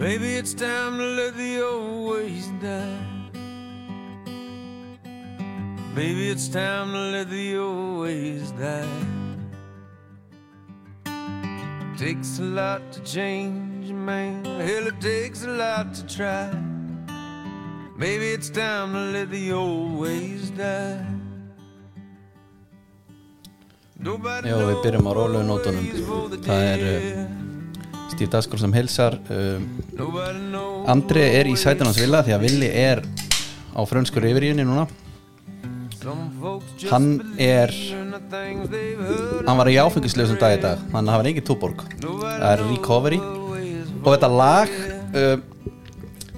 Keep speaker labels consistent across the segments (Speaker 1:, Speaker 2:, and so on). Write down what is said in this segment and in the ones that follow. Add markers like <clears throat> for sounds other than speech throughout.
Speaker 1: Maybe it's time to let the old ways die. Maybe it's time to let the old ways die. Takes a lot to change a man. Hell, it takes a lot to try. Maybe it's time to let the old ways die. Nobody
Speaker 2: Já, við byrjum á rólu nótunum Það er uh, Steve Daskor sem hilsar um,
Speaker 1: Nobody knows.
Speaker 2: Andri er í sætun hans vila því að Willi er á frönskur yfiríunni núna
Speaker 1: Some folks just
Speaker 2: Hann er,
Speaker 1: learn the things they've heard.
Speaker 2: hann var í áfengislausum dag í dag Þannig að það var engin túborg Það er recovery Og þetta lag uh,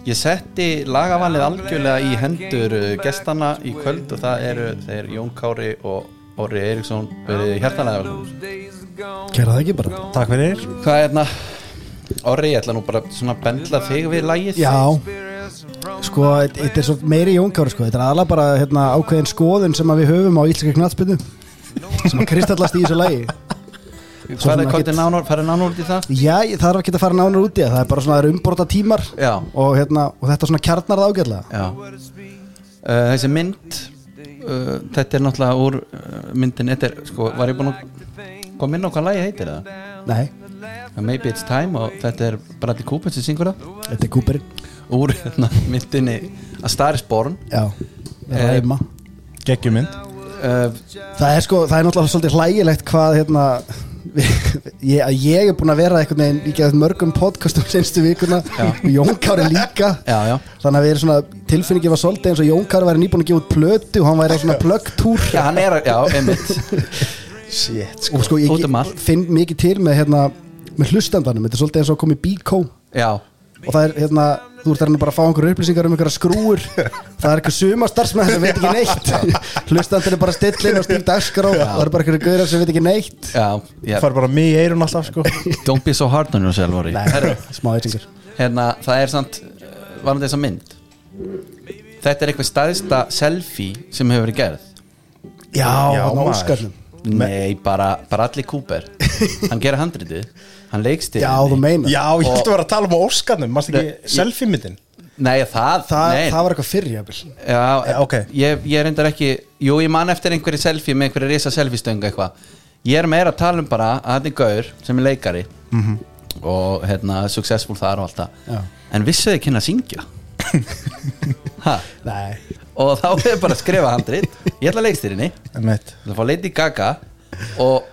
Speaker 2: Ég setti lagavalið algjörlega í hendur uh, gestanna í kvöld og það eru þeir Jón Kári og Orri Eriksson verið hjartanlega velkomin.
Speaker 1: Days are gone.
Speaker 3: Gerða það ekki bara
Speaker 4: Takk fyrir
Speaker 2: Hvað er hérna Orri, ég ætla nú bara svona að bendla þig við lægið
Speaker 3: Já, sko, þetta er svo meiri jónkári sko Þetta er aðla bara hérna, ákveðin skoðun sem að við höfum á íslenska knattspinnu sem að kristallast í þessu lagi Svo
Speaker 2: Hvað
Speaker 3: sem
Speaker 2: er
Speaker 3: ekkit-
Speaker 2: kvöldin nánar, farið nánar út í það?
Speaker 3: Já, ég- það er ekki að fara nánar út í það það er bara svona það eru umborta tímar
Speaker 2: Já,
Speaker 3: og, hérna, og þetta svona kjarnar það ágætlega
Speaker 2: já uh, Þessi mynd uh, Þetta er náttúrulega úr uh, myndin Þetta er, sko, var ég búin að koma inn á hvað lægið heitir það?
Speaker 3: Nei,
Speaker 2: Maybe it's time og þetta er Bradley Cooper sem syngur það
Speaker 3: þetta er Cooperinn
Speaker 2: Úr hérna, myndinni A Star is Born
Speaker 3: Já,
Speaker 2: Eh,
Speaker 3: ræma
Speaker 4: Gekkjumind
Speaker 2: uh,
Speaker 3: Það er sko, það er náttúrulega svolítið hlægilegt hvað hérna <laughs> ég, að ég er búin að vera einhvern veginn í geðað mörgum podcastum senstu vikuna og Jónkári líka
Speaker 2: Já, já
Speaker 3: þannig að við erum svona, tilfinningi var svolítið eins og Jónkári væri nýbúin að gefa út plötu og hann væri á svona plögtúr
Speaker 2: Já, hann er, að- já, einmitt
Speaker 3: Shit, sko. og sko ég
Speaker 2: Út um allt.
Speaker 3: finn mikið til með hérna, með hlustandanum, þetta er svolítið eins og að koma í bíkó
Speaker 2: Já,
Speaker 3: og það er hérna, þú ert hérna bara að fá einhverju upplýsingar um einhverja skrúur það er eitthvað suma starfsmenn sem veit ekki neitt hlustandur er bara stillin og stíl dagskrá og það er bara einhverju gauðar sem veit ekki neitt
Speaker 2: já, já
Speaker 4: Far bara mig í eirun alltaf sko
Speaker 2: Don't be so hard on yourself, Orri Herru,
Speaker 3: smá eitthingur
Speaker 2: hérna, það er samt varandi þessa mynd þetta er eitthvað staðista selfie sem hefur verið gerð
Speaker 3: já,
Speaker 4: Já,
Speaker 3: hann
Speaker 4: maður.
Speaker 3: áskarnum
Speaker 2: nei, bara, bara allir Cooper hann gerir handritið, hann leikst
Speaker 3: já, þú meinar
Speaker 4: <laughs> Já, ég ætti að vera að tala um á Óskarnum Mást
Speaker 2: Nei, ég-
Speaker 4: ekki selfie-myndin
Speaker 2: nei, það,
Speaker 3: Þa,
Speaker 2: nei,
Speaker 3: það var eitthvað fyrir jafnvel
Speaker 2: já,
Speaker 4: Já, ok.
Speaker 2: ég, ég reyndar ekki jú, ég man eftir einhverju selfie með einhverju risa selfie stöngu eitthvað ég er meira að tala um bara að þetta er gaur sem er leikari og hérna, successful þar og allt
Speaker 3: Mhm. Já.
Speaker 2: það en vissu þið kynna að syngja
Speaker 3: <laughs>
Speaker 2: ha,
Speaker 3: nei,
Speaker 2: og þá er bara að skrifa handrit ég ætla að leikstýrinni
Speaker 4: Emmett
Speaker 2: Það fá Lady Gaga og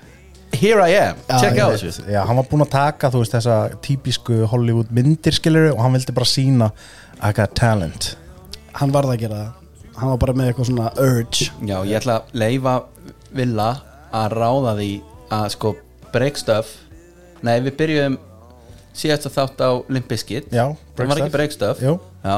Speaker 2: Here I Am,
Speaker 3: Já,
Speaker 2: tjekka
Speaker 3: ég
Speaker 2: á
Speaker 3: veit.
Speaker 2: þessu
Speaker 4: Já, hann var búinn að taka, þú veist, þessa típisku Hollywood myndir, skilur og hann vildi bara sína I got talent
Speaker 3: hann varð að gera það hann var bara með eitthvað svona urge
Speaker 2: Já, ég ætla að leifa Villa að ráða því að sko break stuff Nei, við byrjuðum síðast að þátt á Limp Bizkit
Speaker 4: Já,
Speaker 2: Það var ekki
Speaker 4: Break
Speaker 2: break
Speaker 4: Stuff.
Speaker 2: stuff
Speaker 4: Jú.
Speaker 2: Já,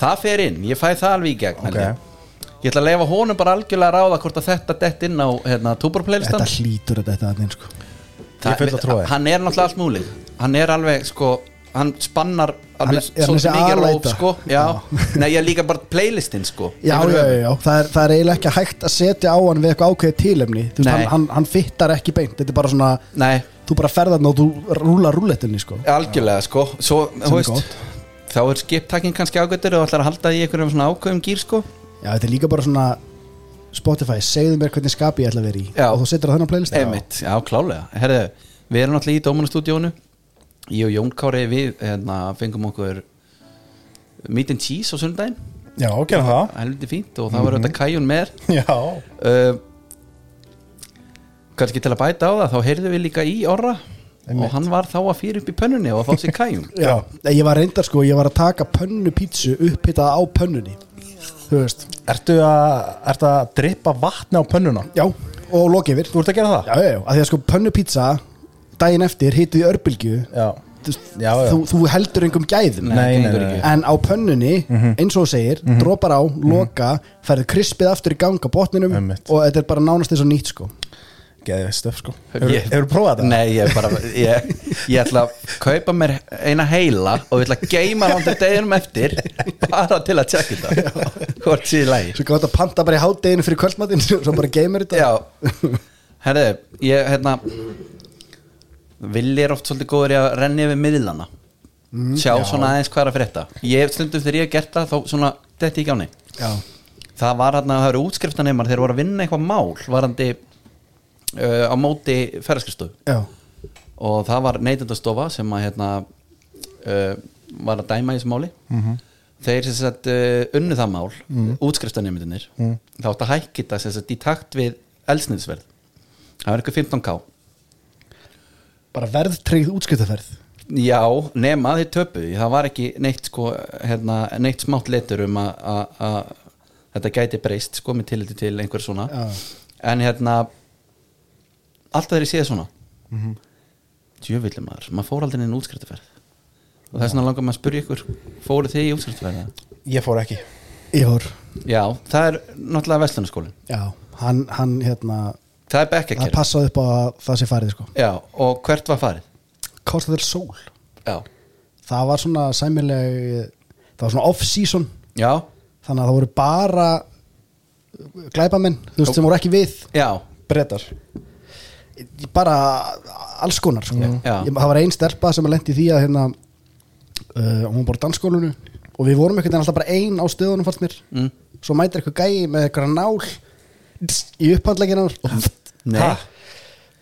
Speaker 2: það fer inn, ég fæ það alveg í gegn
Speaker 4: Ok.
Speaker 2: held ég. Ég ætla að leifa honum bara algjörlega að ráða hvort að þetta dett inn á hérna, Tubor playlistan
Speaker 3: þetta hlýtur þetta þetta þannig sko
Speaker 2: Það-
Speaker 4: Ég full að trúa því.
Speaker 2: Hann er náttúrulega allt múlið Hann er alveg sko Hann spannar alveg
Speaker 3: er- er hann
Speaker 2: svolítið
Speaker 3: þessi
Speaker 2: mikið róp
Speaker 3: alæta?
Speaker 2: sko Já, nei ég er líka bara playlistin sko
Speaker 3: Já,
Speaker 2: Yfir
Speaker 3: já, já,
Speaker 2: höfuð.
Speaker 3: já. Það, er, það er eiginlega ekki hægt að setja á hann við eitthvað ákveðið tilefni Þú veist,
Speaker 2: Nei.
Speaker 3: hann, hann, hann fittar ekki beint Þetta er bara svona,
Speaker 2: Nei,
Speaker 3: þú bara ferðarn og þú rúlar rúletunni sko.
Speaker 2: algjörlega sko Svo,
Speaker 3: er
Speaker 2: þú veist
Speaker 3: gott.
Speaker 2: Þá er skiptakinn kannski ágættur og ætlar að halda í einhverjum svona ákveðum gýr sko
Speaker 3: Já, þetta er líka bara svona Spotify, segðu mér hvernig skapi ég ætla að vera í
Speaker 2: Já.
Speaker 3: og þú setur á þennan playlist
Speaker 2: Einmitt, já, klálega Herðu, við erum náttúrulega í Dómanastúdíónu Ég og Jón Kári við hérna, fengum okkur Meat and Cheese á sundaginn
Speaker 4: Já, gerða það
Speaker 2: Helviti fínt og það var auðvitað kæjun með
Speaker 4: Já,
Speaker 2: uh, kannski til að bæta á það þá heyrðum við líka í orra og hann var þá að fyrir upp í pönnunni og að fá sér kæjum
Speaker 3: Já. Nei, Ég var reyndar sko, ég var að taka pönnu pítsu upphitta á pönnunni Þú veist,
Speaker 4: Ertu að, ertu að drippa vatni á pönnuna?
Speaker 3: já, og loki yfir
Speaker 4: Þú ert að gera það?
Speaker 3: Já, já, já, að því að sko pönnu pítsa daginn eftir hitið í örbylgju
Speaker 4: Já,
Speaker 3: Þú veist,
Speaker 4: Já, já.
Speaker 3: Þú, þú heldur engum gæðum
Speaker 4: Nei, Mhm. nei,
Speaker 2: gengur
Speaker 4: nei,
Speaker 2: ekki.
Speaker 3: en á pönnunni, eins og þú segir dropar á, loka, færðu krispið aftur í gang á botninum
Speaker 4: Mhm. Einmitt.
Speaker 3: og þetta er bara nánast eins og nýtt sko
Speaker 4: geðið stöf sko Hefur-
Speaker 2: Ég-
Speaker 4: Hefurðu prófað það?
Speaker 2: Nei, ég, bara, ég, ég ætla að kaupa mér eina heila og ég ætla að geima hann til deginum eftir bara til að tjekka þetta hvort síði lægi
Speaker 3: svo gott að panta bara í hátdeginu fyrir kvöldmatinn <laughs> svo bara geymir þetta
Speaker 2: Já, herðu, ég hérna Villi er oft svolítið góður í að renni yfir miðlana sjá svona aðeins hvað er að frétta ég stundum þegar ég hef gert það þá svona þetta ekki á neitt
Speaker 3: Já,
Speaker 2: það var hann að það eru útskriftanemar þeir voru að vinna eitthvað mál varandi uh, á móti ferðarskristofu
Speaker 3: já,
Speaker 2: og það var neytendastofa sem að hérna uh, var að dæma í þessu máli -hmm. þeir sem sagt uh, unnu það mál mm. útskriftanemindinir mm. þá átt að hækki þetta sem sagt í takt við elsniðsverð það var eitthvað 15k
Speaker 3: bara verðtryggð útskiptaferð
Speaker 2: Já, nema þeir töpuði það var ekki neitt sko hérna, neitt smátt letur um að- að að þetta gæti breyst sko með tilliti til einhver svona
Speaker 3: Já.
Speaker 2: en hérna alltaf þeir séð svona mm
Speaker 3: Mhm.
Speaker 2: -hmm. djöfvillig maður, maður fór aldrei inn útskriftaferð og þess vegna langar maður að spyrja ykkur fóruð þið í útskriftaferð? eða?
Speaker 4: Ég fór ekki
Speaker 3: Ég fór,
Speaker 2: Já, það er náttúrulega vestlunarskólin
Speaker 3: já, hann, hann hérna
Speaker 2: það er
Speaker 3: Það
Speaker 2: bekkakerð
Speaker 3: passaði upp á að það sé farið sko
Speaker 2: Já, og hvert var farið?
Speaker 3: Kosta þér sól
Speaker 2: Já,
Speaker 3: Það var svona sæmileg Það var svona off-season
Speaker 2: já,
Speaker 3: Þannig að það voru bara Glæpamenn, þú veist, sem voru ekki við
Speaker 2: já
Speaker 4: Bretar
Speaker 3: bara alls konar sko.
Speaker 2: Mm. Já.
Speaker 3: ég, það var ein stelpa sem lendi því að hérna, uh, hún var bara á dansskólinu og við vorum einhvern veginn alltaf bara ein á stöðunum fannst mér,
Speaker 2: Mm.
Speaker 3: svo mætir eitthvað gæi með eitthvað nál tss, í upphandlegin hans og,
Speaker 2: Nei,
Speaker 3: Ha?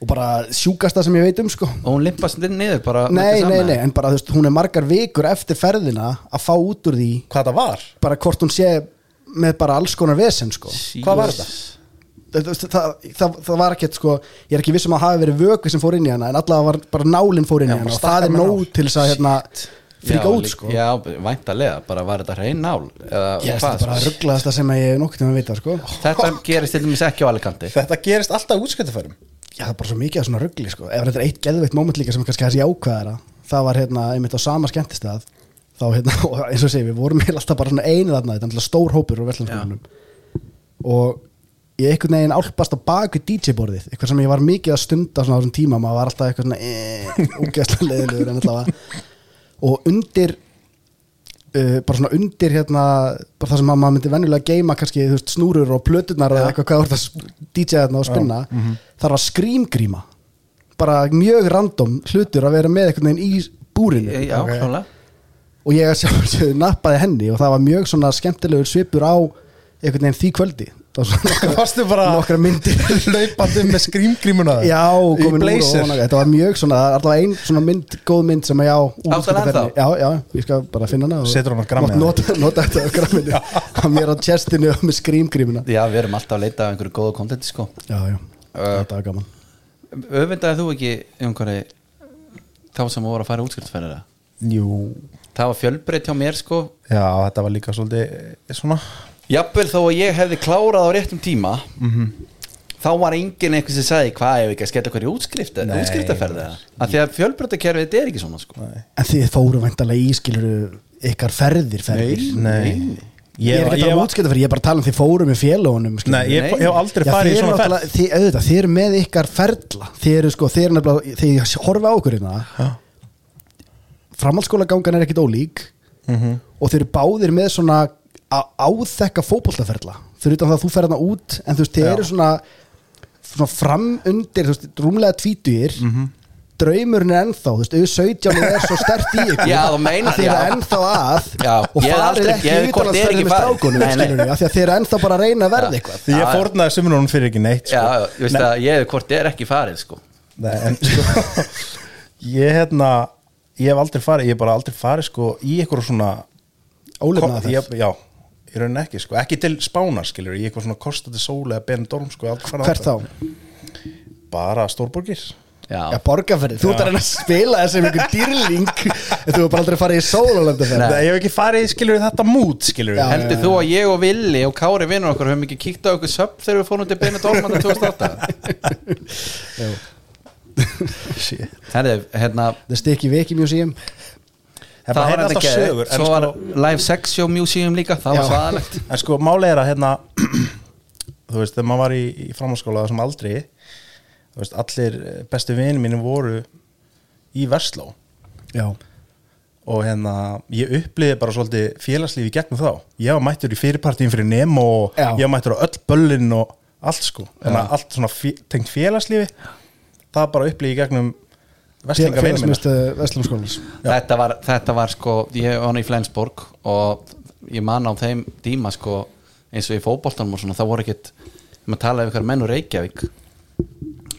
Speaker 3: og bara sjúkasta sem ég veit um sko.
Speaker 2: og hún limpast niður bara
Speaker 3: nei,
Speaker 2: milli
Speaker 3: nei,
Speaker 2: saman.
Speaker 3: nei, en bara þú veist, hún er margar vikur eftir ferðina að fá út úr því
Speaker 4: Hvað það var?
Speaker 3: bara hvort hún sé með bara alls konar vesen sko.
Speaker 4: Hvað var þetta?
Speaker 3: það, það, það, það var ekkert sko ég er ekki vissum að hafa verið vöku sem fór inn í hana en allavega var bara nálinn fór inn í
Speaker 4: Já,
Speaker 3: hana
Speaker 4: bara
Speaker 3: og það
Speaker 4: stakkar
Speaker 3: er
Speaker 4: með
Speaker 3: nóg
Speaker 4: nál.
Speaker 3: til þess að hérna, fríka út
Speaker 2: lík-
Speaker 3: sko
Speaker 2: Já, væntalega, bara var þetta hrein nál eða
Speaker 3: ég
Speaker 2: hvað
Speaker 3: er bara
Speaker 2: sko?
Speaker 3: rugglaðast það sem að ég noktið með vita sko
Speaker 2: Þetta gerist til dæmis ekki á Alicante
Speaker 4: Þetta gerist alltaf útskjöldafærum
Speaker 3: já það er bara svo mikið af svona ruggli sko ef þetta er eitt geðveitt moment líka sem er kannski að þessi ákvæðara það var hérna einmitt á sama skemmtistað þá hérna <laughs> og eins og segi við vorum heil alltaf bara svona einu þarna þetta er alltaf stór hópur og verðlanskólanum og ég einhvern veginn álpast á baku DJ-borðið, eitthvað sem ég var mikið að stunda svona á þessum tíma, maður var alltaf eitthvað <laughs> svona úgeðslega leiðilegur en allavega og undir uh, bara svona undir hérna bara það sem að maður myndi venjulega geima kannski þú veist, snúrur og plöturnar eða eitthvað hvað voru það DJ þarna og spinna
Speaker 2: Mhm.
Speaker 3: þar var skrýmgríma bara mjög random hlutur að vera með einhvern veginn í búrinu
Speaker 2: Já,
Speaker 4: Ok.
Speaker 2: klálega
Speaker 3: og ég að <laughs> sjálfsögðu nappaði henni og það var mjög svona skemmtilegur svipur á einhvern veginn því kvöldi það var svona nokkra-
Speaker 4: <laughs> Varstu bara-
Speaker 3: nokkra
Speaker 4: <laughs>
Speaker 3: myndir
Speaker 4: Laupandi með skrýmgrímuna
Speaker 3: já,
Speaker 4: Í
Speaker 3: komin úr og
Speaker 4: blazer.
Speaker 3: ofan á- þetta var mjög svona, það er alltaf ein svona mynd góð mynd sem að já, úr-
Speaker 2: Áttu hana ennþá?
Speaker 3: já, já, ég skal bara finna hana og-
Speaker 4: Setur hún á grammið?
Speaker 3: nota, nota þetta á gramminu að mér á chestinu <laughs> og með skrýmgrímuna
Speaker 2: Já, við erum alltaf að leita af einhverju góðu kontenti sko
Speaker 3: já, já,
Speaker 2: Uh.
Speaker 3: þetta var gaman
Speaker 2: Öfundaði þú ekki einhverju þá sem voru að fara útskriftsferðina
Speaker 4: Jú
Speaker 2: Það var fjölbreytt hjá mér sko
Speaker 4: Já, þetta var líka svolítið eh, svona
Speaker 2: Jafnvel þó að ég hefði klárað á réttum tíma þá var enginn einhver sem sagði hvað ef ekki að skella hverju útskrift
Speaker 4: Nei.
Speaker 2: útskriftaferði að því að fjölbreyttakerfið þetta er ekki svona sko
Speaker 3: en þið fóru væntalega ískiluru ykkar ferðir, ferðir
Speaker 4: Nei
Speaker 3: ég er ekki að tala um
Speaker 4: var-
Speaker 3: útskiptaferð, ég er bara að tala um því fórum í félónum skilurðu.
Speaker 4: Nei, ég
Speaker 2: Nei.
Speaker 4: ég hef aldrei
Speaker 3: Já,
Speaker 4: farið í
Speaker 3: þið eru
Speaker 4: svona ferð
Speaker 3: náttúrulega, þið, auðvitað, þið eru með ykkar ferla þið eru sko, þið eru nefnilega þegar ég horfa á okkur hérna framhaldsskóla gangan er ekkit ólík
Speaker 2: Hm.
Speaker 4: Mhm.
Speaker 3: og þið eru báðir með svona á- áþekka fótboltaferla fyrir utan það að þú ferð hérna út en þú veist, þið
Speaker 4: Já.
Speaker 3: eru svona, svona fram undir, þú veist, rúmlega tvítugir
Speaker 2: Mhm.
Speaker 3: draumurinn er ennþá, þú veist, auðvitað 17 er svo stert í ykkur
Speaker 2: <laughs> Já, þú meinar,
Speaker 3: að þið eru
Speaker 2: já.
Speaker 3: ennþá að
Speaker 2: Já,
Speaker 3: og
Speaker 2: ég hef
Speaker 3: farið
Speaker 2: aldrei- ég
Speaker 3: ekki
Speaker 2: hef- hvort er
Speaker 3: utanlandsferðir
Speaker 2: ekki
Speaker 3: með
Speaker 2: farið.
Speaker 3: strákunum
Speaker 2: Nei, nei.
Speaker 3: skilurðu, af því að þið eru ennþá bara að reyna að verða
Speaker 2: Já.
Speaker 3: eitthvað
Speaker 4: Ég
Speaker 2: Já,
Speaker 4: fórnaði sumrunum fyrir ekki neitt sko.
Speaker 2: Já, ég veist að ég hef hvort ég er ekki farið sko
Speaker 4: Nei, en sko <laughs> Ég hérna Ég hef aldrei farið, ég hef bara aldrei farið sko í eitthvað svona
Speaker 3: Ólefnaða
Speaker 4: Ko- ég- Já, ég raunin ekki sko Ekki til spána skilur, ég eitthvað svona Kosta til sóli eða Benidorm sko ég hef aldrei farið
Speaker 3: Hvert þá?
Speaker 4: þangað. Bara stórborgir
Speaker 2: Já,
Speaker 3: Já, borgarferðið, þú ert að reyna að spila þessi með einhver dýrling en þú er bara aldrei að fara í
Speaker 4: Nei.
Speaker 3: sólalöndaferð
Speaker 4: ég hef ekki farið skilur þetta mút skilur
Speaker 3: Já.
Speaker 2: Heldur þú að ég og Villi og Kári vinnur okkur höfum ekki kíkt á okkur söpp þegar við fórum til Beinu
Speaker 4: <laughs>
Speaker 2: Dormanda 2008 Herðu, hérna
Speaker 3: Það stikki viki museum
Speaker 4: Það var hérna alltaf
Speaker 2: geðið.
Speaker 4: sögur en
Speaker 2: Svo
Speaker 4: sko-
Speaker 2: var Live Sex Show Museum líka Það var
Speaker 3: Já.
Speaker 2: svaðalegt
Speaker 4: En sko, málið er að hérna <clears throat> þú veist, þegar maður var í, í framhanskóla þessum aldri þú veist, allir eh, bestu vinir mínir voru í Versló
Speaker 3: Já,
Speaker 4: og hérna, ég uppliði bara svolítið félagslífi í gegnum þá. Ég var mættur í fyrirpartíum fyrir Nemo og
Speaker 3: Já.
Speaker 4: ég var mættur á öll böllin og allt sko. Þannig að allt svona fí- tengt félagslífi það bara uppliði í gegnum þú vestlingavinum minna
Speaker 3: Vestlumskólans
Speaker 2: þetta var, þetta var sko, ég var hann í Flensborg og ég man á þeim díma sko, eins og í fótboltanum og svona, það voru ekkit, ef maður talaði um ykkur menn úr Reykjavík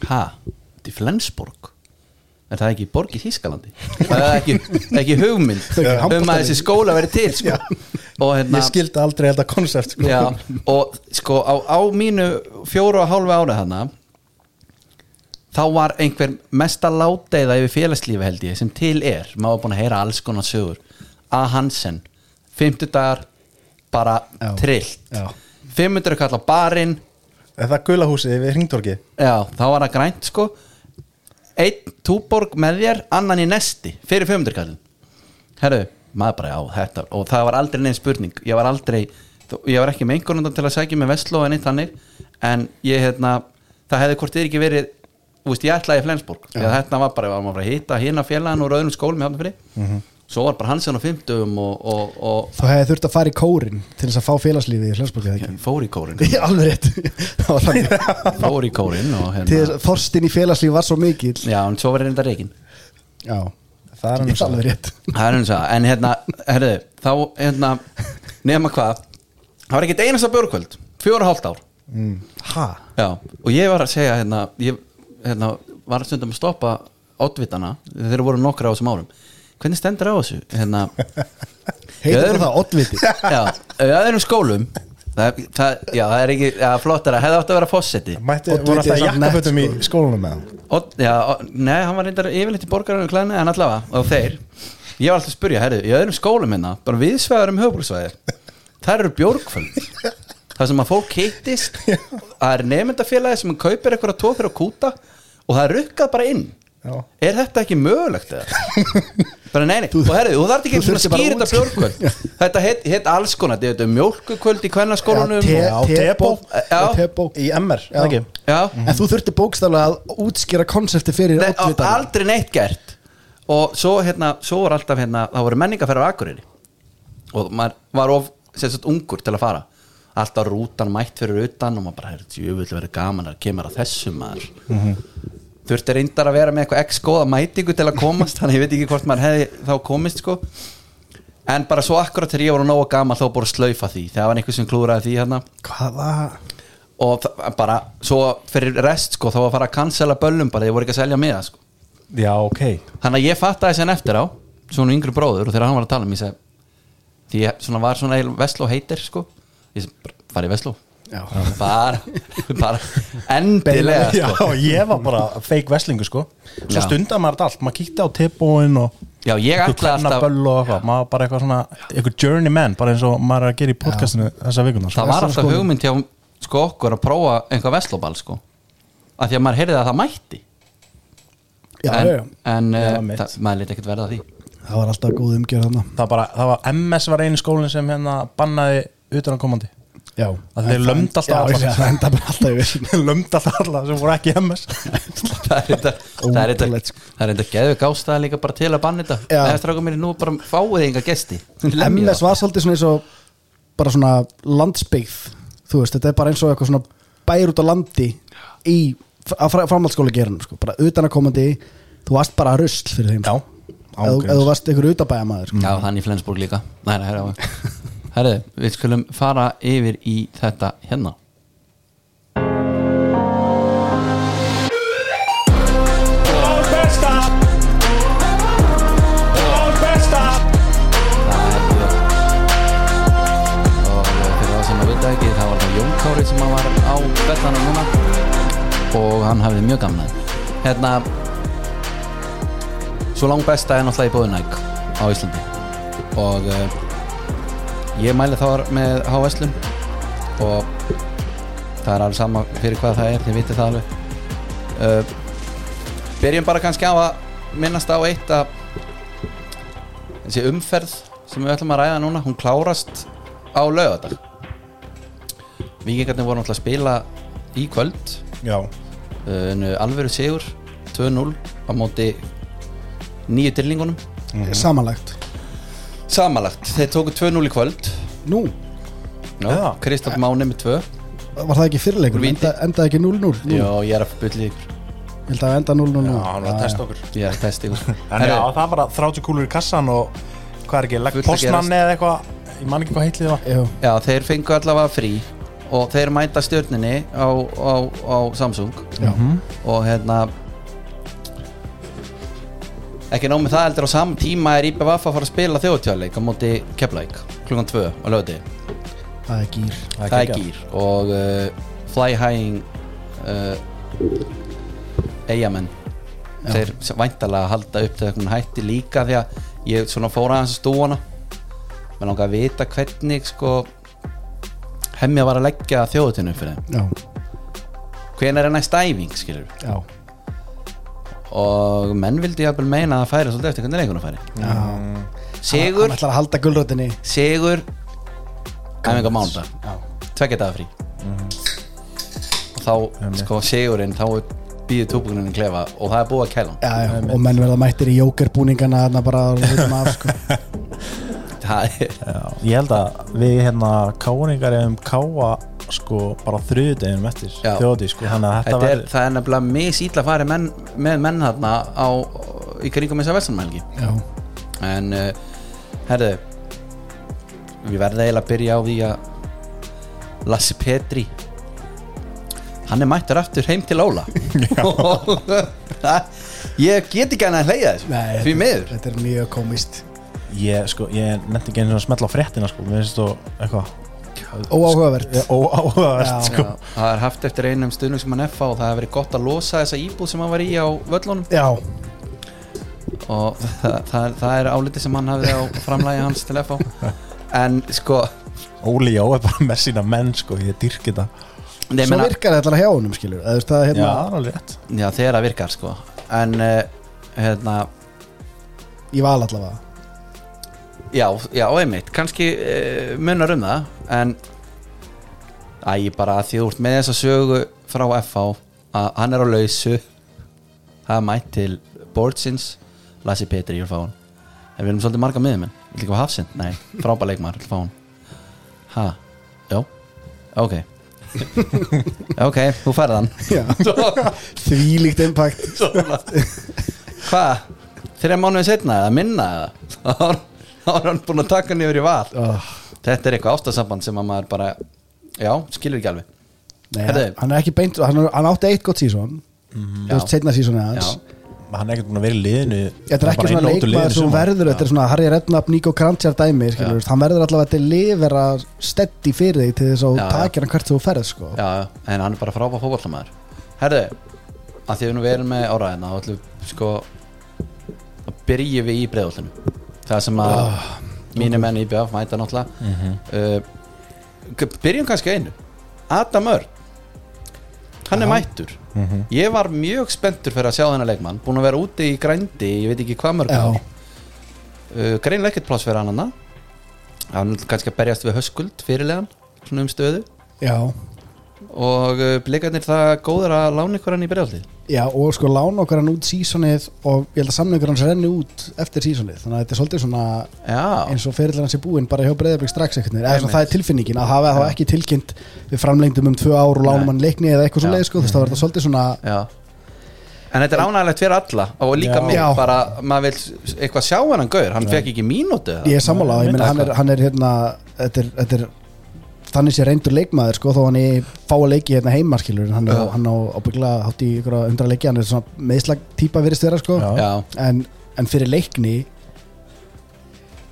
Speaker 2: ha, þetta er Flensborg er það ekki borg í
Speaker 4: <laughs>
Speaker 2: Þískalandi það er ekki, það er ekki hugmynd
Speaker 3: Það er ekki
Speaker 2: um að
Speaker 3: handboltalið.
Speaker 2: þessi skóla veri til sko. og hérna
Speaker 4: Ég skildi aldrei þetta konsept sko.
Speaker 2: Já, og sko á, á mínu fjóru og hálfu ára hana þá var einhver mesta láteiða yfir félagslífi held ég sem til er, maður var búin að heyra alls konar sögur A. Hansen, 50 dagar bara
Speaker 3: Já.
Speaker 2: trillt
Speaker 3: Já.
Speaker 2: 500 kall á barinn
Speaker 4: Er það gula húsið við hringdorki
Speaker 2: já, þá var það grænt sko einn túborg með þér annan í nesti, fyrir 500 kallin herru, maður bara á þetta og það var aldrei neinn spurning ég var aldrei, þó- ég var ekki með einhvern til að sækja með Vestló en eitt þannig en ég hérna, það hefði hvort þið ekki verið þú veist, ég ætlaði í Flensborg því að þetta var bara, ég var maður að hitta hérna félagin úr öðrum skólum í Hafnafri svo var bara Hansen á 50 og, og, og
Speaker 3: Þá hefði þurft að fara í kórin til þess að fá félagslífi í Flensborg eða ekki
Speaker 2: fór í kórin
Speaker 3: Já, <laughs> alveg rétt Það var þannig
Speaker 2: fór í kórin og
Speaker 3: Til þess
Speaker 2: hérna
Speaker 3: að Þorstin í félagslífi var svo mikill
Speaker 2: já, en svo verið þetta reikin
Speaker 3: Já,
Speaker 4: Það er
Speaker 3: Ég
Speaker 4: annars
Speaker 3: er alveg rétt
Speaker 2: Það er eins og það, en hérna, herðu, þá, hérna, nema hvað, það var ekkert einasta björkvöld, fjóra og hálft ár,
Speaker 3: Ha?
Speaker 2: já, og ég var að segja, hérna, ég, hérna, var stundum að stoppa átvitana, þeir voru nokkra á þessum árum, hvernig stendur á þessu, hérna,
Speaker 3: Heitir
Speaker 2: Ég er-
Speaker 3: það það, oddviti
Speaker 2: já, við öðrum skólum, það, það, já, það er ekki, já, flottara, hefði átt að vera fósetti,
Speaker 4: Mætti,
Speaker 3: Oddviti
Speaker 4: voru
Speaker 3: er
Speaker 4: alltaf
Speaker 3: samt nett,
Speaker 4: jakkafötum í
Speaker 3: sko.
Speaker 4: skólanum með hann
Speaker 2: Og, já, og, nei, hann var reyndar yfirleitt í borgarinu klæðinu en allavega, og þeir ég var alltaf að spyrja, herri, í öðrum skólum hérna bara viðsvæðar um höfbúlsvæði þar eru bjórkvöld þar sem að fólk hittist það er nefndafélagi sem kaupir eitthvað tvo fyrir að kúta og það er rukkað bara inn
Speaker 4: Já.
Speaker 2: er þetta ekki mögulegt eða? bara nei, nei, og herri, þú þarft ekki
Speaker 3: þú
Speaker 2: einu sinni að skýra
Speaker 3: þurfti bara að
Speaker 2: þetta bjórkvöld þetta heit, heit alls konar, þetta er mjólkukvöld í
Speaker 3: Já,
Speaker 2: kvennarskólanum
Speaker 3: te-
Speaker 2: og-
Speaker 4: Já,
Speaker 3: tebó.
Speaker 2: Já.
Speaker 3: Tebó.
Speaker 4: Í MR,
Speaker 3: Já.
Speaker 4: eða ekki
Speaker 2: já,
Speaker 3: En þú þurfti bókstaflega að útskýra konsepti fyrir
Speaker 2: Mhm. Nei, á-
Speaker 3: oddvita
Speaker 2: aldrei neitt gert og svo hérna, svo var alltaf hérna það voru menningarferðar á Akureyri og maður var of, sem sagt, ungur til að fara alltaf rútan mætt fyrir utan og maður bara, herrðu, ég vil vera gaman að kemur að þessu maður þurfti reyndar að vera með eitthvað ex-góða mætingu til að komast, <laughs> þannig ég veit ekki hvort maður hefði þá komist, sko en bara svo akkurat þegar ég voru nógu gaman þá búið að slaufa því, þegar var einhver sem klúraði því hérna
Speaker 3: Hvaða?
Speaker 2: og það- bara, svo fyrir rest sko, þá var að fara að cancela böllum bara, ég voru ekki að selja miða sko
Speaker 4: Já, ok
Speaker 2: þannig að ég fattaði þessi en eftir á svona yngri bróður og þegar hann var að tala um ég segi, því ég svona var svona Vesló heitir sko ég segi, bara farið Vesló
Speaker 3: Já.
Speaker 2: bara, bara endilega
Speaker 4: Já,
Speaker 2: sko.
Speaker 4: ég var bara fake wrestlingu sko Svo
Speaker 2: Já.
Speaker 4: stundar maður þetta allt, maður kíkti á tebóin og
Speaker 2: já, ég ætla alltaf
Speaker 4: kvennaböll og eitthvað maður var bara eitthvað svona, eitthvað journeyman bara eins og maður er að gera í podcastinu þessa vikuna sko.
Speaker 2: það var alltaf hugmynd hjá sko okkur að prófa einhvað Veslóball sko af því að maður heyrði að það mætti
Speaker 3: Já,
Speaker 2: en,
Speaker 3: já, já.
Speaker 2: en
Speaker 4: Já,
Speaker 2: eh,
Speaker 4: mitt.
Speaker 2: það, maður liti ekkert verða að því <laughs>
Speaker 3: það var alltaf góð umgjörð þarna
Speaker 4: það, bara, það var MS var einu skólinn sem hérna bannaði <laughs> utanakomandi
Speaker 3: Já
Speaker 4: að þeir lömd alltaf
Speaker 3: Já,
Speaker 4: alla.
Speaker 3: já, það enda bara alltaf yfir
Speaker 4: <laughs> lömd alltaf alla sem voru ekki í MS
Speaker 2: það er þetta það er
Speaker 3: Ótrúlegt,
Speaker 2: þetta-
Speaker 3: sko.
Speaker 2: það er þetta geðu gástaði líka bara til að banna þetta
Speaker 3: Já.
Speaker 2: það er strákum mér nú bara fáið enga gesti Lemja
Speaker 3: MS
Speaker 2: þá.
Speaker 3: var svolítið svona eins og bara svona landsbyggð þú veist, þetta er bara eins og eitthvað svona bæir út á landi í framhaldsskóla geranum, sko, bara utanakomandi þú varst bara rusl fyrir þeim
Speaker 4: já,
Speaker 3: sko. Ef þú-
Speaker 4: ángríns.
Speaker 3: ef þú varst einhver utabæjamaður sko.
Speaker 2: Já, hann í Flensborg líka Nei, nei, herra, herra, við skulum fara yfir í þetta hérna Það er mjög- Og fyrir það sem að vita ekki það var það Jón Kári sem að var á betlanum núna og hann hafði mjög gamnað Hérna Svo lang besta er náttúrulega í bóðunæk á Íslandi og uh, ég mæli þar með HSlum og það er alveg sama fyrir hvað það er, þið vitið það alveg uh, Byrjum bara kannski á að minnast á eitt að þessi umferð sem við ætlum að ræða núna hún klárast á laugardag Víkingarnir voru náttúrulega að spila í kvöld
Speaker 4: <laughs> já,
Speaker 2: uh, en, uh, alvöru sigur 2-0 á móti nýju dyrlingunum
Speaker 4: Mhm.
Speaker 3: samanlagt
Speaker 2: samanlagt, þeir tóku 2-0 í kvöld
Speaker 3: nú,
Speaker 2: Já,
Speaker 4: Já.
Speaker 2: Kristoff Máni með 2
Speaker 3: var það ekki fyrirleikur
Speaker 2: Úr víti.
Speaker 3: enda, endaði ekki 0-0 Nú.
Speaker 2: Já, ég er að byrja ykkur
Speaker 3: held að enda 0-0
Speaker 4: Já,
Speaker 3: núna.
Speaker 4: hann var að testa okkur
Speaker 2: Ég er að testa ykkur
Speaker 4: Þannig
Speaker 2: Herru,
Speaker 4: að það var að 30 kúlur í kassan og hvað er ekki, legg
Speaker 2: Fullt að
Speaker 4: postmann
Speaker 2: gerast.
Speaker 4: eða eitthvað Ég man ekki hvað heitlið var
Speaker 3: Jú,
Speaker 2: Já, þeir fengu allavega frí og þeir mæta stjörninni á, á, á Samsung
Speaker 3: já,
Speaker 2: og hérna ekki nóg með það heldur á saman tíma er IBVF að fara að spila þjóðtjáleik á móti Keflæk klukkan 2 á lögði
Speaker 3: það er gýr
Speaker 2: það er gýr og uh, fly high uh, eigamenn þeir væntalega halda upp til einhvern hætti líka því að ég svona fór aðeins að stúana mér langar að vita hvernig sko hemmja var að leggja þjóðutinu fyrir þeim
Speaker 3: Já,
Speaker 2: hvenær er næst æfing skilur
Speaker 3: já,
Speaker 2: og menn vildi jafnvel meina að færi svolítið eftir hvernig leikunum færi
Speaker 3: já Hann
Speaker 2: Sigur,
Speaker 3: ætlar að halda gulrötinni
Speaker 2: Sigur æfingar mándag
Speaker 3: Já, Mhm.
Speaker 2: tveggja daga frí og þá sko sigurinn þá býður tópugnunum klefa og það er búið að kæla hann.
Speaker 3: já, já, og menn verða mættir í jókerbúningana þarna bara á hlutum af sko
Speaker 2: það er
Speaker 4: Já, ég held að við hérna káringar erum káa sko bara þriðudeginum eftir
Speaker 2: Já.
Speaker 4: þjóði sko, þannig að þetta
Speaker 2: þetta er,
Speaker 4: verður
Speaker 2: það er nefnilega misýtla farið menn, með menn þarna á, í kringum þess að verðsanmælgi
Speaker 3: Já,
Speaker 2: en uh, herðu við verðum eiginlega að byrja á því að Lassi Petri hann er mættur aftur heim til
Speaker 3: <laughs>
Speaker 2: Óla Og það- ég get ekki hann að hleyja þessu
Speaker 3: Nei,
Speaker 2: því miður
Speaker 3: þetta er mjög komist
Speaker 4: Ég sko, ég nefndi ekki einu svona að smella á fréttina sko, mér finnst þú eitthvað
Speaker 3: Óáhugavert Já.
Speaker 4: óáhugavert sko
Speaker 2: Já, það er haft eftir einum stuðnum sem hann effa og það hefur verið gott að losa þessa íbúð sem hann var í á völlunum
Speaker 3: Já,
Speaker 2: og það, það, það er áliti sem hann hafði á framlægi hans til effa en sko
Speaker 4: Óli Jó er bara með sína menn sko, ég dyrki þetta
Speaker 2: nei,
Speaker 3: svo
Speaker 2: meina-
Speaker 3: virkar þetta alveg hjá honum skilur Það, þú veist, það, er
Speaker 4: Já,
Speaker 3: hérna,
Speaker 4: það er alveg rétt
Speaker 2: já, þegar það virkar sko en uh, hérna
Speaker 3: Ég val allavega
Speaker 2: já, já, einmitt, kannski uh, munar um það en æ, ég bara að því þú ert með þessa sögu frá FH að hann er á lausu það er mætt til Bortsins Lassi Petri, ég vil fá hann en við erum svolítið marga miðumenn, vil ekki fá Hafsind nei, frábæð leikmar, vil fá hann ha, já, ok <laughs> ok, þú færð hann
Speaker 3: Já. <laughs> Þvílíkt impact
Speaker 2: hvað, þreja mánuðin setna eða minna eða <laughs> þá var- þá var hann búin að taka hann yfir í val
Speaker 3: oh.
Speaker 2: þetta er eitthvað ástasamband sem að maður bara já, skilur ekki alveg
Speaker 3: Nei,
Speaker 2: Herðu.
Speaker 3: hann er ekki beint Hann, hann átti eitt gott sísón Þú veist,
Speaker 2: Já.
Speaker 3: setna sísónið hans
Speaker 2: já,
Speaker 4: Hann er ekkert búin að vera í liðinu
Speaker 3: Þetta er
Speaker 4: bara
Speaker 3: ekki
Speaker 4: einn
Speaker 3: svona
Speaker 4: nótur liðinu
Speaker 3: leikmaður sem
Speaker 4: sumar.
Speaker 3: verður Þetta er svona Harry Redknapp, Nico Krantjar dæmi skilur, þú veist, Hann verður allavega til lifera steddi fyrir þig til þess
Speaker 2: Já,
Speaker 3: að þú
Speaker 2: já.
Speaker 3: takir hann hvert þú ferð sko.
Speaker 2: já, já, en hann er bara frábæð fókvallamæður herðu, að því að nú við erum með áraðina þá ætlum sko að byrja við í breiðoltinu það sem að oh, mínu menn í BF mæta náttúrulega uh, byrjum kannski á einu Adam Örn hann er mættur
Speaker 4: Mhm.
Speaker 2: ég var mjög spenntur fyrir að sjá þennan leikmann búin að vera úti í grændi, ég veit ekki hvað mörg
Speaker 3: Já.
Speaker 2: ár. uh, greinlega ekkert pláss fyrir hann annað hann er kannski að berjast við höskuld fyrirlegan svona um stöðu
Speaker 3: Já.
Speaker 2: og uh, blikarnir það góður að lána ykkur hann í bregaldið
Speaker 3: já, og sko lána okkar hann út sísónið og ég held að samningur hans renni út eftir sísónið, þannig að þetta er svolítið svona
Speaker 2: já,
Speaker 3: eins og ferill hans er búinn bara hjá breyðarbygg strax ekkert eða svona
Speaker 2: Einmitt.
Speaker 3: það er tilfinningin að hafa þá ekki tilkynnt við framlengdum um tvö ár og lánum hann leikni eða eitthvað svo leið sko, þú veist, þá er
Speaker 2: Mhm.
Speaker 3: þetta svolítið svona
Speaker 2: já en þetta er ánægilegt fyrir alla og líka
Speaker 4: Já.
Speaker 2: mig
Speaker 3: Já.
Speaker 2: bara, maður vil eitthvað sjá hennan gaur, hann fekk ekki mínútu eða?
Speaker 3: Ég er sammála, ég meina hann er,
Speaker 2: Eitthvað.
Speaker 3: hann er hérna þetta er, þetta er þannig sé reyndur leikmaður sko þó hann er fáa leiki hérna heima skilur en hann,
Speaker 2: Já.
Speaker 3: uh. hann á ábyggla hátt í ykkur undra leiki hann er svona meðslag típa virðist vera sko
Speaker 4: Já.
Speaker 2: já,
Speaker 3: en, en fyrir leikni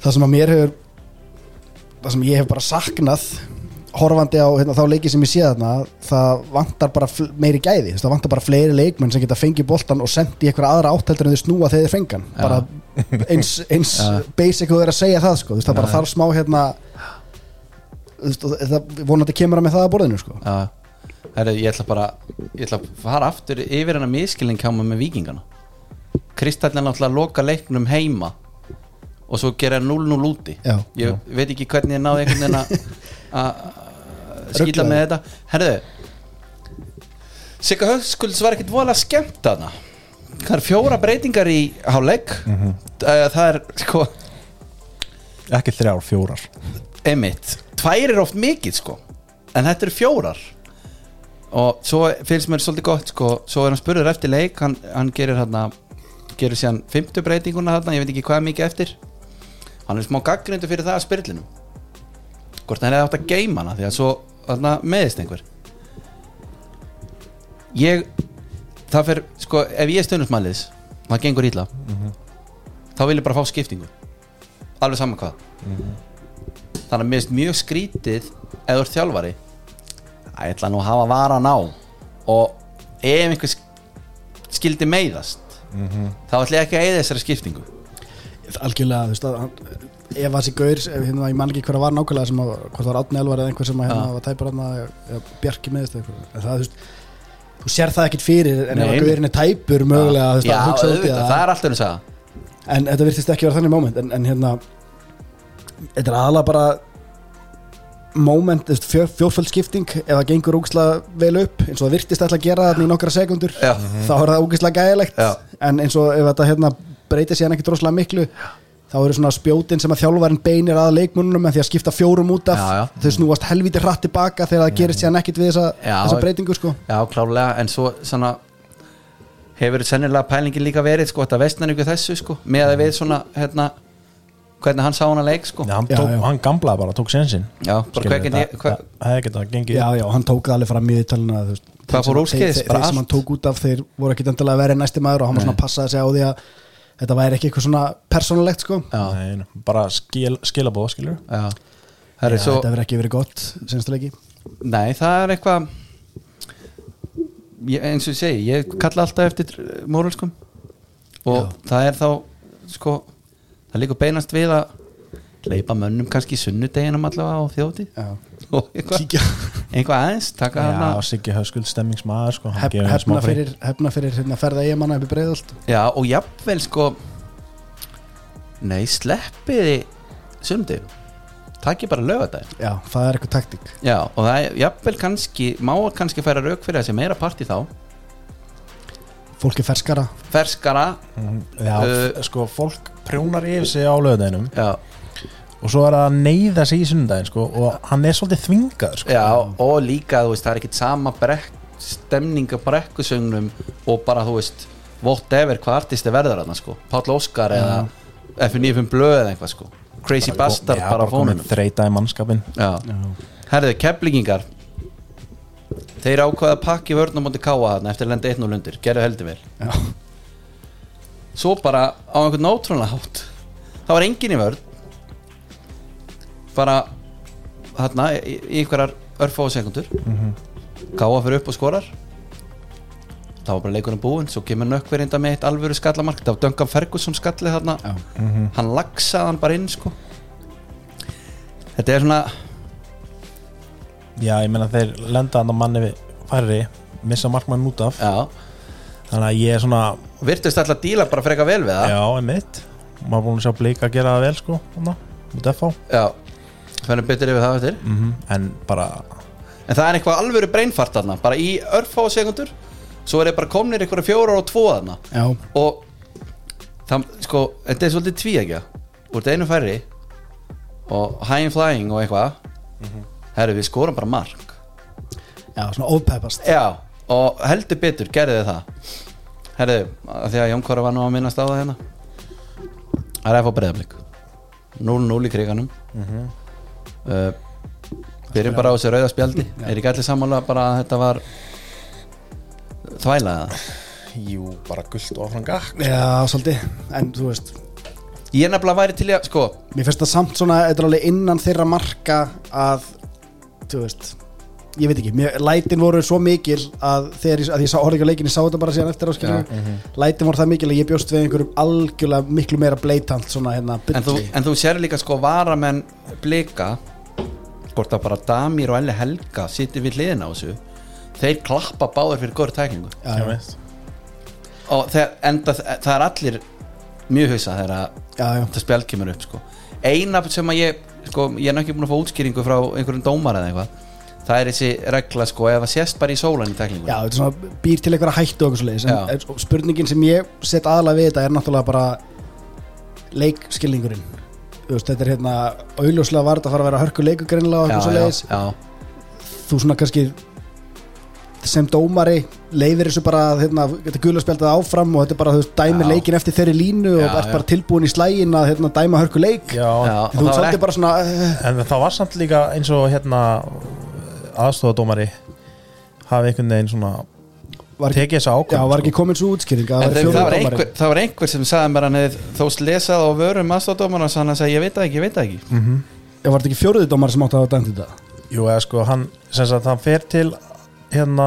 Speaker 3: það sem að mér hefur það sem ég hef bara saknað horfandi á hérna, þá leiki sem ég sé þarna það vantar bara fl- meiri gæði þú veist, það vantar bara fleiri leikmenn sem geta fengið boltan og sendt í einhverja aðra átteldur en þau snúa þegar þeir fengan
Speaker 2: Já.
Speaker 3: bara eins, eins
Speaker 2: Já.
Speaker 3: basic og þau er að segja það sko. þú veist, það bara þarf smá hérna þú veist, og það, vonandi kemur að með það að borðinu sko.
Speaker 2: já Heru, ég ætla bara, ég ætla að fara aftur yfir hennar miskilning hjá maður með vikingana Kristall er náttúrulega að loka leiknum heima og svo gera 0-0 úti
Speaker 3: Já.
Speaker 2: ég veit ekki hvernig ég náði einhvern veginn að- að skýta
Speaker 3: Ruglaði.
Speaker 2: með þetta herðu Sigga Högskulds var ekkit voðalega skemmt þarna það er fjóra breytingar í hálfleik Eh, það er sko
Speaker 4: Ekki þrjár, fjórar
Speaker 2: emitt, tvær er oft mikið sko en þetta eru fjórar og svo finnst mér svolítið gott sko, svo er hann spurður eftir leik hann, hann gerir hérna gerir síðan fymtu breytinguna hérna, ég veit ekki hvað er mikið eftir hann er smá gaggrindu fyrir það að spyrlinum hvort hann hefði átt að geima hana því að svo hérna, meðist einhver ég það fer, sko, ef ég er stundumsmæliðs það gengur ítla þá vil ég bara fá skiptingu alveg saman hvað þannig að mér finnst mjög skrítið ef þú ert þjálfari að ég ætla nú að hafa varan á og ef einhver sk- skildi meiðast
Speaker 3: Mhm.
Speaker 2: þá ætla ég ekki að eða þessari skiptingu
Speaker 3: algjörlega, þú veist að hann- ef að þessi gaur, ef, hérna, ég man ekki hverja var nákvæmlega sem að, hvort það var Átni Elvar eða einhver sem að hérna
Speaker 2: Já.
Speaker 3: var tæpur hann að Bjarki meðist eða eitthvað, En það, þú veist þú sér það ekkit fyrir, en ef
Speaker 2: Nei.
Speaker 3: að gaurin er tæpur mögulega, þú veist,
Speaker 2: já,
Speaker 3: að hugsa út í
Speaker 2: auðvitað, það er alltaf að segja
Speaker 3: en þetta virtist ekki vera þannig moment en, en hérna þetta er aðalega bara moment, þú veist, fjör, fjórföld skipting ef það gengur ógislega vel upp eins og það virtist alltaf að gera þarna í nokkra sekundur
Speaker 2: Já.
Speaker 3: þá er það ógislega gæðilegt
Speaker 2: Já.
Speaker 3: en eins og ef þetta hérna breytir síðan ekki droslega miklu þá eru svona spjótin sem að þjálfarinn beinir að leikmununum en því að skipta fjórum út af
Speaker 2: Já, já.
Speaker 3: þau snúast helviti hratt tilbaka þegar það gerist síðan ekkit við þessa,
Speaker 2: Já.
Speaker 3: þessa breytingu sko
Speaker 2: já, klálega, en svo svona, hefur sennilega pælingin líka verið sko, þetta vestnar ykkur þessu, sko, með að við svona, hérna hvernig hann sá hana leik, sko
Speaker 4: Já, hann,
Speaker 3: Já,
Speaker 4: tók,
Speaker 3: já.
Speaker 4: hann gamlaði bara, tók sensin
Speaker 2: Já, bara hvernig- hver-
Speaker 4: Það er ekki það, gengið
Speaker 3: Já, já, hann tók það alveg fram í talina þú veist,
Speaker 2: Hvað
Speaker 3: þeir
Speaker 2: fór
Speaker 3: sem-
Speaker 2: úrskeiðis?
Speaker 3: þeir-
Speaker 2: Bara
Speaker 3: Þeir sem
Speaker 2: allt?
Speaker 3: hann tók út af þeir voru ekki endilega verið næsti maður og hann var svona að passa sig á því að þetta væri ekki eitthvað svona persónulegt sko
Speaker 2: já,
Speaker 4: Nei, nei, bara skil, skilabóð, skilur
Speaker 2: já. Herri,
Speaker 3: Já,
Speaker 2: svo,
Speaker 3: Þetta verið ekki verið gott, sinnstulegi
Speaker 2: Nei, það er eitthvað ég, eins og ég segi ég kalla alltaf eftir eh, moralskum og það er þá sko, það líka beinast við að leipa mönnum kannski sunnudeginum allavega á þjóti <laughs> og eitthvað,
Speaker 3: Kíkja
Speaker 2: eitthvað aðeins taka
Speaker 4: Já,
Speaker 2: hana
Speaker 4: Siggi Höskuld stemmingsmaður sko, hann
Speaker 3: hérna. Hef-
Speaker 4: gefur henni smá
Speaker 3: Hefna
Speaker 4: frí.
Speaker 3: fyrir, hefna fyrir hérna, ferða eigamanna upp í breiðalt
Speaker 2: já, og jafnvel sko nei, sleppiði sundi takk ég bara lögadaginn
Speaker 3: Já, það er eitthvað taktík
Speaker 2: Já, og það er jafnvel kannski má kannski færa rauk fyrir þessi meira part í þá
Speaker 3: Fólk er ferskara
Speaker 2: ferskara
Speaker 4: Mhm. Já,
Speaker 2: Uh,
Speaker 4: uh, sko, fólk prjónar yfir sig á löðinum
Speaker 2: já,
Speaker 4: og svo er það að neyða sig í sundaginn sko, og hann er svolítið þvingaður sko.
Speaker 2: Já, og líka, þú veist, það er ekkit sama brekk, stemning af brekkusögnum og bara, þú veist, whatever, hvað artisti verður þarna, sko Páll Óskar eða F95 Blöð eða eitthvað, sko Crazy Bastard
Speaker 4: Já,
Speaker 2: bara á
Speaker 4: komið
Speaker 2: fónunum
Speaker 4: þreyta í mannskapin
Speaker 2: Já, herðu, keflingingar Þeir ákvaða pakki vörnum átti káa þarna eftir að lenda 1-0 undir, gerðu heldur vel
Speaker 3: Já,
Speaker 2: svo bara á einhvern ótrúlega hátt það var engin í vörð bara hérna í í einhverjar örfáu sekundur mm
Speaker 3: Mhm.
Speaker 2: káa fyrir upp og skorar þá var bara leikunum búinn svo kemur nökkverinda með eitt alvöru skallamark það var Duncan Ferguson skallið þarna
Speaker 3: Já.
Speaker 2: hann lagsaði hann bara inn sko þetta er svona
Speaker 4: Já, ég meina þeir lenda hann að manni við færri missa markmann út af
Speaker 2: já,
Speaker 4: þannig að ég er svona,
Speaker 2: virtust alltaf díla bara freka vel við það
Speaker 4: já, emitt maður er búin að sjá blika að gera það vel sko, hana, út af
Speaker 2: já. fennum betur yfir það eftir
Speaker 4: mm en bara,
Speaker 2: En það er eitthvað alvöru breinfart þarna Bara í örfá sekundur Svo er þeir bara komnir eitthvað fjórar og tvo þarna
Speaker 3: já,
Speaker 2: Og það, sko, Þetta er svolítið tví ekki Úr þetta einu færri Og high and flying og eitthvað Herru við skorum bara mark
Speaker 3: já svona ofpeppast
Speaker 2: Já og heldur betur gerði þið það Herru að því að Jón Kóra var nú að minnast á það hérna Það er að fá breyðablik 0-0 í kriganum uh, Byrjum bara á þessu rauða spjaldi Er ekki allir sammála bara að þetta var þvælaða
Speaker 4: jú, bara gullt og áfram gakk
Speaker 3: Já, svolítið, en þú veist
Speaker 2: Ég er nefnilega væri til í að sko
Speaker 3: Mér finnst það samt svona, þetta er alveg innan þeirra marka að, þú veist, ég veit ekki, mér, lætin voru svo mikil að þegar ég, að ég sá, horfði ekki á leikin, ég sá þetta bara síðan eftir á skiljum, lætin voru það mikil að ég bjóst við einhverjum algjörlega miklu meira bleitant svona hérna
Speaker 2: en þú,
Speaker 3: byrli.
Speaker 2: en þú sér líka sko varamenn blika Hvort að bara Damir og Elli Helga Sittir við hliðin á þessu Þeir klappa báður fyrir góður tækningu
Speaker 3: Já, já,
Speaker 2: og þegar, enda, það er allir mjög hausa þegar að
Speaker 3: já, já,
Speaker 2: þetta spjald kemur upp sko. eina sem að ég sko, ég er nú ekki búin að fá útskýringu frá einhverjum dómar eða eitthvað, það er þessi regla sko, ef það sést bara í sólan í teklingu
Speaker 3: já, þetta er svona býr til einhverja hættu og eitthvað svo leiðis, en
Speaker 2: Já.
Speaker 3: en svo spurningin sem ég set aðalega við þetta er náttúrulega bara leikskilningurinn, þú veist, þetta er hérna, auðljóslega var þetta að fara að vera hörku leikugreinlega og eitthvað svo
Speaker 2: já, já,
Speaker 3: þú svona kannski sem dómari leifir þessu bara að, hérna, þetta gula spjaldið áfram og þetta er bara þú veist, dæmir
Speaker 2: Já.
Speaker 3: leikin eftir þeirri línu
Speaker 2: Já,
Speaker 3: og ert
Speaker 2: já.
Speaker 3: bara tilbúin í slægin að hérna, dæma hörku leik
Speaker 4: Já,
Speaker 2: Já, og
Speaker 3: þú
Speaker 2: það
Speaker 3: ert
Speaker 2: var
Speaker 3: svolítið
Speaker 2: ekki,
Speaker 3: bara svona uh,
Speaker 4: En það var samt líka eins og hérna aðstofadómari hafi einhvern veginn svona
Speaker 3: var, ekki,
Speaker 4: tekið þessa
Speaker 3: já,
Speaker 4: ákvæm
Speaker 3: var ekki komin svo útskýring að
Speaker 2: en
Speaker 3: væri
Speaker 2: þeim,
Speaker 3: fjórði
Speaker 2: það, var
Speaker 3: dómari.
Speaker 2: einhver, það var einhver sem sagði mér að hann hefði þó slesað á vörum aðstofdómar og hann sagði ég veit það ekki, ég veit það
Speaker 4: Mm.
Speaker 2: ekki
Speaker 3: Já, var þetta ekki fjóruði dómari sem átti að hafa dæmt þetta
Speaker 4: Jú, eða sko, hann, sem sagt, hann fer til hérna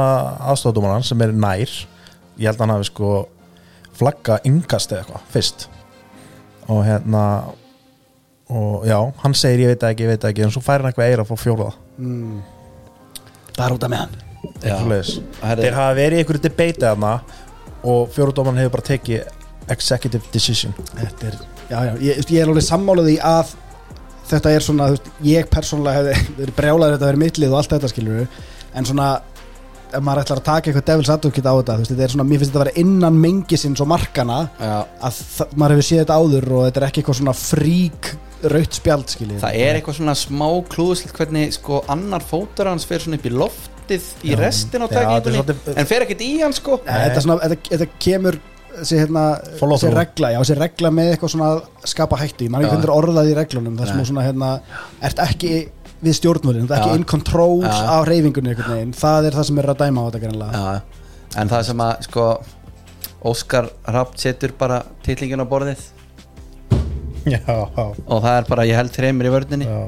Speaker 4: aðstofadómaran sem er nær ég held að hann hafi sko flagga yngast eða eitthvað, fyrst og hérna og já, hann segir ég veit það ekki, ég veit það ekki en svo fær hann eitthvað eira að fá fjóraða
Speaker 3: mm. bara út af með hann
Speaker 4: eitthvað leðis
Speaker 2: herri.
Speaker 4: Þeir hafa verið í einhverju debate þarna og fjóraðómaran hefur bara tekið executive decision
Speaker 3: þetta er, já, já, ég, ég er alveg sammálaði að þetta er svona, þú veist, ég persónulega hefði <laughs> verið brjálaður þetta verið mittlið og allt þetta skilur en svona, ef maður ætlar að taka eitthvað devils advocate á þetta, þú veist, þetta er svona mér finnst þetta að vera innan mengisins og markana
Speaker 2: Já.
Speaker 3: að það, maður hefur séð þetta áður og þetta er ekki eitthvað svona frík raut spjald skilur
Speaker 2: það er eitthvað svona smá klúðslitt hvernig sko annar fótur hans fer svona upp í loftið í
Speaker 4: Já.
Speaker 2: restin á
Speaker 4: Já, þetta er
Speaker 2: takningunni
Speaker 4: svolítið-
Speaker 2: en fer ekkert í hann sko
Speaker 3: Nei, þetta, er svona, þetta, þetta kemur sér, hérna,
Speaker 4: Follow
Speaker 3: sér
Speaker 4: through.
Speaker 3: regla, já, sér regla með eitthvað svona að skapa hættu, ég man
Speaker 2: Já.
Speaker 3: ekki hundur orðað í reglunum það sem
Speaker 2: Nei.
Speaker 3: þú svona hérna, ert ekki við stjórnvölin, það er
Speaker 2: Já.
Speaker 3: ekki in control
Speaker 2: Já.
Speaker 3: á reyfingunni einhvern veginn, það er það sem er að dæma á þetta greinlega,
Speaker 2: Já, en það sem að sko Óskar Rapp setur bara titlingin á borðið
Speaker 4: Já,
Speaker 2: og það er bara ég held þreymir í vörninni
Speaker 4: já,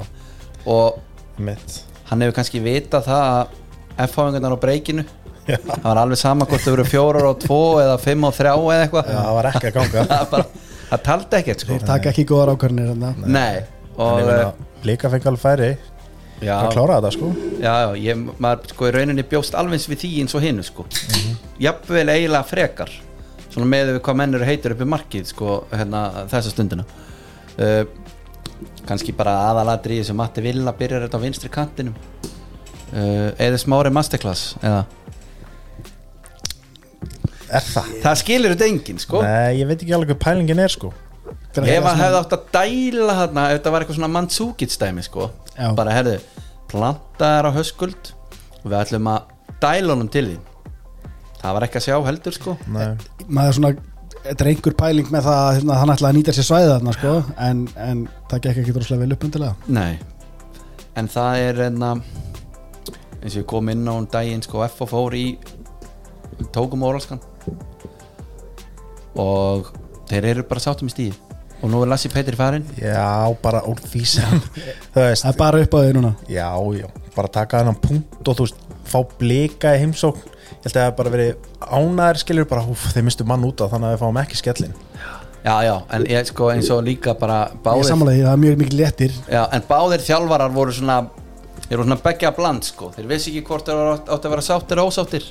Speaker 2: og
Speaker 4: mitt
Speaker 2: hann hefur kannski vitað það að F-háingarnar á breykinu
Speaker 4: Já.
Speaker 2: það var alveg sama hvort þau eru fjórar og tvo eða fimm og þrjá eða eitthvað
Speaker 4: Já, það var ekki að ganga <laughs>
Speaker 2: það, bara- það taldi ekkert sko
Speaker 3: þeir taka ekki góðar ákvarðinir hérna.
Speaker 2: nei og
Speaker 4: eh,
Speaker 2: já,
Speaker 4: Líka fengi alveg færi að
Speaker 2: já,
Speaker 4: klára þetta sko
Speaker 2: já, ég, maður sko í rauninni bjóst alveg eins við því eins og hinu sko jafnvel eiginlega frekar svona með við hvað menn eru heitur upp í markið sko hérna þessa stundina uh, kannski bara aðaladrið sem Matti Villa byrjar þetta á vinstri kantinum uh, eða smári masterclass eða
Speaker 4: Er það?
Speaker 2: Það skilur þetta enginn sko
Speaker 4: Nei, ég veit ekki alveg hvað pælingin er sko
Speaker 3: Þeir
Speaker 2: Ef
Speaker 3: að
Speaker 2: hann hefði átt að dæla þarna Ef þetta var eitthvað svona mannsúkitt stæmi sko
Speaker 3: Já.
Speaker 2: Bara herðu, planta þær á höskuld Og við ætlum að dæla honum til því Það var ekki að sjá heldur sko
Speaker 4: Nei,
Speaker 3: maður svona, þetta er einhver pæling með það að hérna, hann ætlaði að nýta sér svæðið þarna sko, en, en það gekk ekki droslega vel upp undilega
Speaker 2: Nei En það er enna Eins og ég kom inn á um daginn sko F og fór í Tókum óralskan Og þeir eru bara sáttum í stíð Og nú er Lassi Petri farinn
Speaker 4: já, bara úr því sem <laughs> Þú veist,
Speaker 3: það er bara upp á því núna
Speaker 4: já, já Bara taka þennan punkt og þú veist Fá blika í heimsókn Ég held að það hafi bara verið ánæður skilur bara Úf, þeir mistu mann út af þannig að við fáum ekki skellin
Speaker 2: Já, já, en ég sko eins og líka bara
Speaker 3: ég
Speaker 2: Báðir
Speaker 3: samanlega því það er mjög mikið léttir
Speaker 2: Já, en báðir þjálfarar voru svona þeir voru svona begja bland sko þeir vissi ekki hvort þeir voru átt átti að vera sáttir og ósáttir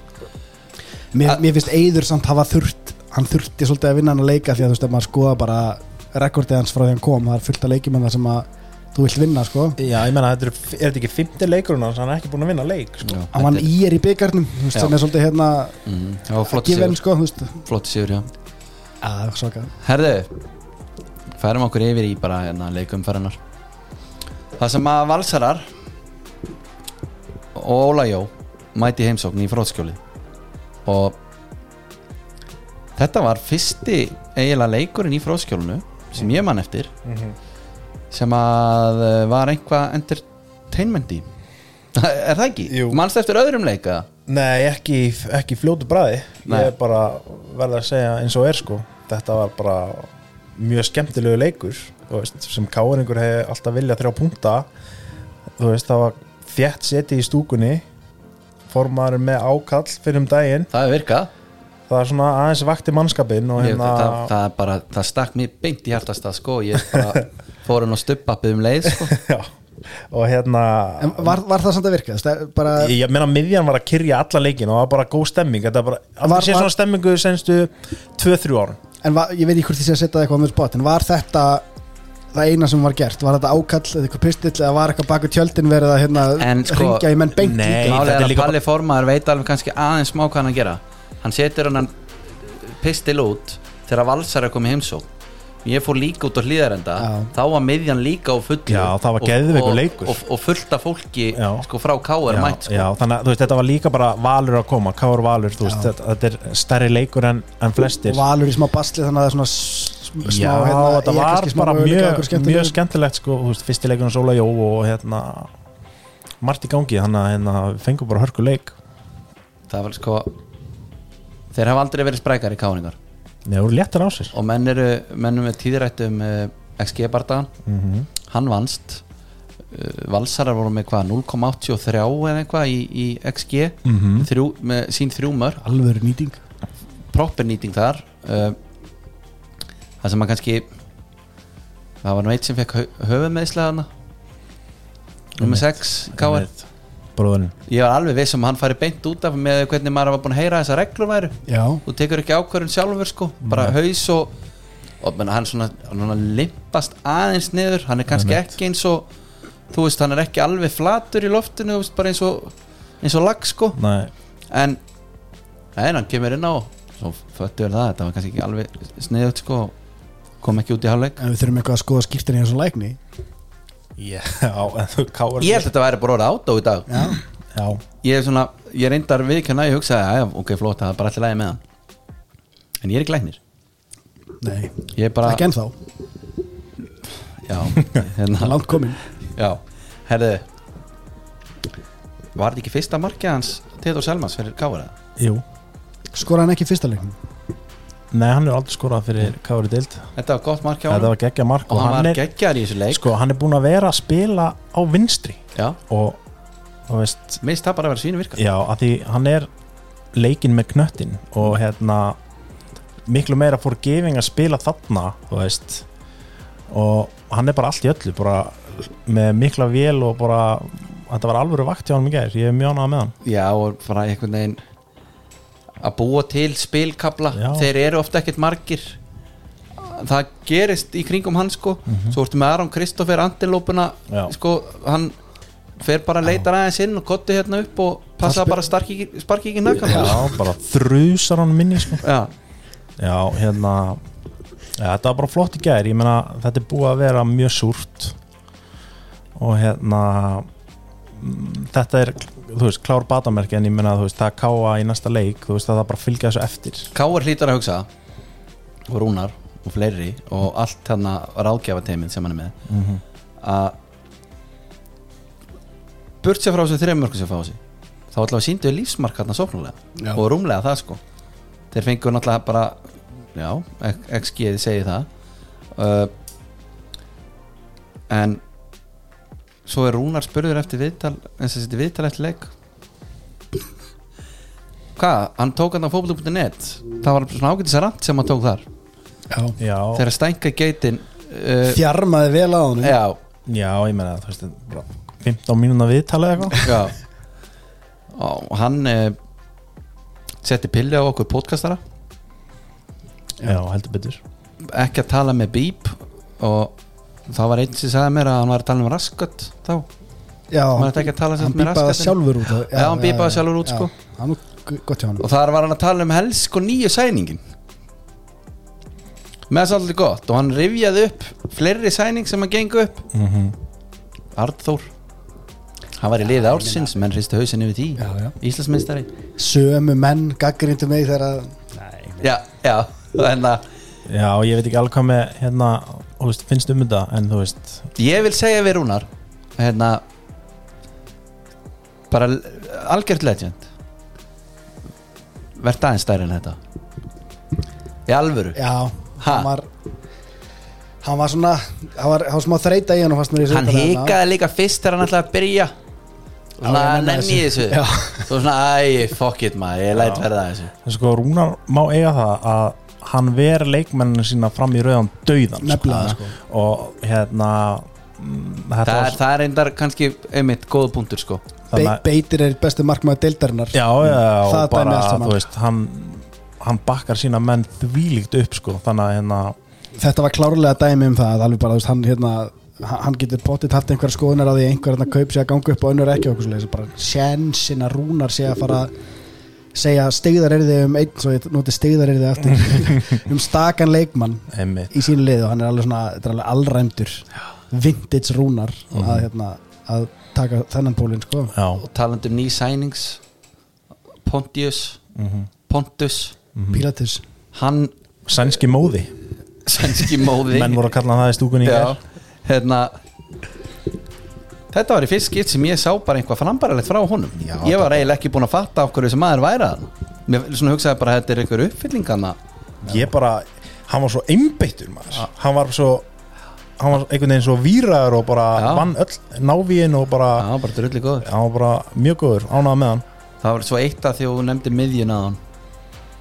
Speaker 3: mér,
Speaker 2: Að-
Speaker 3: mér finnst Eyður samt hafa þurft hann þurfti svolítið að vinna hann að leika því að þú veist að maður skoða bara rekordið hans frá því hann kom það er fullt að leikjum en það sem að þú vilt vinna sko
Speaker 4: Já, ég menna, þetta er, er þetta ekki fymti leikurinn hans Hann er ekki búin að vinna leik sko.
Speaker 3: hann vann í er í byggarnum þú veist
Speaker 2: Já.
Speaker 3: sem er svolítið hérna
Speaker 2: mm, það var flott
Speaker 3: given
Speaker 2: sigur,
Speaker 3: sko þú veist
Speaker 2: flott sigur já.
Speaker 3: að svaka
Speaker 2: Herðu, færum okkur yfir í bara hérna leikumferðinar Það sem að valsarar og Óla Jó mæti í heimsókn í frótskjóli og þetta var fyrsti eiginlega leikurinn í frótskjólinu sem ég man eftir sem að eh, var einhvað entertainment í <laughs> er það ekki?
Speaker 4: Jú.
Speaker 2: manst eftir öðrum leika?
Speaker 4: Nei, ekki, ekki fljótu bræði
Speaker 2: Nei.
Speaker 4: Ég er bara verða að segja eins og er sko Þetta var bara mjög skemmtilegu leikur þú veist, sem káringur hefði alltaf viljað þrjá punta þú veist, það var þjætt seti í stúkunni formaður með ákall fyrir um daginn
Speaker 2: það hefur virkað
Speaker 4: það er svona aðeins vakti mannskapin og
Speaker 2: Ég,
Speaker 4: hérna
Speaker 2: það, það, er bara, það stakk mér beint í hjartastað sko, ég bara fór hann og stuppappið um leið sko.
Speaker 4: <laughs> já, og hérna
Speaker 3: en uh, var, var það samt að virka þú veist það er bara
Speaker 4: ég meina miðjan var að kyrja alla leikin og það var bara góð stemming þetta var bara,
Speaker 3: Var-
Speaker 4: aldrei sé
Speaker 3: var-
Speaker 4: svona stemmingu senstu 2-3 árum
Speaker 3: en var, ég veit ekki hvort því sé að setja eitthvað með spott en var þetta það eina sem var gert var þetta ákall eða eitthvað pistill eða var eitthvað baku tjöldin verið að hérna
Speaker 2: En, sko,
Speaker 3: ringja í menn beint
Speaker 4: nei.
Speaker 3: líka?
Speaker 2: Málið er
Speaker 4: þetta er
Speaker 2: að
Speaker 4: líka
Speaker 2: Palli formaður veit alveg kannski aðeins smá hvað hann að gera hann setur hann pistil út þegar valsar er komið heimsók ég fór líka út á hlýðarenda
Speaker 3: Já.
Speaker 2: þá var miðjan líka á fullu
Speaker 4: Já, það var
Speaker 2: Og-
Speaker 4: geðveikur
Speaker 2: og-
Speaker 4: leikur.
Speaker 2: og, og fullt af fólki
Speaker 4: Já.
Speaker 2: sko, frá K.R.
Speaker 4: já,
Speaker 2: mætt sko.
Speaker 4: já, þannig að þú veist, þetta var líka bara valur að koma, Kár Valur, þú veist, þetta, þetta er stærri leikur en, en flestir
Speaker 3: Valur í smá basli þannig að það er svona s- smá hérna,
Speaker 4: Já,
Speaker 3: ég
Speaker 4: þetta
Speaker 3: er
Speaker 4: var
Speaker 3: kannski smá
Speaker 4: bara
Speaker 3: möguleika á
Speaker 4: mjög,
Speaker 3: einhverju skemmtilegu.
Speaker 4: mjög skemmtilegt sko, þú veist, fyrsti leikurinn Sóla Jó og hérna margt í gangi, þannig að hérna, við fengum bara hörku leik
Speaker 2: það var sko þeir hafa aldrei verið sprækari káningar
Speaker 4: Nei, það voru léttar á sér
Speaker 2: og menn eru mennum með tíðrættum uh, XG-bardagan
Speaker 4: Mhm.
Speaker 2: hann vannst uh, Valsarar voru með hvað 0,83 eða eitthvað í, í XG
Speaker 4: Mhm.
Speaker 2: þrjú, með sín þrjú mörg
Speaker 3: alvöru nýting
Speaker 2: proppernýting þar uh, það sem að kannski það var nú eitt sem fekk höfumeðislega hana nummer 6 Káar
Speaker 4: Einmitt. Bróðurinn
Speaker 2: ég var alveg viss um að hann fari beint út af með hvernig maður var búin að heyra þessar reglur væru
Speaker 3: já,
Speaker 2: þú tekur ekki ákvörðun sjálfur sko bara haus og, og menna, hann svona, svona limpast aðeins niður hann er kannski ekki eins og þú veist hann er ekki alveg flatur í loftinu þú veist, bara eins og, eins og lag sko
Speaker 4: Nei,
Speaker 2: en en hann kemur inn á svo föttu er það, þetta var kannski ekki alveg sniðut sko, kom ekki út í hálfleik
Speaker 3: en við þurfum eitthvað að skoða skiptin í þessu lækni
Speaker 4: <laughs> já, en þú Kár
Speaker 2: ég held að þetta væri bara orða átó í dag
Speaker 3: já,
Speaker 4: Já,
Speaker 2: ég er svona, ég reyndar viðkjörna ég hugsaði, já, ok, flott, það er bara allir lægi með hann en ég er ekki læknir
Speaker 3: nei,
Speaker 2: ég er bara,
Speaker 3: ekki ennþá,
Speaker 2: já,
Speaker 3: <laughs>
Speaker 2: hérna,
Speaker 3: langt komin
Speaker 2: já herðu var þetta ekki fyrsta markið hans Teodor Selmans fyrir Kára?
Speaker 4: jú
Speaker 3: skora hann ekki í fyrsta leiknum
Speaker 4: Nei, hann er aldrei skorað fyrir Kár Dild
Speaker 2: Þetta var gott markið á
Speaker 4: Þetta
Speaker 2: hann
Speaker 4: var geggja mark
Speaker 2: og hann var
Speaker 4: er,
Speaker 2: geggjar í þessu leik
Speaker 4: sko, hann er búin að vera að spila á vinstri
Speaker 2: já,
Speaker 4: og, þú veist,
Speaker 2: minnst það bara að vera svínu virka
Speaker 4: Já, að því hann er leikinn með knöttin og hérna miklu meira fór gefing að spila þarna þú veist og hann er bara allt í öllu bara með mikla vél og bara þetta var alvöru vakt hjá hann í gær, ég er mjög ánað með hann
Speaker 2: Já og bara einhvern veginn að búa til spilkabla
Speaker 4: Já.
Speaker 2: þeir eru ofta ekkert margir það gerist í kringum hann sko svo ertu með Aron Kristoffer Antilópuna
Speaker 4: Já.
Speaker 2: sko hann fer bara að leita aðeins inn og kotti hérna upp og passa
Speaker 3: Það spi-
Speaker 2: bara starki, sparki ekki nakkan
Speaker 4: Já, bara þrjusar hann minni sko.
Speaker 2: Já.
Speaker 4: Já, hérna ja, þetta var bara flott í gær, ég meina þetta er búið að vera mjög súrt og hérna mm, þetta er, þú veist, klár batamerki en ég meina, þú veist, það að káa í næsta leik þú veist, það þarf bara að fylgja þessu eftir
Speaker 2: Káar hlýtar að hugsa og Rúnar og fleiri og allt þarna ráðgjafateimin sem hann er með að burt sér frá þessu þreymörku sem fá þessi þá allavega síndu við lífsmark hérna sóknulega
Speaker 3: Já.
Speaker 2: og rúmlega það sko þeir fengu náttúrulega bara já, XG segi það uh, en svo er Rúnar spurður eftir viðtal eins og þetta viðtal eftir leik hvað, hann tók hann á fókbúl.net það var svona ágætis að rant sem hann tók þar
Speaker 3: já.
Speaker 4: Já,
Speaker 2: þegar stænka geitin uh,
Speaker 3: þjarmaði vel á hann
Speaker 2: já,
Speaker 4: já ég meina, þú veist, bara 15 mínúna viðtalið eitthvað
Speaker 2: já og hann uh, setti pilli á okkur podcastara
Speaker 4: Já, heldur betur
Speaker 2: ekki að tala með bíp og þá var einn sem sagði mér að hann var að tala um raskött þá,
Speaker 3: já,
Speaker 2: maður ætti ekki að tala sem
Speaker 3: hann
Speaker 2: sagt með
Speaker 3: bípaði
Speaker 2: raskatinn.
Speaker 3: sjálfur út af-
Speaker 2: Já, hann bípaði sjálfur út,
Speaker 3: já.
Speaker 2: sko.
Speaker 3: hann var g- gott hjá hann
Speaker 2: og þar var hann að tala um helsk og nýju sæningin með þess allir gott og hann rifjaði upp fleiri sæning sem að gengu upp
Speaker 4: mm
Speaker 2: Arnþór hann var í liði ársins, menn hristi hausin yfir
Speaker 3: já,
Speaker 2: því
Speaker 3: já.
Speaker 2: Íslandsmeistari
Speaker 3: sömu menn gaggrindu mig þegar að
Speaker 2: já, já, <laughs> en að
Speaker 4: Já, ég veit ekki alveg hvað með, hérna, þú veist, finnst um þetta en þú veist,
Speaker 2: ég vil segja við Rúnar hérna bara l- algjört legend verð aðeins stærri en þetta í alvöru
Speaker 3: já,
Speaker 2: Ha?
Speaker 3: hann var hann var svona hann var, hann var smá þreita í hann og fannst mér í þessu
Speaker 2: hann
Speaker 3: umtalið þarna.
Speaker 2: hikaði líka fyrst þegar hann ætlaði að byrja
Speaker 3: hérna. Já,
Speaker 2: svona
Speaker 3: ég nenni
Speaker 2: nenni ég
Speaker 3: þessu.
Speaker 2: þessu
Speaker 3: Já.
Speaker 2: svo svona, æ, fuck it maður ég læt verða að þessu
Speaker 4: En sko Rúnar má eiga það að hann ver leikmenninu sína fram í rauðan dauðan
Speaker 3: Nefnilega, sko.
Speaker 4: og hérna mm, þetta
Speaker 2: það,
Speaker 4: var
Speaker 2: er- það er reyndar kannski einmitt góð punktur sko
Speaker 3: Be
Speaker 4: þannig að-
Speaker 3: beitir er bestu markmaður deildarinnar
Speaker 4: já, já, já,
Speaker 3: Það
Speaker 4: og
Speaker 3: dæmi
Speaker 4: bara
Speaker 3: allt saman.
Speaker 4: þú veist, hann, hann bakkar sína menn þvílíkt upp sko, þannig að hérna
Speaker 3: þetta var klárlega dæmi um það alveg bara, þú veist, hann hérna hann hann getur pottitt haft einhverja skoðunar á því einhver hann kaup sé að ganga upp og önnur ekki og okkur svo bara sjensin að rúnar sé að fara að segja stegðar er um einn svo ég noti stegðar er aftur um stakan leikmann
Speaker 4: einmitt
Speaker 3: í sínu liðu hann er alveg svona, þetta er alveg allræmdur vintage rúnar að, hérna, að taka þennan pólinn sko.
Speaker 4: já,
Speaker 2: og talandi um ný sænings Pontius
Speaker 3: Mhm.
Speaker 2: Pontus,
Speaker 3: Pilatus
Speaker 2: hann
Speaker 4: sænski móði
Speaker 2: sænski móði
Speaker 4: menn voru að kalla hann það í stúkunni í
Speaker 2: Já,
Speaker 4: gær.
Speaker 2: hérna Þetta var í fyrst skipt sem ég sá bara einhvað frambaralegt frá honum
Speaker 4: Já,
Speaker 2: Ég var eiginlega ekki búinn að fatta af hverju þessi maður væri að Mér svona hugsaði bara að þetta er einhver uppfyllingana
Speaker 4: ég bara, hann var svo einbeittur maður hann var svo hann var einhvern veginn svo víraður og bara
Speaker 2: Já.
Speaker 4: vann öll návíin og bara
Speaker 2: Já, bara drulli góður
Speaker 4: hann var bara mjög góður, ánað með hann
Speaker 2: Það var svo eitt að því að þú nefndi miðjun að hann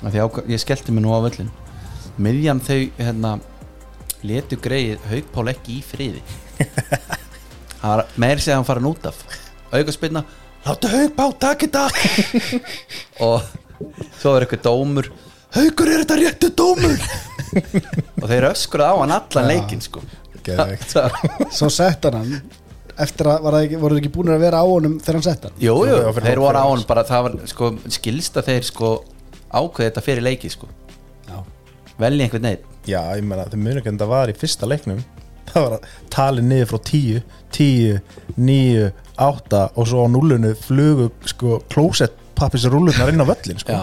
Speaker 2: Af því ákvað- ég skellti mig nú á völlin Miðjan þau, hérna Letu greið Haukpál ekki í <laughs> friði Það var meir sér að hann fara nút af Aukaspinna Láttu Haukpál, takk í dag <laughs> Og svo er eitthvað dómur Haukur er þetta réttu <laughs> dómur Og þeir öskur á hann allan leikinn sko
Speaker 3: Geðveikt.
Speaker 2: Það-
Speaker 3: svo sett hann hann eftir að var það ekki, voru þeir ekki búin að vera á honum þegar hann sett hann
Speaker 2: Jú, jú,
Speaker 4: Já, fyrir-
Speaker 2: þeir
Speaker 4: fyrir-
Speaker 2: voru á hann bara það var sko, skilst að þeir sko ákveði þetta fyrir leiki sko
Speaker 3: Já.
Speaker 2: velja einhvern neitt
Speaker 4: já, ég meina, þau munir hvernig það var í fyrsta leiknum það var að tali niður frá tíu tíu, níu, átta og svo á núlunu flugu sko, klósett pappis rúlunar inn á völlin sko.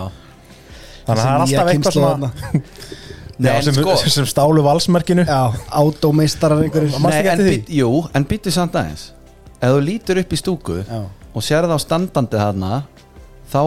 Speaker 4: þannig
Speaker 3: Þessi
Speaker 4: að það er
Speaker 3: nýja
Speaker 4: alltaf eitthvað
Speaker 3: kynslóð
Speaker 4: svona
Speaker 3: þarna.
Speaker 2: Nei,
Speaker 4: já,
Speaker 2: en
Speaker 4: sem,
Speaker 2: sko
Speaker 4: <laughs> sem stálu valsmerkinu
Speaker 3: já, átómeistarar einhverjir
Speaker 4: Manstu
Speaker 2: nei,
Speaker 4: ekki
Speaker 2: en
Speaker 4: eftir því?
Speaker 2: být, Jú, en býttu samt aðeins ef þú lítur upp í stúku
Speaker 3: Já.
Speaker 2: og sér þá standandi þarna þá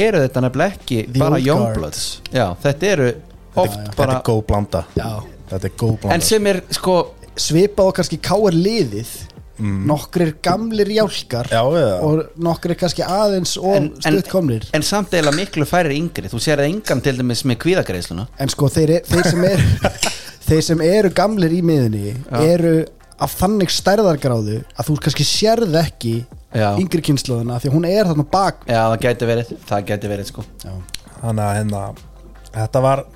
Speaker 2: eru þetta nefnilega ekki
Speaker 3: The
Speaker 2: bara
Speaker 3: old
Speaker 2: youngbloods Já, þetta eru oft
Speaker 4: þetta,
Speaker 2: bara
Speaker 4: þetta er góð blanda
Speaker 3: Já.
Speaker 4: þetta er góð blanda
Speaker 2: en sem er sko
Speaker 3: svipað og kannski káar liðið nokkrir gamlir jálkar
Speaker 4: já, eða,
Speaker 3: og nokkrir kannski aðeins
Speaker 2: en,
Speaker 3: og
Speaker 2: en,
Speaker 3: stutt komnir
Speaker 2: en samt eila miklu færir yngri þú sér það engan til dæmis með kvíðagreisluna
Speaker 3: en sko þeir, þeir sem
Speaker 2: <laughs>
Speaker 3: eru þeir sem eru gamlir í miðunni eru af þannig stærðargráðu að þú kannski sérð ekki
Speaker 2: Já.
Speaker 3: yngri kynnslóðuna því að hún er þarna bak
Speaker 2: Já, það gæti verið, það gæti verið sko
Speaker 4: þannig að hérna, þetta var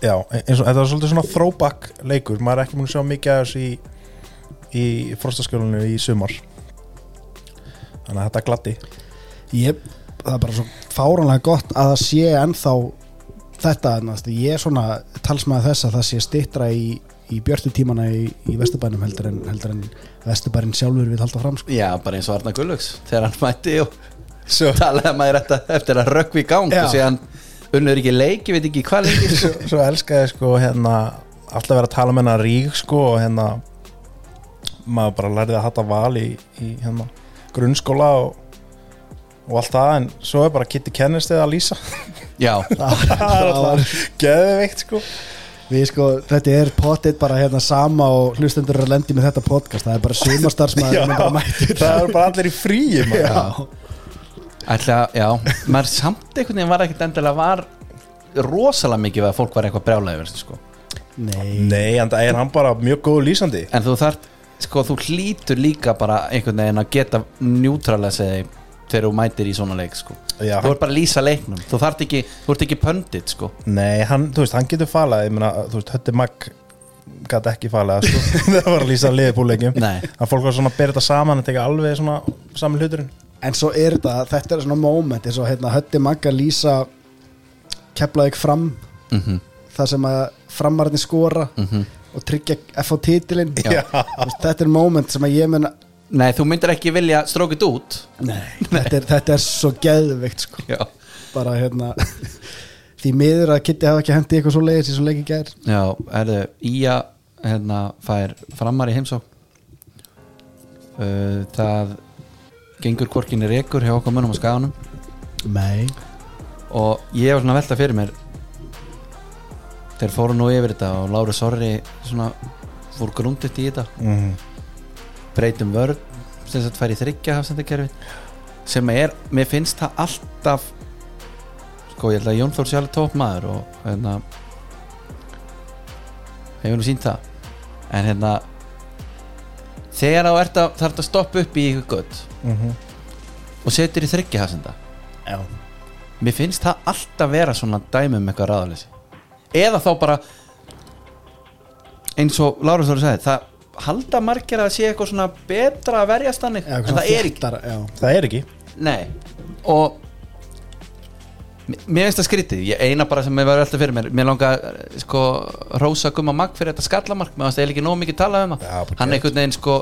Speaker 4: já, eins og þetta var svolítið svona throwback leikur, maður er ekki múin að sjá mikið af þessu í, í frostaskjólinu í sumar þannig að þetta glatti
Speaker 3: ég, það er bara svo fáranlega gott að það sé ennþá þetta, næst, ég er svona talsmaður þess að það sé stittra í, í björtu tímana í, í Vesturbænum heldur en, heldur en Vesturbærin sjálfur vil halda fram sko.
Speaker 4: <laughs>
Speaker 2: Já, bara eins og Arna Gullöks þegar hann mætti og <laughs>
Speaker 4: Svo-
Speaker 2: talaði maður þetta eftir að rökkvi í gang
Speaker 3: Já.
Speaker 2: og síðan unnur ekki leiki, veit ekki hvað
Speaker 4: <laughs>
Speaker 2: leiki
Speaker 4: svo, svo elskaði sko hérna alltaf verið að tala með hennar rík sko og hérna maður bara lærði að hatta val í, í hérna grunnskóla og, og allt það en svo er bara Kitty Kennist eða Lisa
Speaker 2: Já,
Speaker 4: það er alltaf geðveikt sko
Speaker 3: Við sko, þetta er potið bara hérna sama og hlustendur eru að lendi með þetta podcast það er bara
Speaker 4: Já,
Speaker 3: sumastarsmaður bara mættur
Speaker 4: það er bara allir í fríi maður.
Speaker 2: ætla, já maður samt einhvern veginn var ekkert endilega var rosalega mikið að fólk var eitthvað brjálæði verið sko.
Speaker 3: Nei,
Speaker 4: Nei, en það er hann bara mjög góð lýsandi
Speaker 2: en þú þart, sko, þú hlýtur líka bara einhvern veginn að geta njútrala segi þegar þú mætir í svona leik sko.
Speaker 4: Já,
Speaker 2: þú
Speaker 4: hann,
Speaker 2: ert bara að lýsa leiknum þú þart ekki, þú ert ekki pöndit sko.
Speaker 4: Nei, hann, þú veist, hann getur falað Ég meina, þú veist, Hötti Magg Gat ekki
Speaker 2: <laughs>
Speaker 4: falað, sko Það var að lýsa liðbúleikjum
Speaker 2: Nei.
Speaker 4: Þannig fólk var svona að bera þetta saman En teka alveg svona saman hluturinn
Speaker 3: en svo er þetta þetta er svona moment eins og hérna Hötti Magga lýsa keplaðið fram það sem að framarðin skora og tryggja F á titilinn
Speaker 2: Já.
Speaker 3: Þú veist, þetta er moment sem að ég menna
Speaker 2: Nei, þú myndir ekki vilja strókið út
Speaker 3: þetta er, þetta er svo geðvikt sko.
Speaker 2: Já,
Speaker 3: bara hérna <laughs> því miður að Kitty hafa ekki hendi eitthvað svo leiðis í svo leiki gær
Speaker 2: Já, herðu, Ía hérna fær framar í heimsók uh, Það gengur korkinni rekur hjá okkar mönnum á skaganum
Speaker 3: Nei
Speaker 2: og ég var svona að velta fyrir mér þeir fóru nú yfir þetta og Láru Sorri svona fór grúndið í þetta
Speaker 4: mm.
Speaker 2: breytum vörð sem þetta fær í þryggja hafsendakerfi sem er, mér finnst það alltaf sko ég held að Jón Þór sé alveg tóp maður og hérna hefur nú sínt það en hérna þegar þú ert að þarf að stoppa upp í ykkur gött
Speaker 4: Mm
Speaker 2: og setur í þryggja hafsenda
Speaker 3: Já.
Speaker 2: mér finnst það alltaf vera svona dæmi um eitthvað ráðaleysi eða þá bara eins og Lárus Þóri sagði það halda margir að það sé eitthvað svona betra að verjast þannig en það er ekki
Speaker 3: já.
Speaker 4: Það er ekki
Speaker 2: nei, og Mér mér finnst það skrítið, ég eina bara sem mér var alltaf fyrir mér Mér langa sko Rósa Gumma Magg fyrir þetta skallamark Mér finnst það ekki nóg mikið talað um
Speaker 4: Já,
Speaker 2: það
Speaker 4: bara
Speaker 2: Hann
Speaker 4: gett.
Speaker 2: einhvern veginn sko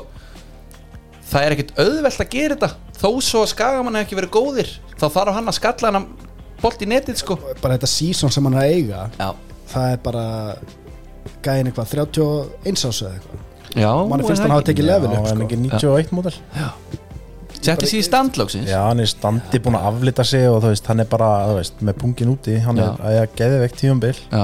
Speaker 2: Það er ekkit auðvelt að gera þetta Þó svo að skagamann hef ekki verið góðir Þá þarf hann að skalla hann Bolt í netið sko
Speaker 3: bara þetta season sem hann er að eiga
Speaker 2: Já,
Speaker 3: það er bara gæðin eitthvað 31 árs eða eitthvað
Speaker 2: já
Speaker 3: manni finnst hann hafa tekið level
Speaker 4: Já,
Speaker 3: upp
Speaker 4: en
Speaker 3: sko.
Speaker 4: ekki 91 módel
Speaker 2: Setti sig í standlóksins
Speaker 4: Já, hann er standi búin að aflita sig og þú veist, hann er bara, þú veist, með pungin úti hann
Speaker 2: Já.
Speaker 4: er að ég geði vekk tíumbil
Speaker 2: Já,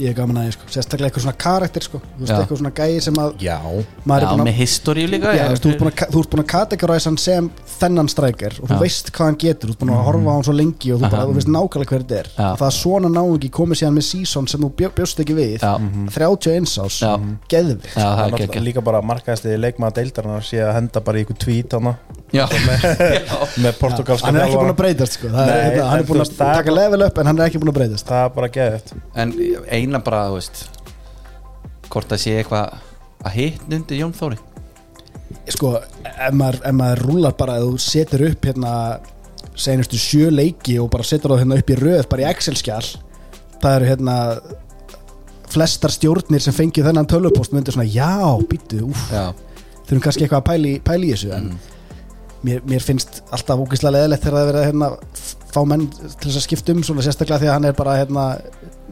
Speaker 3: ég er gaman að ég sko sérstaklega eitthvað svona karakter sko þú veist
Speaker 2: Já.
Speaker 3: eitthvað svona gæði sem að
Speaker 4: Já,
Speaker 2: já
Speaker 3: maður er búin
Speaker 2: með
Speaker 3: að
Speaker 2: historíu líka
Speaker 3: Já, þú veist, þú ert búin að- þú ert búin að kategoræsa hann sem þennan strækir og þú
Speaker 2: Já. Mhm.
Speaker 3: veist hvað hann getur, þú ert búin að horfa á hann svo lengi og þú, bara,
Speaker 2: Aha.
Speaker 3: þú veist nákvæmlega hver þetta er
Speaker 2: Já.
Speaker 3: það að svona náungi komið síðan með season sem þú bjó- bjóst ekki við
Speaker 2: Já.
Speaker 4: Mhm.
Speaker 3: 31 ás,
Speaker 2: Já.
Speaker 3: geðvikt
Speaker 2: Já, það er
Speaker 4: hann er
Speaker 2: ekki
Speaker 4: náttúrulega líka bara markaðist í leikmaða deildar hann sé að henda bara í ykkur tweet hana
Speaker 2: Já,
Speaker 4: með portugalska
Speaker 3: hann er ekki búin
Speaker 4: þjálfarann.
Speaker 3: að breytast sko. það,
Speaker 4: Nei,
Speaker 3: er, hérna,
Speaker 4: en
Speaker 3: hann er búin
Speaker 4: þú
Speaker 3: að
Speaker 4: veist, það er
Speaker 3: taka level upp en hann er ekki búin að breytast
Speaker 4: Það er bara geðið
Speaker 2: en eina bara, þú veist Hvort að sé eitthvað að hitt undir Jón Þóri
Speaker 3: sko, ef maður, ef maður rúlar bara ef þú setur upp hérna senustu sjö leiki og bara setur það hérna upp í röð bara í Excel-skjál það eru hérna flestar stjórnir sem fengið þennan tölvupost myndir svona, já, býttu, úf
Speaker 2: Já,
Speaker 3: þurfum kannski eitthvað að pæli, pæli í þessu
Speaker 2: Mm.
Speaker 3: en mér, mér finnst alltaf ógislega leðilegt þegar það er verið að hérna, f- fá menn til þess að skipta um svona sérstaklega því að hann er bara hérna,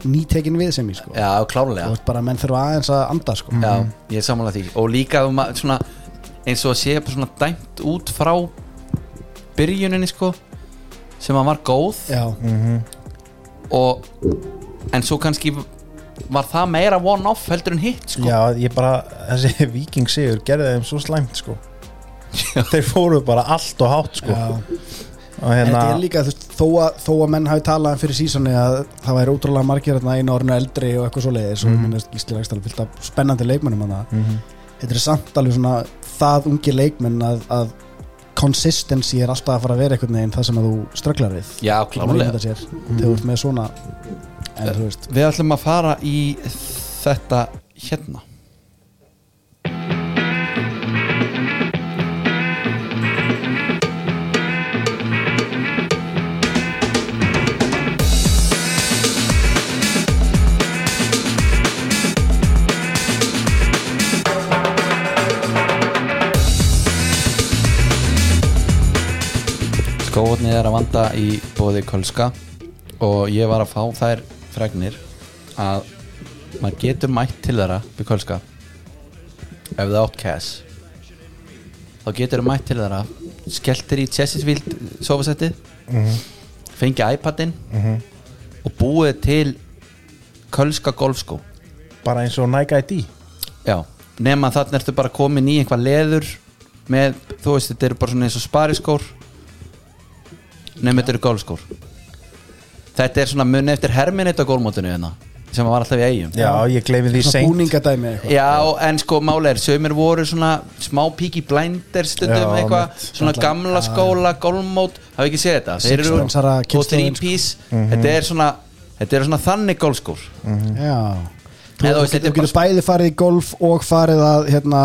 Speaker 3: nýtekin við sem í sko.
Speaker 2: já klárlega
Speaker 3: þú veist bara að menn þurfa aðeins að anda sko.
Speaker 2: Já, ég er samanlega því og líka um að, svona, eins og að sé bara svona dæmt út frá byrjuninni sko sem að var góð
Speaker 3: já,
Speaker 4: Mhm.
Speaker 2: og, en svo kannski var það meira one-off heldur en hitt sko
Speaker 4: Já, ég bara, þessi <laughs> viking sigur gerði þeim svo slæmt sko Þeir fóru bara allt og hátt sko
Speaker 3: já.
Speaker 4: Og hérna,
Speaker 3: Þetta er líka, þú veist, þó að, þó að menn hafi talað fyrir sísoni að það væri ótrúlega margir þarna einu orðinu eldri og eitthvað svo leiðis
Speaker 2: Mhm.
Speaker 3: mm. og minnast Gísli Rækstal fyllt af spennandi leikmennum hana. Þetta er samt alveg svona það ungi leikmenn að, að consistency er alltaf að fara að vera einhvern veginn það sem að þú strögglar við.
Speaker 2: Já, klárlega Mhm.
Speaker 3: Sér, Þegar þú ert með svona, en þú veist,
Speaker 2: Við ætlum að fara í þetta hérna Skóðni er að vanda í bóði Kölska og ég var að fá þær fregnir að maður getur mætt til þeirra við Kölska ef það átt cash þá getur mætt til þeirra skelltir í Chessisfield sofasettið fengi iPadin og búið til Kölska golfskó
Speaker 4: bara eins og Nike ID
Speaker 2: Já, nema þarna ertu bara komin í einhvað leður með, þú veist, þetta eru bara svona eins og spariskór nema þetta eru gólfskór Þetta er svona muni eftir herminita gólmótinu hérna, sem var alltaf í eigum
Speaker 4: Já, ég gleymi því
Speaker 3: svona
Speaker 4: seint
Speaker 3: búningadæmi eitthvað.
Speaker 2: Já, en sko máli er, sömur voru svona smá píki blindar stundum
Speaker 4: Já,
Speaker 2: eitthvað,
Speaker 4: mitt.
Speaker 2: svona gamla skóla gólmót, hafi ekki séð þetta Þeir eru
Speaker 3: Sixpensara
Speaker 2: og
Speaker 3: kynslóðin, sko.
Speaker 2: þrípís
Speaker 4: Mhm.
Speaker 2: Þetta er svona, þetta er svona þannig gólskór
Speaker 4: Mm.
Speaker 3: Já.
Speaker 2: Nei, Mhm. þú
Speaker 3: Þú,
Speaker 2: veist, þetta er
Speaker 3: þú getur bæði farið í golf og farið að hérna,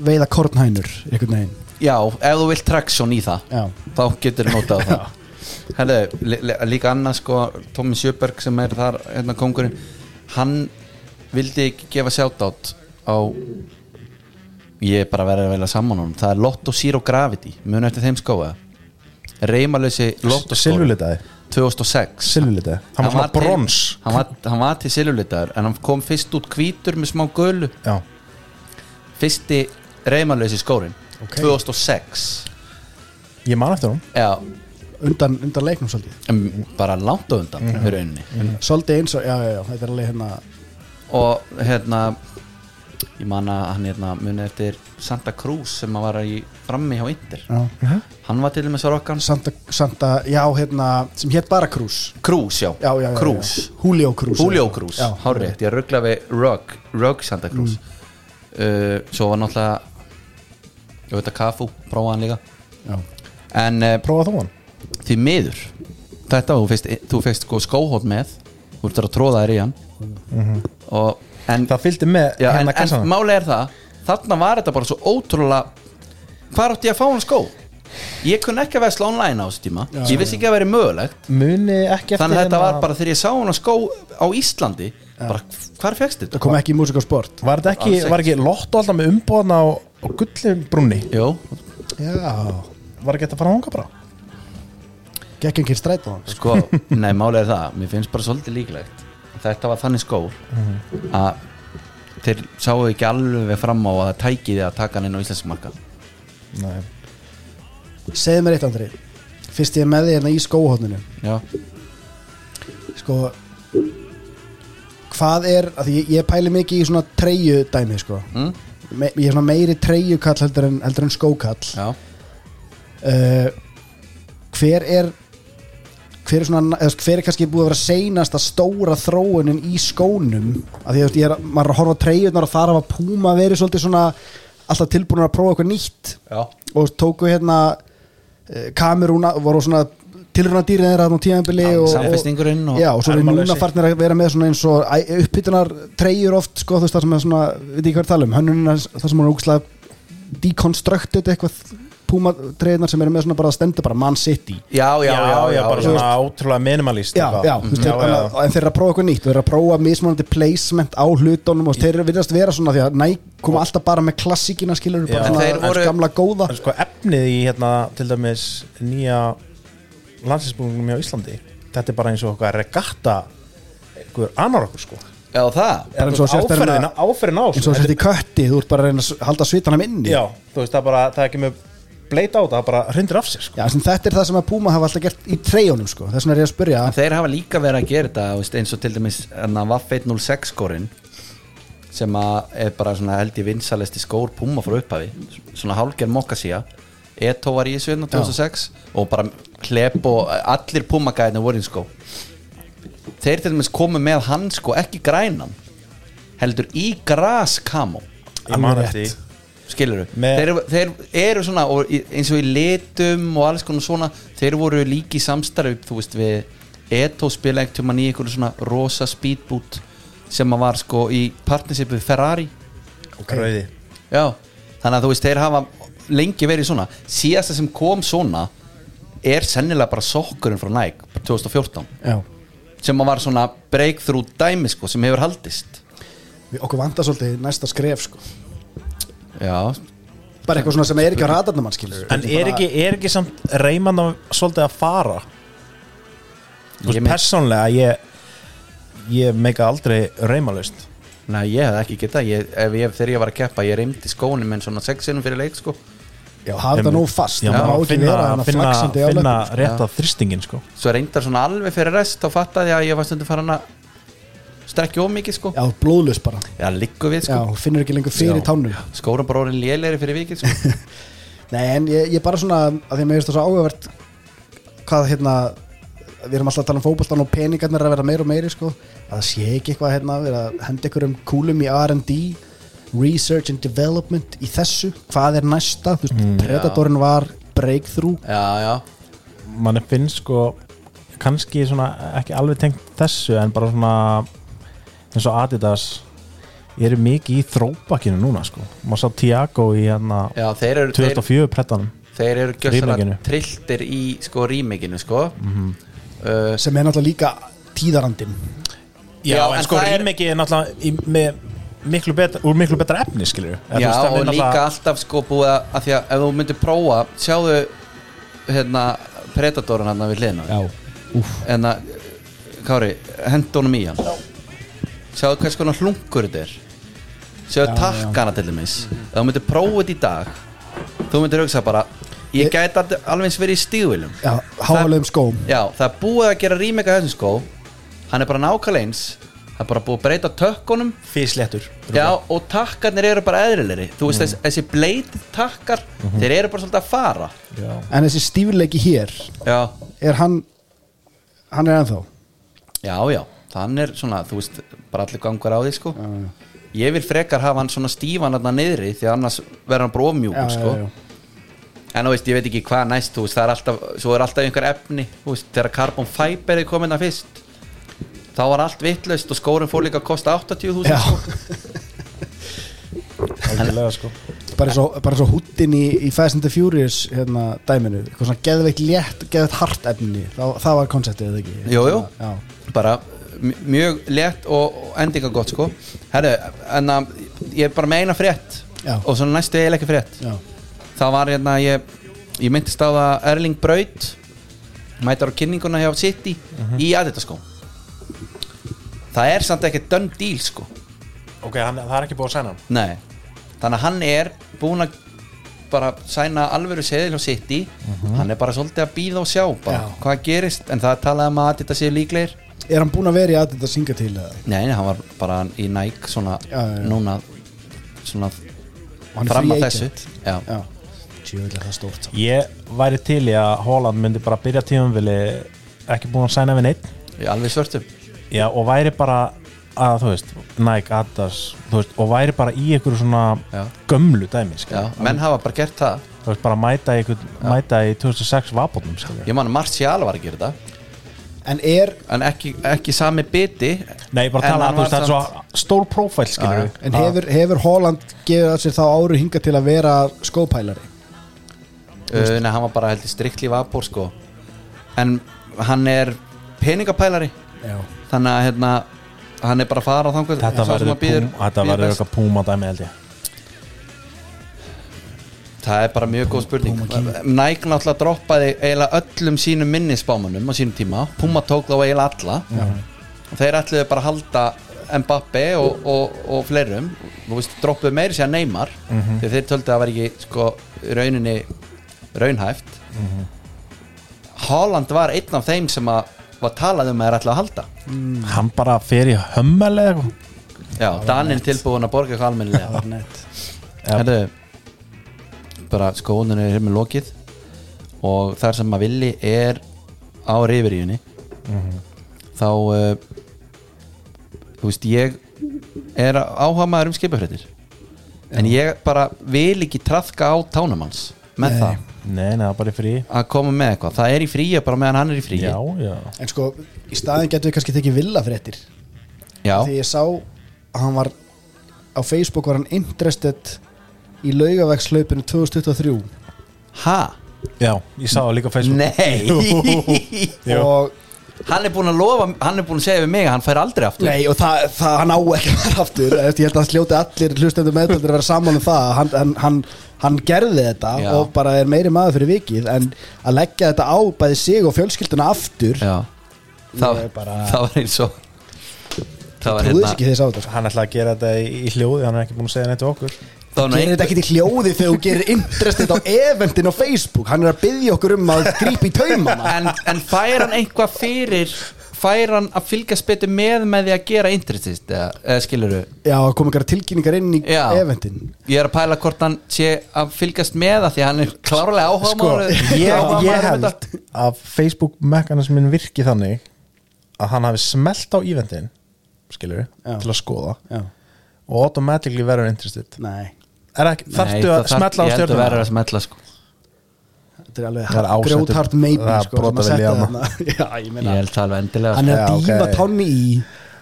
Speaker 3: veiða kornhænur, einhvern veginn.
Speaker 2: Já, ef þú vilt traction í það
Speaker 3: Já.
Speaker 2: þá getur notað það
Speaker 4: <laughs>
Speaker 2: Herðu, li- li- líka annað sko Tommy Sjöberg sem er þar hérna kongurinn, hann vildi ekki gefa sjátátt á ég er bara verið að velja saman honum, það er Lotto Zero Gravity mun eftir þeim skóa reymalösi Lotto skóa
Speaker 4: Silvulitaði
Speaker 2: 2006
Speaker 4: Silvulitaði Hann var svona
Speaker 2: til-
Speaker 4: brons
Speaker 2: hann var, hann var til silulitaður en hann kom fyrst út hvítur með smá gölu
Speaker 4: Já,
Speaker 2: fyrsti reymalösi skórin
Speaker 3: Ok.
Speaker 2: 2006
Speaker 4: ég man eftir hún
Speaker 2: Já,
Speaker 3: Undan, undan leiknum svolítið.
Speaker 2: em, bara langt á undan
Speaker 4: Mhm.
Speaker 2: mm -hmm. rauninni
Speaker 3: Svolítið eins og, já, já, já, þetta er alveg hérna
Speaker 2: og hérna ég man að hann hérna muni eftir Santa Cruz sem að var í frammi hjá Inter
Speaker 3: já.
Speaker 2: hann var til dæmis að rokka hans
Speaker 3: Santa, Santa, já, hérna sem hétt bara Cruz
Speaker 2: Cruz, já,
Speaker 3: já, já, já, já.
Speaker 2: Cruz
Speaker 3: Julio Cruz
Speaker 2: Julio Cruz,
Speaker 3: Já. Mm.
Speaker 2: hárétt, ég ruggla við Rugg, Rugg Santa Cruz uh, svo var náttúrulega ég veit að Cafu, prófaði hann líka
Speaker 3: já.
Speaker 2: en uh,
Speaker 4: Prófa þú hann
Speaker 2: því miður þetta var, þú fyrst, þú fyrst sko skóhótt með þú ert að tróða þér í hann
Speaker 3: Mm-hmm.
Speaker 2: og en
Speaker 4: Það fylgdi með
Speaker 2: Já, en,
Speaker 4: hérna
Speaker 2: en
Speaker 4: kassan
Speaker 2: máli er það þarna var þetta bara svo ótrúlega hvar átti ég að fá hann skó ég kunni ekki að vesla online á þessu tíma ég vissi ekki að veri mögulegt
Speaker 4: muni ekki eftir
Speaker 2: þannig að þetta
Speaker 4: hérna-
Speaker 2: var bara þegar ég sá hún að skó á Íslandi bara hvar fegst
Speaker 3: það
Speaker 2: þetta?
Speaker 3: kom ekki í músik og sport
Speaker 4: Var þetta
Speaker 2: Alls
Speaker 4: ekki,
Speaker 2: ekki.
Speaker 4: var ekki lotto alltaf með umbóðna á, á gullum brunni?
Speaker 2: Jó,
Speaker 3: já,
Speaker 4: Var ekki þetta að fara hanga bara?
Speaker 3: gekk engin stræt á hann
Speaker 2: sko, <laughs> nei málið er það mér finnst bara svolítið líklegt þetta var þannig skór að þeir sáu ekki alveg fram á að það tæki því að taka hann inn á íslensk marka
Speaker 4: Nei.
Speaker 3: segðu mér eitt Andri fyrst ég er með þig hérna í skóhóttinu
Speaker 2: já,
Speaker 3: sko hvað er, að ég, ég pæli mikið í svona treyju dæmi sko
Speaker 2: mm?
Speaker 3: Me, ég er svona meiri treyju kall heldur en, heldur en skókall
Speaker 2: já.
Speaker 3: uh, hver er hver er svona eða, þú veist, hver er kannski búið að vera seinasta stóra þróunin í skónum af því að þú veist, ég er, maður er að horfa á treyjurnar og þar hafa Puma verið svolítið svona alltaf tilbúin að prófa eitthvað nýtt
Speaker 2: já.
Speaker 3: og tóku hérna eh, kamerúna, voru svona tilruna dýrið þeirra þarna á tíðanbili
Speaker 2: Já,
Speaker 3: og,
Speaker 2: samfestingurinn
Speaker 3: og,
Speaker 2: og-
Speaker 3: já, og svo er
Speaker 4: Armalausi.
Speaker 3: núna farnir að vera með svona eins og æ, upphitunar treyjur oft sko, þú veist það sem er svona, við ekki hvað er að tala um hönnunina, það sem hún er ógustlega deconstructed eitthvað púma treyjurnar sem eru með svona bara að stenda bara Man City
Speaker 2: Já, já,
Speaker 4: Já, já, já, bara
Speaker 2: já.
Speaker 4: svona ótrúlega minimalist
Speaker 3: Já,
Speaker 4: eitthvað. Mhm.
Speaker 3: já, þú veist,
Speaker 4: já,
Speaker 3: þeir-
Speaker 4: já.
Speaker 3: en þeir eru að prófa eitthvað nýtt þeir eru að prófa mismunandi placement á hlutunum og þeir eru virðast vera svona því að næk koma alltaf bara með klassíkina skilur
Speaker 4: Já.
Speaker 3: bara
Speaker 4: En
Speaker 2: þeir
Speaker 3: svona
Speaker 2: voru-
Speaker 3: gamla góða
Speaker 4: En sko efnið í hérna til dæmis nýja landsinsbúningum hjá Íslandi Þetta er bara eins og okkar regatta einhver annar okkur sko
Speaker 2: já, það
Speaker 3: Bara eins og sért þeirna-
Speaker 4: Áferðina, áferðina á
Speaker 3: eins og þetta í kötti, þú ert bara að reyna að s- halda svitanum inni
Speaker 4: Já, þú veist það er bara, það er ekki með bleita á það, það bara hrindir af sér sko
Speaker 3: Já, sem þetta er það sem að Puma hafa alltaf gert í treyjónum sko. þess vegna er ég að spyrja
Speaker 2: En þeir hafa líka verið að gera þetta þú veist, eins og til dæmis hérna, Vaff 106 skórin sem að er bara svona held í vinsalesti skór Puma frá upphafi svona hálger mokkasía Eto var í þessu hérna 2006 og bara hlep og allir Puma gæðinu voru í skó þeir til dæmis komu með hann sko ekki grænan heldur í graskamó
Speaker 4: Ég man
Speaker 3: alveg
Speaker 4: eftir
Speaker 3: rétt.
Speaker 4: því.
Speaker 2: skilur þau
Speaker 4: Með-
Speaker 2: þeir, þeir eru svona og í- eins og í litum og alls konar svona þeir voru líki samstarf þú veist við Eto spila einhvern tímann í einhverju svona rosa speedboot sem að var sko í partnership við Ferrari
Speaker 3: okay.
Speaker 4: Rauði.
Speaker 2: já þannig að þú veist þeir hafa lengi verið svona síðasta sem kom svona er sennilega bara sokkurinn frá Nike bara 2014
Speaker 3: Já.
Speaker 2: sem að var svona breakthrough dæmi sko sem hefur haldist
Speaker 3: Við- okkur vantar svolítið næsta skref sko.
Speaker 2: já
Speaker 3: bara eitthvað svona sem er ekki á ratarnum hann skilur
Speaker 4: En er ekki, er ekki samt reyman að svolítið að fara Þú
Speaker 2: Ég
Speaker 4: veist,
Speaker 2: meina-
Speaker 4: persónlega ég ég meika aldrei reymalust
Speaker 2: Nei, ég hefði ekki getað ég, ef ég, Þegar ég var að keppa, ég reymdi skónum en svona sexinum fyrir leik sko.
Speaker 3: Já, hafa þetta nú fast,
Speaker 4: Já,
Speaker 3: það má
Speaker 4: maður
Speaker 3: ekki
Speaker 4: finna,
Speaker 3: vera hann að
Speaker 4: finna,
Speaker 3: flaksandi á
Speaker 4: finna
Speaker 3: löpum
Speaker 4: rétt að þrýstingin sko
Speaker 2: Svo reyndar svona alveg fyrir rest þá fattaði ég að ég var stundum farin að strekja of mikið sko.
Speaker 3: Já, blóðlust bara
Speaker 2: Já, liggu við
Speaker 3: Já,
Speaker 2: sko.
Speaker 3: hún finnur ekki lengur fyrir
Speaker 2: Já.
Speaker 3: tánum
Speaker 2: Skórum bara orðin lélegri fyrir vikið sko.
Speaker 3: Nei, en ég, ég bara svona að því að mér finnst það svo áhugavert hvað hérna við erum alltaf að tala um fótboltan og peningarnir er að vera meira og meiri sko, að það sé ekki eitthvað hérna við erum að henda ykkur um kúlum í R&D Research and Development í þessu, hvað er næsta þú veist, Predatorin var breakthrough
Speaker 2: Já, já
Speaker 4: mann finnst sko kannski svona ekki alveg tengt þessu en bara svona eins og Adidas ég er mikið í þróbakkinu núna sko maður sá Tiago í hérna
Speaker 2: Já, þeir eru, þeir,
Speaker 4: 2004 prettanum
Speaker 2: þeir eru gjössalega
Speaker 4: Remake-inu.
Speaker 2: trilltir í sko rýmikinu sko. uh,
Speaker 3: sem er náttúrulega líka tíðarandin
Speaker 4: já,
Speaker 2: Já, en
Speaker 4: en sko
Speaker 2: það er-
Speaker 4: Rímegi er náttúrulega í, með miklu betra, úr miklu betra efni skilur
Speaker 2: Já, og líka alltaf sko búið að, að því að ef þú myndir prófa, sjáðu hérna, predatorin hann við hliðina á þér. en að Kári, hendu honum í hann sjáðu hvers konar hlunkur þetta er sjáðu takkana til dæmis ef þú myndir prófa þetta í dag þú myndir hugsa bara ég gæti aldrei- alveg eins verið í stíðvílum
Speaker 3: já, háalegum skóm
Speaker 2: já, það er búið að gera rýmega þessum skó hann er bara nákvæmlega eins það er bara búið að breyta tökkunum
Speaker 4: físlettur
Speaker 2: já, og takkarnir eru bara eðrilegri þú veist þess, þessi blade takkar þeir eru bara svolítið að fara
Speaker 3: en þessi stífleiki hér,
Speaker 2: já,
Speaker 3: er hann hann er ennþá
Speaker 2: Já, já, þann er svona, þú veist, bara allir gangur á því, sko Ég vil frekar hafa hann svona stífan hann niðri því að annars verður hann bara
Speaker 3: já,
Speaker 2: ofmjúkur, sko
Speaker 3: já, já.
Speaker 2: En þú veist, ég veit ekki hvað næst, þú veist, það er alltaf Svo er alltaf einhver efni, þú veist, þegar carbon fiber er komin að fyrst Þá var allt vitlaust og skórin fór líka að kosta 80.000
Speaker 3: Já.
Speaker 2: sko.
Speaker 4: algjörlega sko
Speaker 3: bara eins og- bara eins og húttin í, í Fast and the Furious hérna, dæminu, eitthvað svona geðveikt létt geðveikt hart efni, það, það var konceptið eða ekki
Speaker 2: Jú, jú.
Speaker 3: Já.
Speaker 2: bara m- mjög létt og og endinga gott sko Herru, en að ég er bara með eina frétt
Speaker 3: Já.
Speaker 2: og svona næstu eiginlega ekki frétt
Speaker 3: Já.
Speaker 2: það var hérna ég, ég myndist á það Erling Braut mætar á kynninguna hjá City
Speaker 3: Mhm.
Speaker 2: í aðeita sko það er samt ekki done deal sko
Speaker 4: ok, hann, það er ekki búið að sæna hann
Speaker 2: nei, þannig að hann er búin að bara sæna alvöru seðil á City hann er bara svolítið að býða og sjá bara,
Speaker 3: Mhm. Já.
Speaker 2: hvað gerist, en það er talað um að aðeita séu líklegir
Speaker 3: er hann búin að vera í aðeins að syngja til eða?
Speaker 2: Nei, nei, hann var bara í Nike svona
Speaker 3: Já, já, já.
Speaker 2: núna svona
Speaker 3: hann er
Speaker 2: fram
Speaker 3: free
Speaker 2: að þessu
Speaker 3: agent.
Speaker 2: já.
Speaker 3: Já, tjóðilega það stórt samt.
Speaker 4: ég væri til í að Holland myndi bara byrja tíumvili ekki búin að sæna við neitt
Speaker 2: Í alveg svörtum
Speaker 4: já, og væri bara að þú veist, Nike, Adidas þú veist, og væri bara í einhverju svona
Speaker 2: Já.
Speaker 4: gömlu dæmi skilur.
Speaker 2: já. menn hafa bara gert það
Speaker 4: þú veist, bara mæta í, einhvern- mæta í 2006 vapotnum
Speaker 2: ég man að Martial var að gera það
Speaker 3: en er,
Speaker 2: en ekki, ekki sami biti
Speaker 4: nei, ég bara
Speaker 2: En
Speaker 4: tala,
Speaker 2: hann
Speaker 4: þú veist,
Speaker 2: var
Speaker 4: það er svo stór profæl skilur
Speaker 2: Já,
Speaker 4: við.
Speaker 3: en hefur, hefur Holland gefið að sér þá áru hinga til að vera skópælari
Speaker 2: uh, nei, hann var bara heldur strikli vapor sko en hann er peningapælari
Speaker 3: já.
Speaker 2: þannig að hérna hann er bara að fara á þangu
Speaker 4: þetta verður púm- þetta verður eitthvað púma dæmi held ég
Speaker 2: Það er bara mjög góð spurning Nike náttúrulega droppaði eiginlega öllum sínum minnisbámanum á sínum tíma Puma tók þá eiginlega alla og þeir ætluðu bara að halda Mbappe og, og, og fleirum þú veist, droppuðu meiri sér Neymar mm þegar þeir töldu að það var ekki sko, rauninni raunhæft Holland var einn af þeim sem að var talað um að þeir ætluðu að halda
Speaker 4: hann bara fer í hömmel eða eitthvað
Speaker 2: Já, Danin tilbúin að borga eitthvað almennilega
Speaker 3: það var nett
Speaker 2: Herðu, bara skóðunum er hér með lokið og þar sem maður villi er á reyfiríunni þá uh, þú veist ég er áhuga maður um skipafréttir en ég bara vil ekki trafka á tánumanns með það
Speaker 4: nei, nei, það er bara í frí
Speaker 2: að koma með eitthvað, það er í fríi bara meðan hann er í fríi
Speaker 4: já, já,
Speaker 3: en sko, í staðin getur við kannski tekið villa fréttir
Speaker 2: Já.
Speaker 3: því ég sá að hann var á Facebook var hann interested í laugavegslaupinu 2023
Speaker 2: ha,
Speaker 4: já, ég sá það líka á Facebook <laughs>
Speaker 2: nei
Speaker 4: Jú.
Speaker 3: og,
Speaker 2: hann er búin að lofa, hann er búin að segja við mig að hann fær aldrei aftur
Speaker 3: nei, og það, það hann á ekki að vera aftur Þú veist, ég held að sljóti allir hlustendur meðtöldur að vera saman um það hann, hann, hann, hann gerði þetta
Speaker 2: Já.
Speaker 3: og bara er meiri maður fyrir vikið en að leggja þetta á bæði sig og fjölskylduna aftur
Speaker 2: Já Það,
Speaker 3: er bara-
Speaker 2: það var eins og Það var
Speaker 3: trúðis
Speaker 2: hérna
Speaker 3: ekki þess á þetta sko.
Speaker 4: hann ætlaði að gera þetta í, í hljóði hann er ekki búin að segja neitt við okkur
Speaker 2: Það var nú
Speaker 3: gerir
Speaker 2: einhver,
Speaker 3: þetta ekkert í hljóði þegar þú gerir interested á eventin á Facebook hann er að byggja okkur um að grípa í taumana
Speaker 2: en, en fær hann eitthvað fyrir Fær hann að fylgjast betur með með því að gera interestist eða, eða skiluru
Speaker 3: Já, kom einhverja tilkynningar inn í
Speaker 2: Já.
Speaker 3: eventin
Speaker 2: Ég er að pæla hvort hann sé að fylgjast með það því að hann er klárlega áhuga
Speaker 4: sko, ég, ég held að Facebook mekanismin virki þannig að hann hafi smelt á eventin skilur við,
Speaker 3: Já.
Speaker 4: til að skoða
Speaker 3: Já,
Speaker 4: og automatically verður interested
Speaker 3: nei,
Speaker 4: er ekki, þarftu að smella á
Speaker 2: Ég held að vera
Speaker 4: stjórnum
Speaker 2: að smetla sko
Speaker 3: þetta er alveg
Speaker 4: Það er ásettur-
Speaker 3: grjóthart meipin
Speaker 4: það er
Speaker 3: sko, sem að
Speaker 4: brotað við
Speaker 3: setja
Speaker 4: Liam.
Speaker 3: þarna. <laughs> Já, ég
Speaker 2: Ég
Speaker 3: meina
Speaker 2: held það alveg endilega
Speaker 3: Hann
Speaker 2: sko.
Speaker 3: er að
Speaker 4: Já,
Speaker 3: dýfa
Speaker 4: ok.
Speaker 3: tánni í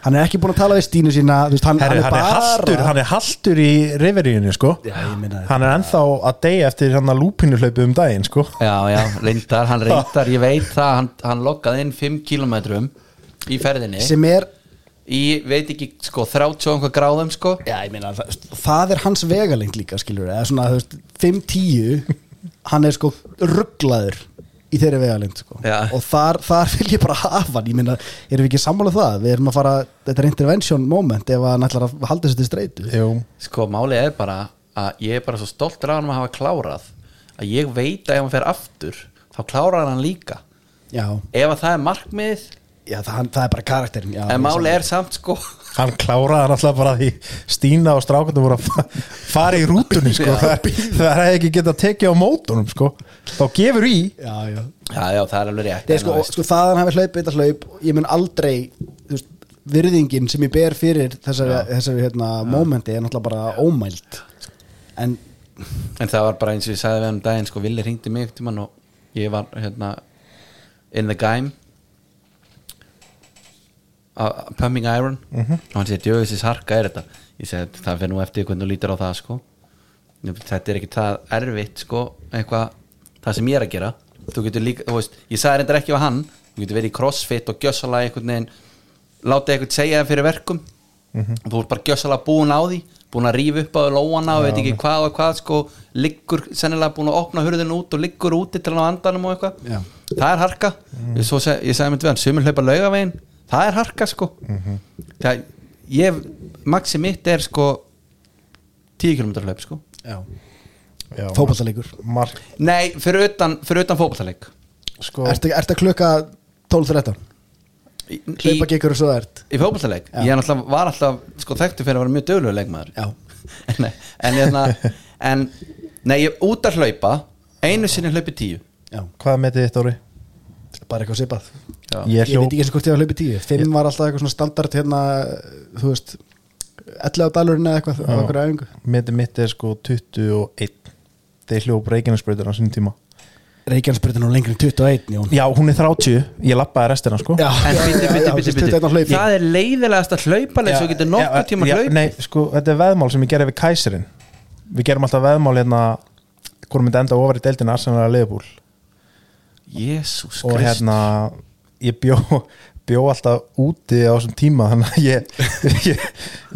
Speaker 3: Hann er ekki búin að tala við Stínu sína þú veist, hann,
Speaker 4: Herri, hann, er
Speaker 3: bara
Speaker 4: haltur, hann er haltur í riveríunni sko
Speaker 3: Já, ég meina
Speaker 4: hann er ennþá að deyja eftir hann að lúpinu hlaupu um daginn sko
Speaker 2: Já, já, reyndar, hann reyndar Ég veit það, hann, hann lokkaði inn 5 kilometrum í ferðinni
Speaker 3: sem er
Speaker 2: í, veit ekki, sko, 30 og einhver gráðum, sko
Speaker 3: Já, ég meina, það, það er hans vegalengt líka, skilur eða svona, þú veist, 5-10 hann er sko rugglaður í þeirri vegalengt, sko
Speaker 2: Já.
Speaker 3: og þar, þar vil ég bara hafa hann, ég meina erum við ekki sammála um það, við erum að fara þetta er intervention moment ef hann ætlar að halda sér til streitu
Speaker 4: Jú.
Speaker 2: Sko, málið er bara að ég er bara svo stolt ráðan að hafa klárað að ég veit að ef hann fer aftur þá klárar hann líka
Speaker 3: Já,
Speaker 2: ef að það er markmið,
Speaker 3: já það, hann, það er bara karakterin já, ég
Speaker 2: en málið
Speaker 3: sammála.
Speaker 2: er samt, sko
Speaker 4: hann kláraði hann alltaf bara því Stína og strákundum voru að fa- fara í rútunni sko
Speaker 2: Já.
Speaker 4: það það hefði ekki getað tekið á mótunum sko þá gefur í
Speaker 3: Já, já
Speaker 2: Já, já, það er alveg rétt
Speaker 3: Nei, sko,
Speaker 2: en,
Speaker 3: og, sko, það að hann hafi hlaupið þetta hlaup ég mun aldrei þú veist, virðingin sem ég ber fyrir þessari, þessari hérna, momenti er náttúrulega bara ómælt en
Speaker 2: en það var bara eins og ég sagði við hann um daginn sko, Vili hringdi mig eftir mann og ég var hérna in the game uh, pumping iron og hann segir, djöfis þessi harka er þetta ég segi, það fyrir nú eftir hvernig þú lítir á það sko þetta er ekki það erfitt sko, eitthvað, það sem ég er að gera þú getur líka, þú veist, ég sagði reyndar ekki á hann, þú getur verið í crossfit og gjössalega einhvern veginn, láta eitthvað segja það fyrir verkum, þú ert bara gjössalega búin á því, búin að rífa upp á lóana og veit ekki hvað og hvað sko, liggur sennilega búin að opna hurðin út og liggur úti til hann á andanum og eitthvað
Speaker 3: Já.
Speaker 2: það er harka, ég, svo seg, ég sagði mér dvegan, sumir hlaupa laugavegin, það er harka sko, það ég, maxi mitt er sko 10 km hlaup sko
Speaker 3: Já.
Speaker 4: Já,
Speaker 3: Fótboltaleikur.
Speaker 4: mark,
Speaker 2: Nei, fyrir utan, fyrir utan fótballtaleik
Speaker 4: sko,
Speaker 3: Ertu, ertu að klukka 12.13
Speaker 2: Í, í,
Speaker 3: Hlaupa gekkur og svo það ert
Speaker 2: í fótballtaleik
Speaker 3: Já.
Speaker 2: Ég er náttúrulega, var alltaf sko, þekktu fyrir að vera mjög döglegur leikmaður
Speaker 3: Já.
Speaker 2: <laughs> En, en, hérna, en Nei, ég út að hlaupa Einu sinni hlaupi tíu
Speaker 3: Já,
Speaker 4: hvað metið þitt ári?
Speaker 3: bara eitthvað svipað
Speaker 2: Já.
Speaker 4: Ég
Speaker 3: Ég veit
Speaker 4: hljóp,
Speaker 3: ekki eins og hvort ég var hlaupið 10 5 var alltaf eitthvað svona standard hérna Þú veist 11 á dalurinn eða eitthvað á einhverju æfingu
Speaker 4: metið mitt er sko 21 þeir hljóp reikinarsbreytur á sinni tíma
Speaker 3: Reykjanesbrytin á lengri en 21 Jón
Speaker 4: Já, hún er 30, ég lappaði restina sko
Speaker 3: Já,
Speaker 2: En biti, biti, biti, biti
Speaker 3: Það
Speaker 2: Það er leiðilegast að hlaupa leik Svo getur
Speaker 4: Já,
Speaker 2: nokkuð tíma
Speaker 4: já,
Speaker 2: hlaup
Speaker 4: Nei, sko, þetta er veðmál sem ég gerði við kæsirinn Við gerum alltaf veðmál hérna hvort myndi enda ofar í deildinu Arsenal að Leifbúl
Speaker 2: Jésús
Speaker 4: og
Speaker 2: Krist
Speaker 4: hérna ég bjó, bjó alltaf úti á þessum tíma þannig að ég, <laughs> ég,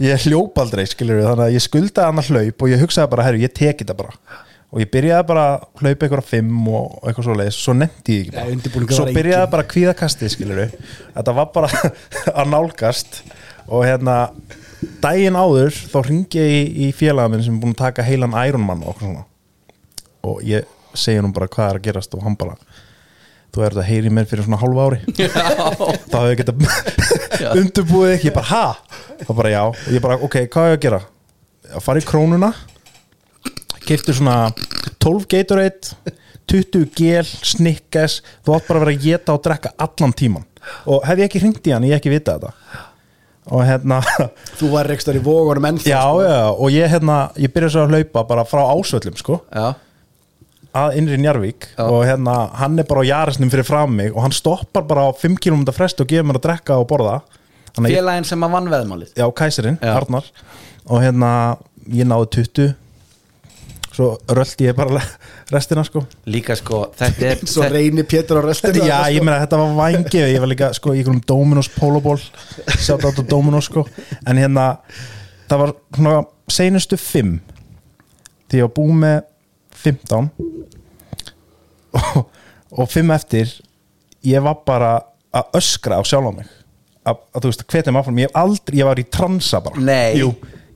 Speaker 4: ég hljóp aldrei skilur við þannig að ég skuldaði hann að hlaup og ég hugsaði bara, herru, ég teki þetta bara og ég byrjaði bara að hlaupa ykkur á fimm og og eitthvað svo leiðis, svo nefndi ég ekki
Speaker 3: Nei,
Speaker 4: bara
Speaker 3: undirbúningur
Speaker 4: svo
Speaker 3: var engin.
Speaker 4: byrjaði bara að kvíða kastið skilur við þetta var bara <laughs> að nálgast og hérna daginn áður þá ringi ég í, í félagamenn sem er búin að taka heilan Ironman og okkur svona og ég segi hann bara hvað er að gerast og hann bara þú ert að heyri mér fyrir svona hálfa ári
Speaker 2: Já,
Speaker 4: þá hefur ég
Speaker 2: Já.
Speaker 4: <laughs> geta undurbúið ekki ég bara ha, þá bara já og ég bara ok, hvað er að gera að fara í krónuna keiptu svona 12 Gatorade 20 gel, snikkes þú átt bara að vera að geta og drekka allan tíman og hef ég ekki hringt í hann, ég hef ekki vitað þetta og hérna <laughs>
Speaker 3: Þú var rekstur í vógunum ennþá
Speaker 4: já, já, já, og ég hérna ég byrja svo að hlaupa bara frá ásvöllum sko,
Speaker 2: já
Speaker 4: að innri Njarvík
Speaker 2: Já.
Speaker 4: og hérna, hann er bara á jarisnum fyrir fram mig og hann stoppar bara á 5 km frest og gefur mér að drekka og borða þannig að ég,
Speaker 2: Félagin sem að vann veðmálið
Speaker 4: já, kæsirinn,
Speaker 2: Já.
Speaker 4: Arnar og hérna, ég náði 20 svo röldi ég bara <laughs> restina sko
Speaker 2: Líka sko, þetta <laughs> er
Speaker 3: Svo
Speaker 2: þetta-
Speaker 3: reynir Pétur á restina
Speaker 4: Já, ég meina þetta var vangi Ég var líka sko í einhverjum Dominos Poloból Sjátt átt á Dominos sko En hérna, það var svona Seinustu fimm Því ég var búið með 15 og, og fimm eftir Ég var bara að öskra á sjálf á mig að, að þú veist, hvetja mig áfram Ég, hef aldrei, ég var í transa bara
Speaker 2: Nei.
Speaker 4: Jú,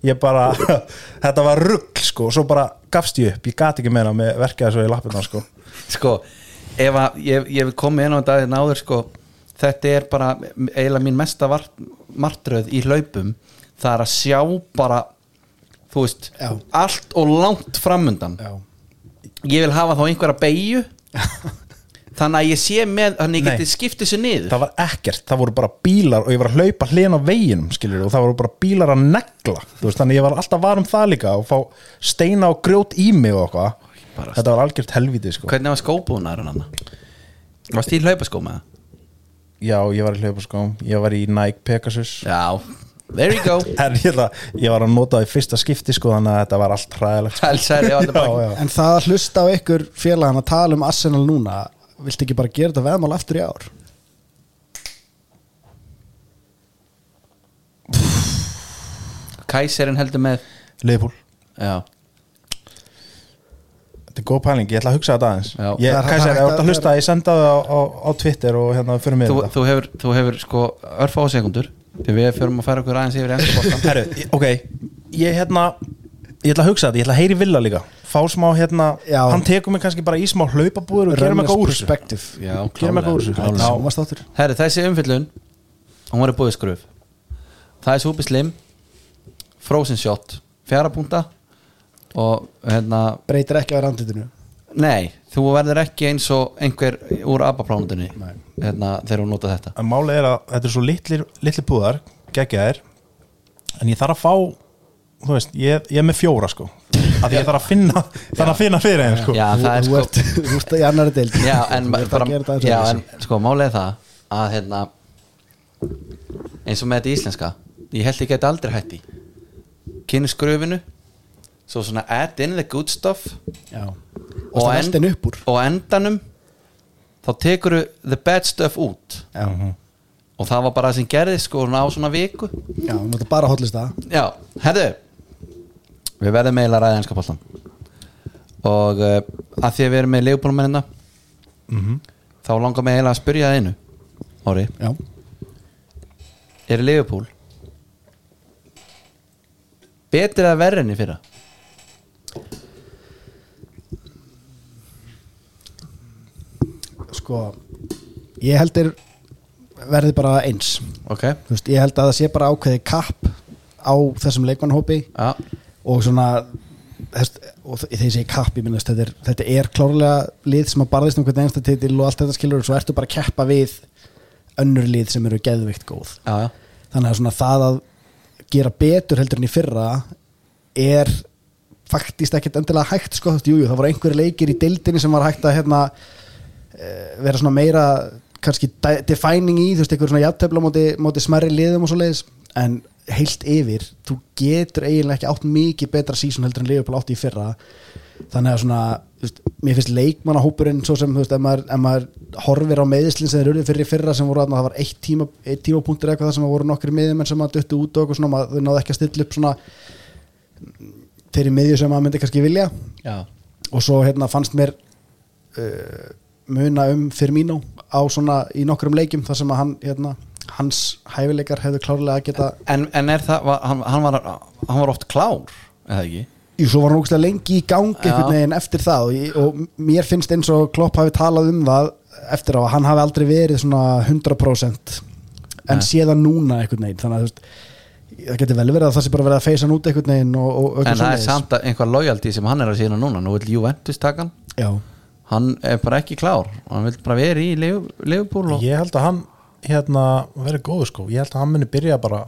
Speaker 4: ég bara <laughs> Þetta var rugg sko, svo bara gafst ég upp Ég gat ekki meina með verkjaði svo í lappirna sko
Speaker 2: sko, ef að ég, ég hef komið inn á þetta aðeins náður sko, þetta er bara eiginlega mín mesta vart, martröð í hlaupum það er að sjá bara þú veist,
Speaker 3: Já.
Speaker 2: allt og langt framundan
Speaker 3: Já.
Speaker 2: ég vil hafa þá einhverja <laughs> beigju þannig að ég sé með þannig að ég
Speaker 4: Nei.
Speaker 2: geti skipt þessu niður
Speaker 4: það var ekkert, það voru bara bílar og ég var að hlaupa hliðin á veginum skilur, og það voru bara bílar að negla þú veist, þannig að ég var alltaf var um það líka og fá steina og grjót í mig og
Speaker 2: Bara-
Speaker 4: eitthvað þetta var algjört helviti sko.
Speaker 2: hvernig var skóbúnaður hann varst því hlaupaskó með það?
Speaker 4: já, ég var í hlaupa sko, ég var í Nike Pegasus
Speaker 2: já, there <laughs> you go
Speaker 4: en ég, ætla- ég var að nota það í fyrsta skipti sko, þannig að þetta var allt hræðilegt sko.
Speaker 2: Pælsæri á þetta baki.
Speaker 4: já, já.
Speaker 3: En það að hlusta á ykkur félagana að tala um Arsenal núna Viltu ekki bara gera þetta veðmál aftur í ár?
Speaker 2: kæserinn heldur með
Speaker 4: Liverpool,
Speaker 2: já,
Speaker 4: þetta er góð pæling, ég ætla að hugsa þetta aðeins
Speaker 2: Já.
Speaker 4: ég,
Speaker 3: Það er-
Speaker 4: Kæsar,
Speaker 3: það er-
Speaker 4: ef þú ert að hlusta, ég senda það á, á, á Twitter og hérna fyrir mig
Speaker 2: þú, þú, hefur, þú hefur sko örfá sekundur þegar við förum að færa okkur aðeins yfir ennska
Speaker 3: <laughs>
Speaker 2: bóttan
Speaker 4: Herru, ég- ok, ég hérna ég ætla að hugsa þetta, ég ætla að heyri Villa líka fá smá hérna,
Speaker 3: Já.
Speaker 4: hann tekur mig kannski bara í smá hlaupabúður og gerum
Speaker 3: Runners
Speaker 4: eitthvað úr þessu
Speaker 3: Perspective.
Speaker 2: Já,
Speaker 4: Gerum eitthvað úr þessu.
Speaker 3: Þetta er
Speaker 4: Já.
Speaker 3: sjónvarpsþáttur.
Speaker 2: Herri, þessi umfyllun hún var í búið skröf það er Súpi Slim Frozen Shot, fjara púnta og hérna
Speaker 3: Breytir ekki á randitinu
Speaker 2: nei, þú verður ekki eins og einhver úr abaplánutinni hérna, þegar hún nota þetta
Speaker 4: en málið er að þetta er svo litlir, litlir búðar geggjaðir, en ég þarf að fá þú veist, ég, ég er með fjóra sko, að því ég þarf að finna þarf að finna fyrir þeim sko
Speaker 2: já,
Speaker 3: Þú
Speaker 2: það er
Speaker 3: þú
Speaker 2: sko
Speaker 3: ert Þú ert í annari deildi
Speaker 2: já,
Speaker 3: <laughs>
Speaker 2: en,
Speaker 3: Þú ert að
Speaker 2: bara,
Speaker 3: gera þetta aðeins
Speaker 2: já,
Speaker 3: öðruvísi.
Speaker 2: en sko, málið er það að hérna eins og með þetta íslenska ég held ég geti aldrei hætti kynni skröfinu svo svona add in the good stuff
Speaker 3: já og
Speaker 2: Og
Speaker 3: það
Speaker 2: en-
Speaker 3: velst einn upp úr
Speaker 2: og á endanum þá tekur the bad stuff út
Speaker 3: já,
Speaker 2: og það var bara það sem gerði sko svona á svona viku
Speaker 3: já, þú mátt bara hotlist það
Speaker 2: já, herðu við verðum eiginlega að ræða einska bóltan og uh, að því að við erum með leifbólumennina Mhm. þá langar mig eiginlega að spyrja það einu Óri,
Speaker 3: já,
Speaker 2: er leifból betri að verri enn í fyrra
Speaker 3: sko ég held er verði bara eins
Speaker 2: ok,
Speaker 3: Þú veist, ég held að það sé bara ákveði kapp á þessum leikmannhópi
Speaker 2: já,
Speaker 3: og svona þess, og þ- þegar ég segi kapp, ég minna þetta er, þetta er klárlega lið sem að barðist um hvernig einsta titil og allt þetta skilur og svo ertu bara að keppa við önnur lið sem eru geðvikt góð
Speaker 2: já, já
Speaker 3: þannig að svona það að gera betur heldur en í fyrra er faktist ekkert endilega hægt sko, þú veist, jújú, það voru einhverju leikir í deildinni sem var hægt að hérna eh, vera svona meira kannski di- defining í, þú veist, einhverju svona jafntefla móti, móti smærri liðum og svo leiðis en heilt yfir, þú getur eiginlega ekki átt mikið betra sísun heldur en Leopold átti í fyrra þannig að svona, þú veist, mér finnst leikmannahópurinn svo sem, þú veist, ef maður, ef maður horfir á meðislinn sem þeir eru fyrir í fyrra sem voru að það var eitt, tíma, eitt tímapunktur eða eitthvað þar sem voru nokkri miðjumenn sem að duttu út og eitthvað svona, maður þau náðu ekki að stilla upp svona þeirri miðju sem maður myndi kannski vilja
Speaker 2: Já,
Speaker 3: og svo hérna fannst mér uh, muna um Firmino á svona í nokkrum leikjum þar sem að hann, hérna, hans hæfileikar hefðu klárlega að geta
Speaker 2: en, en er það, var, hann, hann, var, hann var oft klár, eða ekki?
Speaker 3: Jú, svo var hann ógustlega lengi í gangi
Speaker 2: Já.
Speaker 3: einhvern veginn eftir það og, ég, og mér finnst eins og Klopp hafi talað um það eftir á að hann hafi aldrei verið svona 100% en
Speaker 2: Nei.
Speaker 3: sé það núna einhvern veginn þannig að þú veist, það getur vel verið að það sé bara verið að feysa hann út einhvern veginn og, og
Speaker 2: En
Speaker 3: eitthvað
Speaker 2: það er
Speaker 3: svoleiðis.
Speaker 2: samt að einhver lojaldi sem hann er að sína núna, nú vil Juventus taka hann
Speaker 3: Já,
Speaker 2: hann er bara ekki klár hann vil bara vera í leifupúl og...
Speaker 4: Ég held að hann hérna verið góður sko Ég held að hann muni byrja bara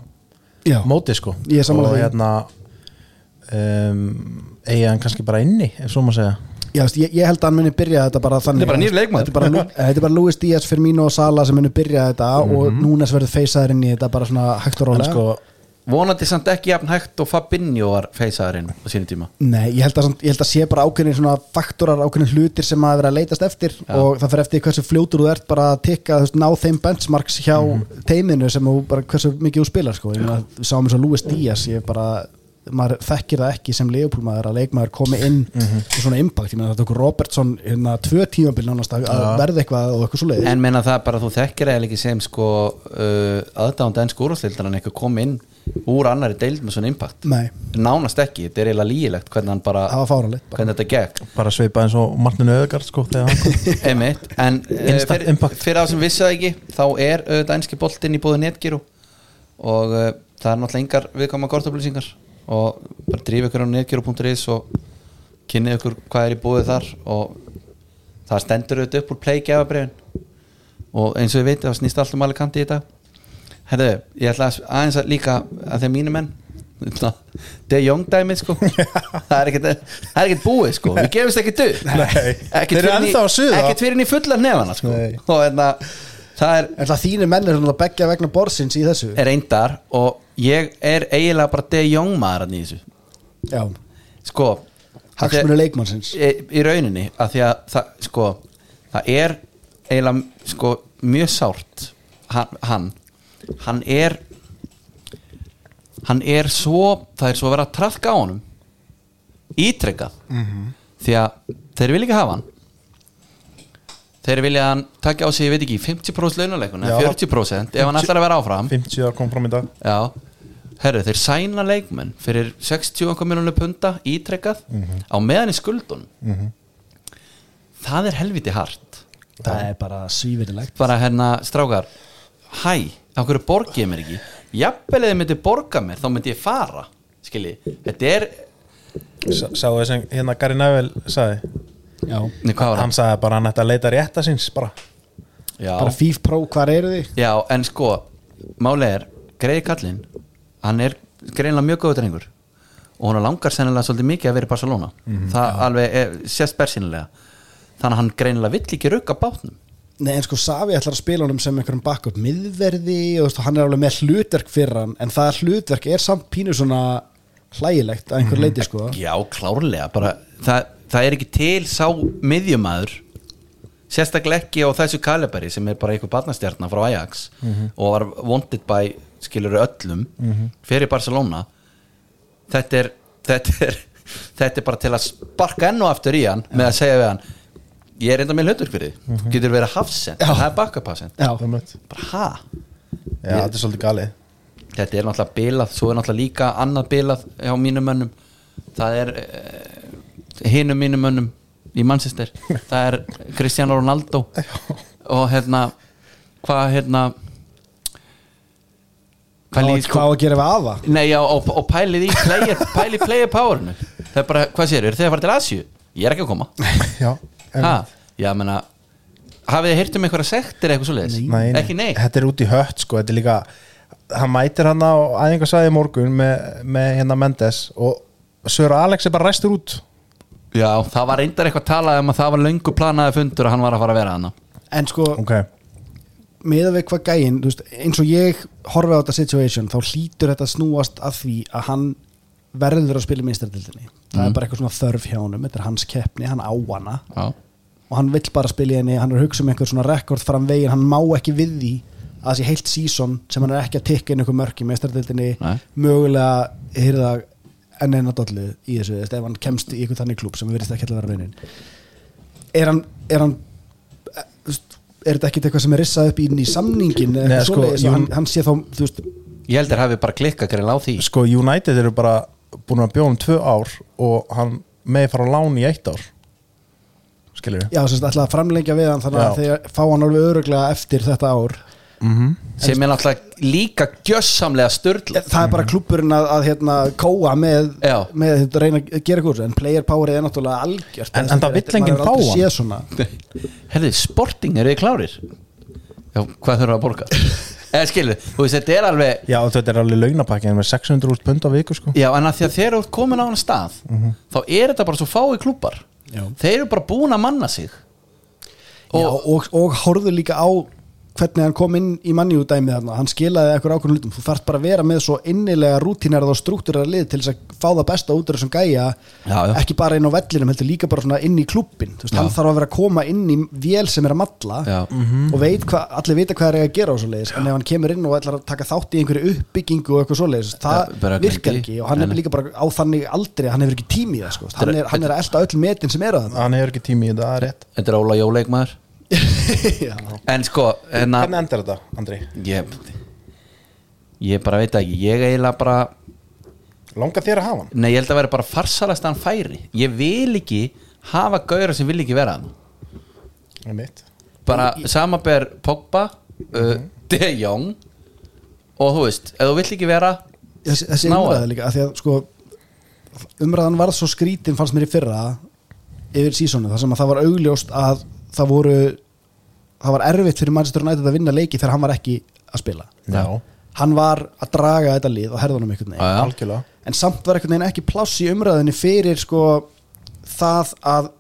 Speaker 3: já,
Speaker 4: mótið sko
Speaker 3: Ég er sammála
Speaker 4: Og
Speaker 3: því.
Speaker 4: hérna um, Eigi hann kannski bara inni Ef svo maður segja
Speaker 3: já veist, ég, ég held að hann muni byrja þetta bara þannig
Speaker 2: Þetta er bara nýr leikmaður.
Speaker 3: Þetta er bara,
Speaker 2: <laughs>
Speaker 3: Lu- þetta er bara Luis Díaz, Firmino og Sala sem muni byrja þetta
Speaker 2: Mhm.
Speaker 3: og núna verður feysaður inn í þetta bara svona hægt og
Speaker 4: En
Speaker 3: rólega
Speaker 4: sko
Speaker 2: vonandi samt ekki jafn hægt og Fabinho var feysaðurinn á sínu tíma
Speaker 3: Nei, ég held að, samt- ég held að sé bara ákveðin svona faktorar, ákveðin hlutir sem að vera að leitast eftir og það fer eftir hversu fljótur þú ert bara að tekka, þú veist, ná þeim benchmarks hjá teiminu sem þú bara hversu mikið þú spilar, sko, ég meina, við sáum eins og Luis Díaz, ég bara, maður þekkir það ekki sem leifupúlmaður að leikmaður komi inn og svona impact, ég meina það tók Robertson hérna tvö tímabil nánast að, að verða eitthvað og eitthvað svo leiðis,
Speaker 2: en meina það bara að þú þekkir eða ekki sem sko uh, aðdánd enn skúrúslildar hann eitthvað kom inn úr annari deild með svona impact
Speaker 3: nei,
Speaker 2: nánast ekki, þetta er eiginlega lýgilegt hvernig hann bara,
Speaker 3: það var fáralegt bara.
Speaker 2: hvernig þetta gekk
Speaker 4: bara svipa eins og Martin Öðegard sko Þegar hann kom
Speaker 2: <laughs>
Speaker 4: <laughs>
Speaker 2: einmitt, en uh,
Speaker 4: Instant
Speaker 2: fyrir,
Speaker 4: impact.
Speaker 2: fyrir það sem vissaði ekki þá er auðvitað enski boltinn í búðu netgiru og uh, það er náttúrulega engar viðkama kortablýsingar og bara drífa ykkur á netgiru.is og kynnið ykkur hvað er í búðu þar og það stendur auðvitað upp úr pleikjafabriðin og eins og ég veit það snýst allt um Alicante í dag Herðu, ég ætla að- aðeins að líka að þeim mínu menn <laughs> na, De Jong dæmið
Speaker 4: <laughs>
Speaker 2: sko það er ekkert það er ekkert búið sko við gefumst ekkert upp
Speaker 4: Nei.
Speaker 2: Ekkert
Speaker 4: Þeir eru
Speaker 2: fyrr en í-
Speaker 4: ennþá að suða.
Speaker 2: ekkert fyrir henni fulla nefana sko.
Speaker 4: Nei.
Speaker 2: og hérna það er,
Speaker 3: En það þínir menn er svona að begja vegna borsins í þessu,
Speaker 2: er reyndar og ég er eiginlega bara De Jong maður hann í þessu
Speaker 3: já,
Speaker 2: sko af því að-
Speaker 3: hagsmunni leikmannsins,
Speaker 2: í, eh, í rauninni að því að það, sko, það er eiginlega sko, mjög sárt hann, hann hann er hann er svo það er svo verið að trafka á honum ítrekkað því að þeir vilja ekki hafa hann þeir vilja að hann taka á sig, ég veit ekki, 50% launuleikun eða
Speaker 4: Já.
Speaker 2: 40% ef hann ætlar að vera áfram
Speaker 4: 50 að kom fram í dag
Speaker 2: Já, herru, þeir sæna leikmenn fyrir 60 miljónu punta ítrekkað á meðan í skuldunum Það er helviti hart
Speaker 3: það er bara svífirilegt.
Speaker 2: bara hérna, strákar Hæ, á hverju borgi ég mér ekki Jafnvel eða myndi borga mér, þá myndi ég fara Skilji, þetta er
Speaker 4: Sá það sem hérna Gary Neville sagði
Speaker 3: Já.
Speaker 2: Nei, hvað var
Speaker 4: Hann
Speaker 2: það?
Speaker 4: sagði bara að hann ætti að leita rétta síns bara
Speaker 2: Já.
Speaker 3: bara FIF Pro, hvar eru þið?
Speaker 2: Já, en sko, málið er Greiði Kallinn, hann er greinlega mjög góður drengur og hann langar sennilega svolítið mikið að vera í Barcelona það alveg er, sést bersýnilega þannig að hann greinlega vill ekki rugga bátnum
Speaker 3: Nei, en sko Savi ætlar að spila honum sem einhverjum backup miðverði og þú veist, hann er alveg með hlutverk fyrir hann en það hlutverk er samt pínu svona hlægilegt að einhver leiti sko
Speaker 2: Já, klárlega, bara það, það er ekki til sá miðjumæður sérstaklega ekki á þessu Kaliberi sem er bara einhver barnastjarnar frá Ajax og var wanted by skilur öllum fyrir Barcelona þetta er þetta er, þetta er bara til að sparka enn og aftur í hann með að segja við hann ég er enda með hlutur fyrir þið getur verið hafsend,
Speaker 3: Já.
Speaker 2: það er bakkapassend
Speaker 3: Já,
Speaker 4: Einmitt.
Speaker 2: bara ha
Speaker 4: Já, þetta er svolítið galið
Speaker 2: þetta er náttúrulega bilað svo er náttúrulega líka annað bilað hjá mínum mönnum það er uh, hinum mínum mönnum í Manchester það er Cristiano Ronaldo og hérna hvað hérna
Speaker 3: hvað,
Speaker 2: líður-
Speaker 3: hvað á að gera við afa?
Speaker 2: Nei, já, og, og pælið í player, pælið í player powerinu Það er bara, hvað sér, eru þið að fara til Asju? Ég er ekki að koma
Speaker 4: Já,
Speaker 2: ha, Já, menna, hafið þið heyrt um einhverja sektir eitthvað svo leiðis?
Speaker 4: nei, nei.
Speaker 2: Ekki nei
Speaker 4: Þetta er út í hött sko, þetta er líka hann mætir hann á æfingarsæði morgun með, með hérna Mendes og Sör Alex er bara ræstur út
Speaker 2: Já, það var reyndar eitthvað talað um að það var löngu planaði fundur og hann var að fara að vera hana
Speaker 3: En sko,
Speaker 4: Ok,
Speaker 3: meða við hvað gæinn, þú veist, eins og ég horfi á þetta situation, þá hlýtur þetta snúast að því að hann verður að spila minnstærdildinni, það
Speaker 4: Mhm.
Speaker 3: er bara eitthvað svona þörf hjá honum, þetta er hans keppni, hann á hana
Speaker 2: Já,
Speaker 3: og hann vill bara spila í henni, hann er að hugsa um einhver svona rekord framvegin, hann má ekki við því að þessi heilt sísón sem hann er ekki að tikka inn einhver mörk í minnstærdildinni
Speaker 2: Nei.
Speaker 3: mögulega hyrða enn eina dollu í þessu, þú veist, ef hann kemst í einhvern þannig klúb sem við verðist ekki að vera raunin er hann, er hann eh, þú veist, er þetta ekkert eitthvað sem er rissað upp inn í samningin eða
Speaker 4: Nei,
Speaker 3: eitthvað
Speaker 4: sko,
Speaker 3: svoleiðis og
Speaker 4: jú-
Speaker 3: hann, hann sé þá, þú veist
Speaker 2: ég held að hafið bara klikkað greinlega á því
Speaker 4: sko United eru bara búin að bjóða um tvö ár og hann meði fara á lán í eitt ár Skilur við?
Speaker 3: já, sem sagt, ætla að framlengja við hann þannig að
Speaker 4: Já.
Speaker 3: þegar fá hann alveg öruglega eftir þetta ár
Speaker 2: sem er náttúrulega líka gjössamlega störla
Speaker 3: Eh, það er bara
Speaker 4: Mhm.
Speaker 3: klúburinn að, að hérna, kóa með,
Speaker 2: Já.
Speaker 3: með að reyna að gera ykkur en player powerið er náttúrulega algjört
Speaker 4: En-
Speaker 3: Þetta
Speaker 4: en það
Speaker 3: er-
Speaker 4: vill
Speaker 3: þetta-
Speaker 4: enginn
Speaker 3: maður hefur aldrei
Speaker 4: fá hann.
Speaker 3: séð svona.
Speaker 2: Herði, sporting, eru þið klárir? Já, hvað þurfa að <laughs> borga? Eða skilu, þú veist, þetta er alveg
Speaker 4: Já, og þetta er alveg launapakkin með 600 úr pund á viku sko
Speaker 2: Já, en að því að þeir eru komin á hann stað þá er þetta bara svo fái klúpar
Speaker 3: Já.
Speaker 2: þeir eru bara búin að manna sig
Speaker 3: og, já, og, og horfðu líka á hvernig hann kom inn í manni út dæmið þarna hann skilaði eitthvað ákveðnum hlutum þú þarft bara að vera með svo innilega rútinerð og struktúrar lið til þess að fá það besta út úr þessum gæja
Speaker 2: Já, já.
Speaker 3: ekki bara inn á vellinum heldur líka bara svona inn í klubbin veist,
Speaker 2: Já.
Speaker 3: hann þarf að vera að koma inn í vél sem er að matla
Speaker 2: Já.
Speaker 3: og veit hvað, allir vita hvað er að gera og svoleiðis en ef hann kemur inn og ætlar að taka þátt í einhverju uppbyggingu og eitthvað svoleiðis það
Speaker 2: Það bara
Speaker 3: virkar
Speaker 2: gengi.
Speaker 3: ekki og hann
Speaker 2: Nei,
Speaker 3: er
Speaker 2: nei.
Speaker 3: líka bara á þannig aldrei að hann hefur ekki tími í það sko. hann, er, hann er að elda öll metin sem eru að
Speaker 4: Hann hefur ekki tími í þetta, það er rétt
Speaker 2: Þetta er Óla Jóleikmaður <laughs>
Speaker 3: <laughs> það
Speaker 2: En sko, hérna
Speaker 4: Hvernig endar þetta, Andri?
Speaker 2: ég, ég bara veit það ekki Ég eiginlega bara
Speaker 4: Longa þér að hafa hann?
Speaker 2: Nei, ég held að vera bara farsalast að hann færi Ég vil ekki hafa gauðra sem vil ekki vera hann
Speaker 4: Einmitt.
Speaker 2: Bara samaber Pogba uh, De Jong Og þú veist, ef þú vill ekki vera
Speaker 3: þessi, þessi
Speaker 2: Ná að-
Speaker 3: umræða líka að því að sko, umræðan varð svo skrítin fannst mér í fyrra yfir sísónu þar sem að það var augljóst að það voru það var erfitt fyrir Manchester United að vinna leiki þegar hann var ekki að spila
Speaker 4: Já,
Speaker 3: hann var að draga þetta lið og herðunum einhvern veginn
Speaker 2: Já.
Speaker 4: algjörlega
Speaker 3: en samt var einhvern veginn ekki pláss í umræðinni fyrir sko það að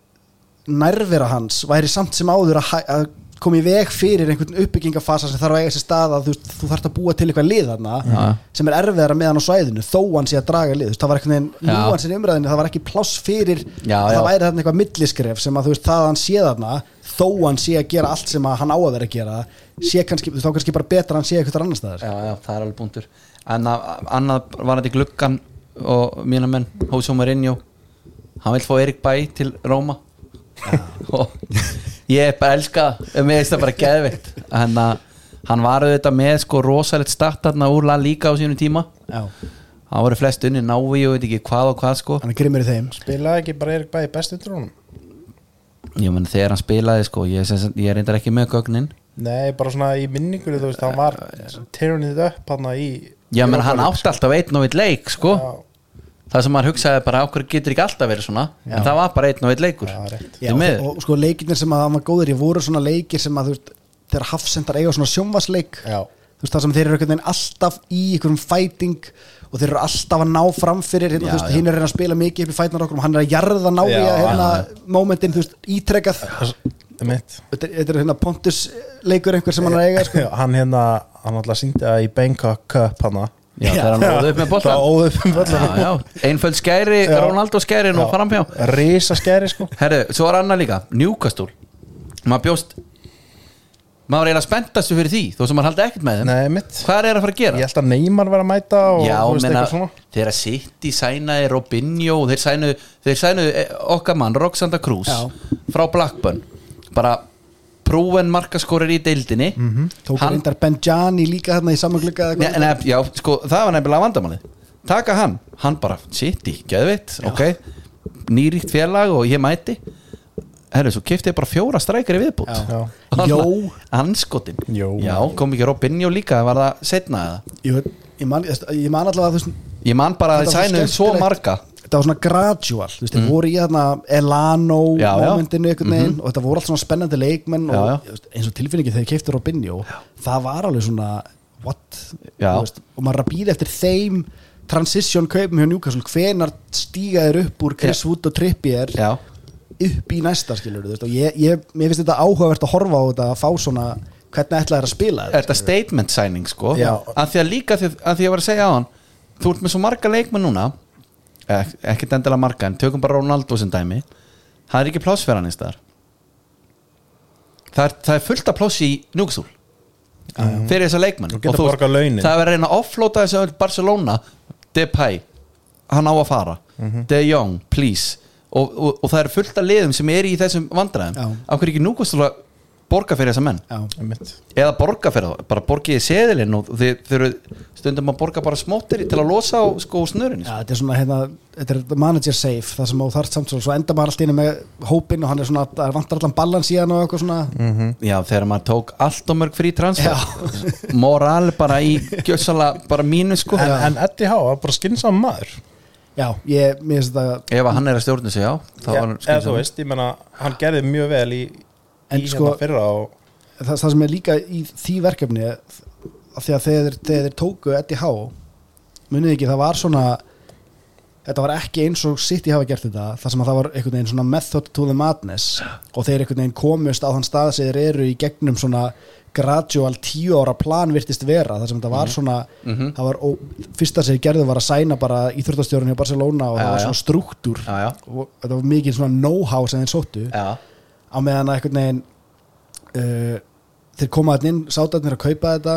Speaker 3: nærvera hans væri samt sem áður að, hæ- að koma í veg fyrir einhvern uppbyggingafasa sem þarf að eiga sér stað að þú, veist, þú þarf að búa til eitthvað lið þarna
Speaker 2: Já.
Speaker 3: sem er erfiðara með hann á svæðinu þó hann sé að draga lið, þú veist, það var einhvern veginn
Speaker 2: Já.
Speaker 3: núan sinni umræðinu, það var ekki pláss fyrir
Speaker 2: Já,
Speaker 3: að
Speaker 2: já.
Speaker 3: það væri þarna eitthvað milliskref sem að þú veist það að hann sé þarna þó hann sé að gera allt sem að hann á að vera að gera sé kannski, þú veist, þá kannski bara betra að hann sé eitthvað annars staðar
Speaker 2: já, já, það er alveg punktur en að, annað var þetta í gluggan og mína menn, Hósjó Mourinho hann vil fá Erik Bæ til Róma <laughs> og ég er bara að elska það, mér finnst það bara geðveikt en að hann var auðvitað með sko rosalegt startarna úr La Liga á sínum tíma
Speaker 3: Já.
Speaker 2: hann voru flest unni návi og veit ekki hvað og hvað sko
Speaker 3: hann er grimmur í þeim
Speaker 4: Bilaði ekki bara Erik Bæði best undir honum?
Speaker 2: ég menn þegar hann spilaði sko ég, sem, sagt- ég er reyndar ekki með gögnin
Speaker 4: Nei, bara svona í minningunni, þú veist, hann var terunnið upp hann í
Speaker 2: ég menn hann átti alltaf einn og einn leik sko
Speaker 4: Já,
Speaker 2: það sem maður hugsaði bara okkur getur ekki alltaf verið svona en það var bara einn og einn leikur
Speaker 4: Já, rétt.
Speaker 2: Því miður.
Speaker 3: og, og sko leikirnir sem að hann var góður í voru svona leikir sem að þú veist þegar hafsendar eiga svona sjónvasleik
Speaker 4: Já.
Speaker 3: þú veist það sem þeir eru einhvern veginn alltaf í einhverjum fæting og þeir eru alltaf að ná fram fyrir hérna,
Speaker 2: Já,
Speaker 3: þú veist,
Speaker 2: já.
Speaker 3: hinn er að reyna að spila mikið upp í fætnar okkur og hann er að jarða ná í
Speaker 4: Já,
Speaker 3: að hérna momentin, þú veist, ítrekað
Speaker 4: mitt
Speaker 3: þetta er- þetta er hérna Pontus leikur einhver sem hann er að eiga sko.
Speaker 4: Hann hérna, hann alltaf síndi að í Bangkok Cup hann
Speaker 2: Já, það er hann óðu upp með boltan
Speaker 4: Það óðu upp með boltan
Speaker 2: Já, já, einföld skæri,
Speaker 4: Já.
Speaker 2: Ronaldo skæri og framhjá
Speaker 4: Rísa skæri sko
Speaker 2: Herðu, svo var annað líka, Newcastle Maður bjóst Maður var eiginlega spenntastu fyrir því Þó sem maður haldi ekkert með þeim
Speaker 4: Nei, mitt
Speaker 2: Hvað er að fara að
Speaker 4: Ég
Speaker 2: gera?
Speaker 4: held að Neymar var að mæta og
Speaker 2: Já,
Speaker 4: þú veist,
Speaker 2: meina,
Speaker 4: eitthvað svona.
Speaker 2: þegar City sænaði Robinho og þeir sænuðu þeir sænuðu eh, okkar mann, Roxanda Cruz
Speaker 3: Já.
Speaker 2: frá Blackburn bara prúven markaskorir í deildinni
Speaker 3: sko. Tók
Speaker 2: Hann-
Speaker 3: reyndar Benjani líka þarna í saman glugga eða
Speaker 2: Nei,
Speaker 3: eitthvað.
Speaker 2: nei, já, sko, það var nefnilega vandamálið Taka hann, hann bara, City, geðvitt ok, nýríkt félag og ég mæti Herru, svo kefti ég bara fjóra strækari viðbútt
Speaker 3: Já.
Speaker 4: Já.
Speaker 3: Jó.
Speaker 2: Anskotin
Speaker 4: Jó.
Speaker 2: Já, kom ekki Robinho líka, var það setna eða
Speaker 3: Ég, ég, man, ég man allavega að þú veist
Speaker 2: Ég man bara að
Speaker 3: Þetta
Speaker 2: þið
Speaker 3: var svo
Speaker 2: sænuðu svo
Speaker 3: skemmtilegt.
Speaker 2: marga
Speaker 3: þetta var svona gradual þú veist, þeir voru í þarna Elano
Speaker 2: Mm. Já, já.
Speaker 3: momentinu einhvern veginn og þetta voru allt svona spennandi leikmenn
Speaker 2: Já,
Speaker 3: og
Speaker 2: já.
Speaker 3: þú Veist, eins og tilfinningi þegar ég keipti Robinho það var alveg svona what
Speaker 2: Já.
Speaker 3: Þú og maður er að býða eftir þeim transition kaupum hjá Newcastle hvenar stíga þeir upp úr Chris
Speaker 2: Já.
Speaker 3: Wood og Trippier
Speaker 2: Já,
Speaker 3: upp í næsta skilur þú veist, og ég, ég, mér finnst þetta áhugavert að horfa á þetta að fá svona hvernig ætlaði þeir að spila þetta
Speaker 2: þetta statement sæning sko
Speaker 4: Já.
Speaker 2: að því að líka, því, að því að ég var að segja á hann Þú ert með svo marga leikmenn núna Ek, ekkert endilega marga, en tökum bara Ronaldo sem dæmi Það er ekki plásfæran eins þar það er, það er fullt af pláss í Newcastle fyrir þessa leikmenn
Speaker 4: Og geta
Speaker 2: þú-
Speaker 4: borgað launin.
Speaker 2: það er að reyna að offlóta þessu öll Barcelona Depay, hann á að fara De Jong, please og, og, og það er fullt af liðum sem er í þessum vandræðum
Speaker 3: Já.
Speaker 2: af hverju ekki Newcastle að borga fyrir þessa menn
Speaker 3: Já.
Speaker 4: Einmitt.
Speaker 2: eða borga fyrir það, bara borgið í seðilinn og þið þurfið stundum að borga bara smóttir til að losa á sko snörin
Speaker 3: Já, þetta er svona, hérna, þetta er manager safe það sem á þarft samt svo, svo enda maður alltaf inni með hópin og hann er svona, það er vantar allan balans í hann og eitthvað svona,
Speaker 2: Já, þegar maður tók allt og mörg frí transfer <laughs> moral bara í gjössala bara mínu sko
Speaker 4: En, en Eddie Há var bara skynsam maður
Speaker 3: já, ég, mér finnst þetta
Speaker 2: ef að hann er að stjórna sig, já þá
Speaker 4: Já,
Speaker 2: var hann
Speaker 4: Eða þú
Speaker 2: skynsamur.
Speaker 4: veist, ég menna Hann gerði mjög vel í,
Speaker 3: En
Speaker 4: í
Speaker 3: sko-
Speaker 4: hérna fyrra og,
Speaker 3: það, það sem er líka í því verkefni af því að þegar, þeir- þegar þeir tóku Eddie Há, munið ekki það var svona þetta var ekki eins og City hafa gert þetta þar sem að það var einhvern veginn svona method to the madness og þeir einhvern veginn komust á þann stað sem þeir eru í gegnum svona gradual tíu ára plan virtist vera þar sem þetta
Speaker 2: Mhm.
Speaker 3: var svona það var, og fyrsta sem þeir gerðu var að sæna bara íþjóttastjórun hjá Barcelona
Speaker 2: Já,
Speaker 3: og það var
Speaker 2: já.
Speaker 3: svona struktúr
Speaker 2: Já, já,
Speaker 3: og þetta var mikið svona know-how sem þeir sóttu
Speaker 2: já,
Speaker 3: á meðan að einhvern veginn uh, þeir koma þarna inn sátarnir að kaupa þetta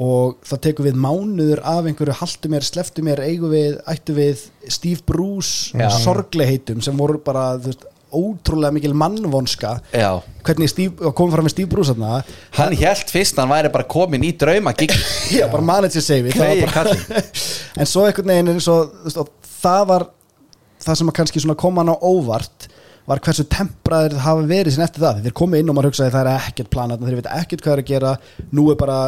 Speaker 3: og það tekur við mánuður af einhverju haltu mér, sleftu mér, eigu við ættu við Steve Bruce
Speaker 2: Já.
Speaker 3: sorgleheitum sem voru bara þú veist, ótrúlega mikil mannvonska
Speaker 2: já
Speaker 3: hvernig Steve, kom fram með Steve Bruce þarna
Speaker 2: Hann hélt fyrst að hann væri bara komin í drauma gig
Speaker 3: já, bara manager save
Speaker 2: Kregi
Speaker 3: bara,
Speaker 2: kallinn
Speaker 3: en svo einhvern veginn er eins og þú veist, og það var það sem að kannski svona kom hann á óvart var hversu tempraðir það hafa verið sinni eftir það þeir komu inn og maður hugsaði það er ekkert planað þeir veit ekkert hvað er að gera nú er bara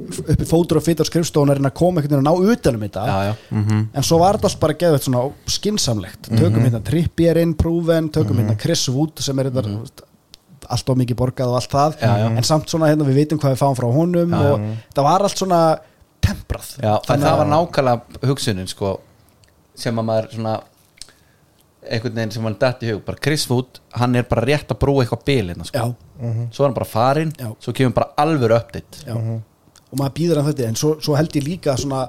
Speaker 3: uppi fótur og fytur skrifstofun er að reyna að koma einhvern veginn að ná utanum þetta
Speaker 2: Já, já.
Speaker 3: en svo var þetta allt bara geðvægt svona skinsamlegt
Speaker 2: Mhm.
Speaker 3: tökum hérna Trippier inn, Prúven tökum hérna Chris Wood sem er þetta mm -hmm. allt of mikið borgað og allt það
Speaker 2: Mhm. Já, já.
Speaker 3: en samt svona hérna við vitum hvað við fáum frá honum og það var allt svona temprað
Speaker 2: Já, en það var nákvæmlega hugsunin sko, sem að maður svona einhvern veginn sem hann datt í hug bara Chris Wood, hann er bara rétt að brúa eitthvað bilina sko.
Speaker 3: Já.
Speaker 2: svo er hann bara farinn
Speaker 3: Já.
Speaker 2: svo kemur bara alvöru uppdeitt
Speaker 3: Já. og maður býður hann þetta en svo, svo held ég líka svona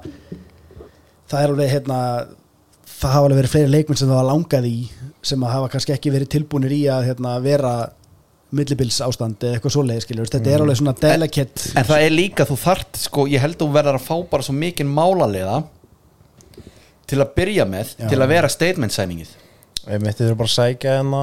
Speaker 3: það er alveg hérna það hafa alveg verið fleiri leikmenn sem það var langað í sem að hafa kannski ekki verið tilbúinir í að hérna, vera millibils ástand eða eitthvað svoleiði skilur þetta er alveg svona delicate
Speaker 2: en það er líka, þú þart sko, ég held að þú verðar að fá bara svo mikinn málarlega til að byrja með
Speaker 3: Já.
Speaker 2: til að vera statement sæningið
Speaker 4: Einmitt, þið eru bara að sækja henn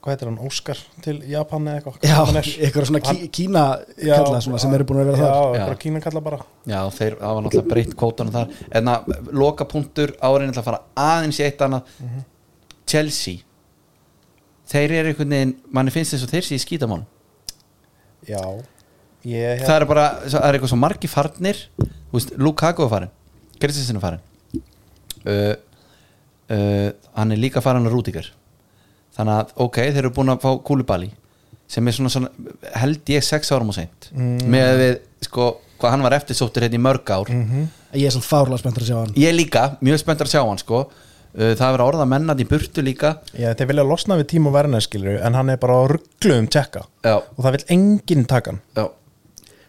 Speaker 4: Hvað heitir hann, Óskar til Japan eða eitthvað
Speaker 3: já,
Speaker 4: Hvað hann er?
Speaker 3: <laughs> eitthvað svona kí,
Speaker 4: Hann-
Speaker 3: kína
Speaker 4: Já,
Speaker 3: kalla svona sem eru búin að vera
Speaker 4: Já,
Speaker 3: þar
Speaker 4: bara
Speaker 2: Já.
Speaker 4: kína kalla bara
Speaker 2: Já, þeir, það var náttúrulega breytt kvótanum þar en að lokapunktur áriðin til að fara aðeins í eitt annað Chelsea þeir eru einhvern veginn, manni finnst þess að þeir sé í skítamál
Speaker 4: Já, ég hérna-
Speaker 2: það eru bara, það eru eitthvað svo margi farnir þú veist, Lukaku er farin Kristinsson er farin uh, uh, hann er líka farin að Rúdíkar þannig að, ok, þeir eru búin að fá kúlubali sem er svona, svona held ég sex árum og seint með að við, sko, hvað hann var eftirsóttur hérna í mörg ár
Speaker 4: Mhm.
Speaker 3: ég er svona fárlega spenntur að sjá hann
Speaker 2: ég líka, mjög spenntur að sjá hann sko Uh, það er verið að orða mennandi í burtu líka
Speaker 4: Já, þeir vilja losna við Tímo Werner skilur en hann er bara á ruggluðum tekka
Speaker 2: Já.
Speaker 4: og það vil enginn taka hann
Speaker 2: já,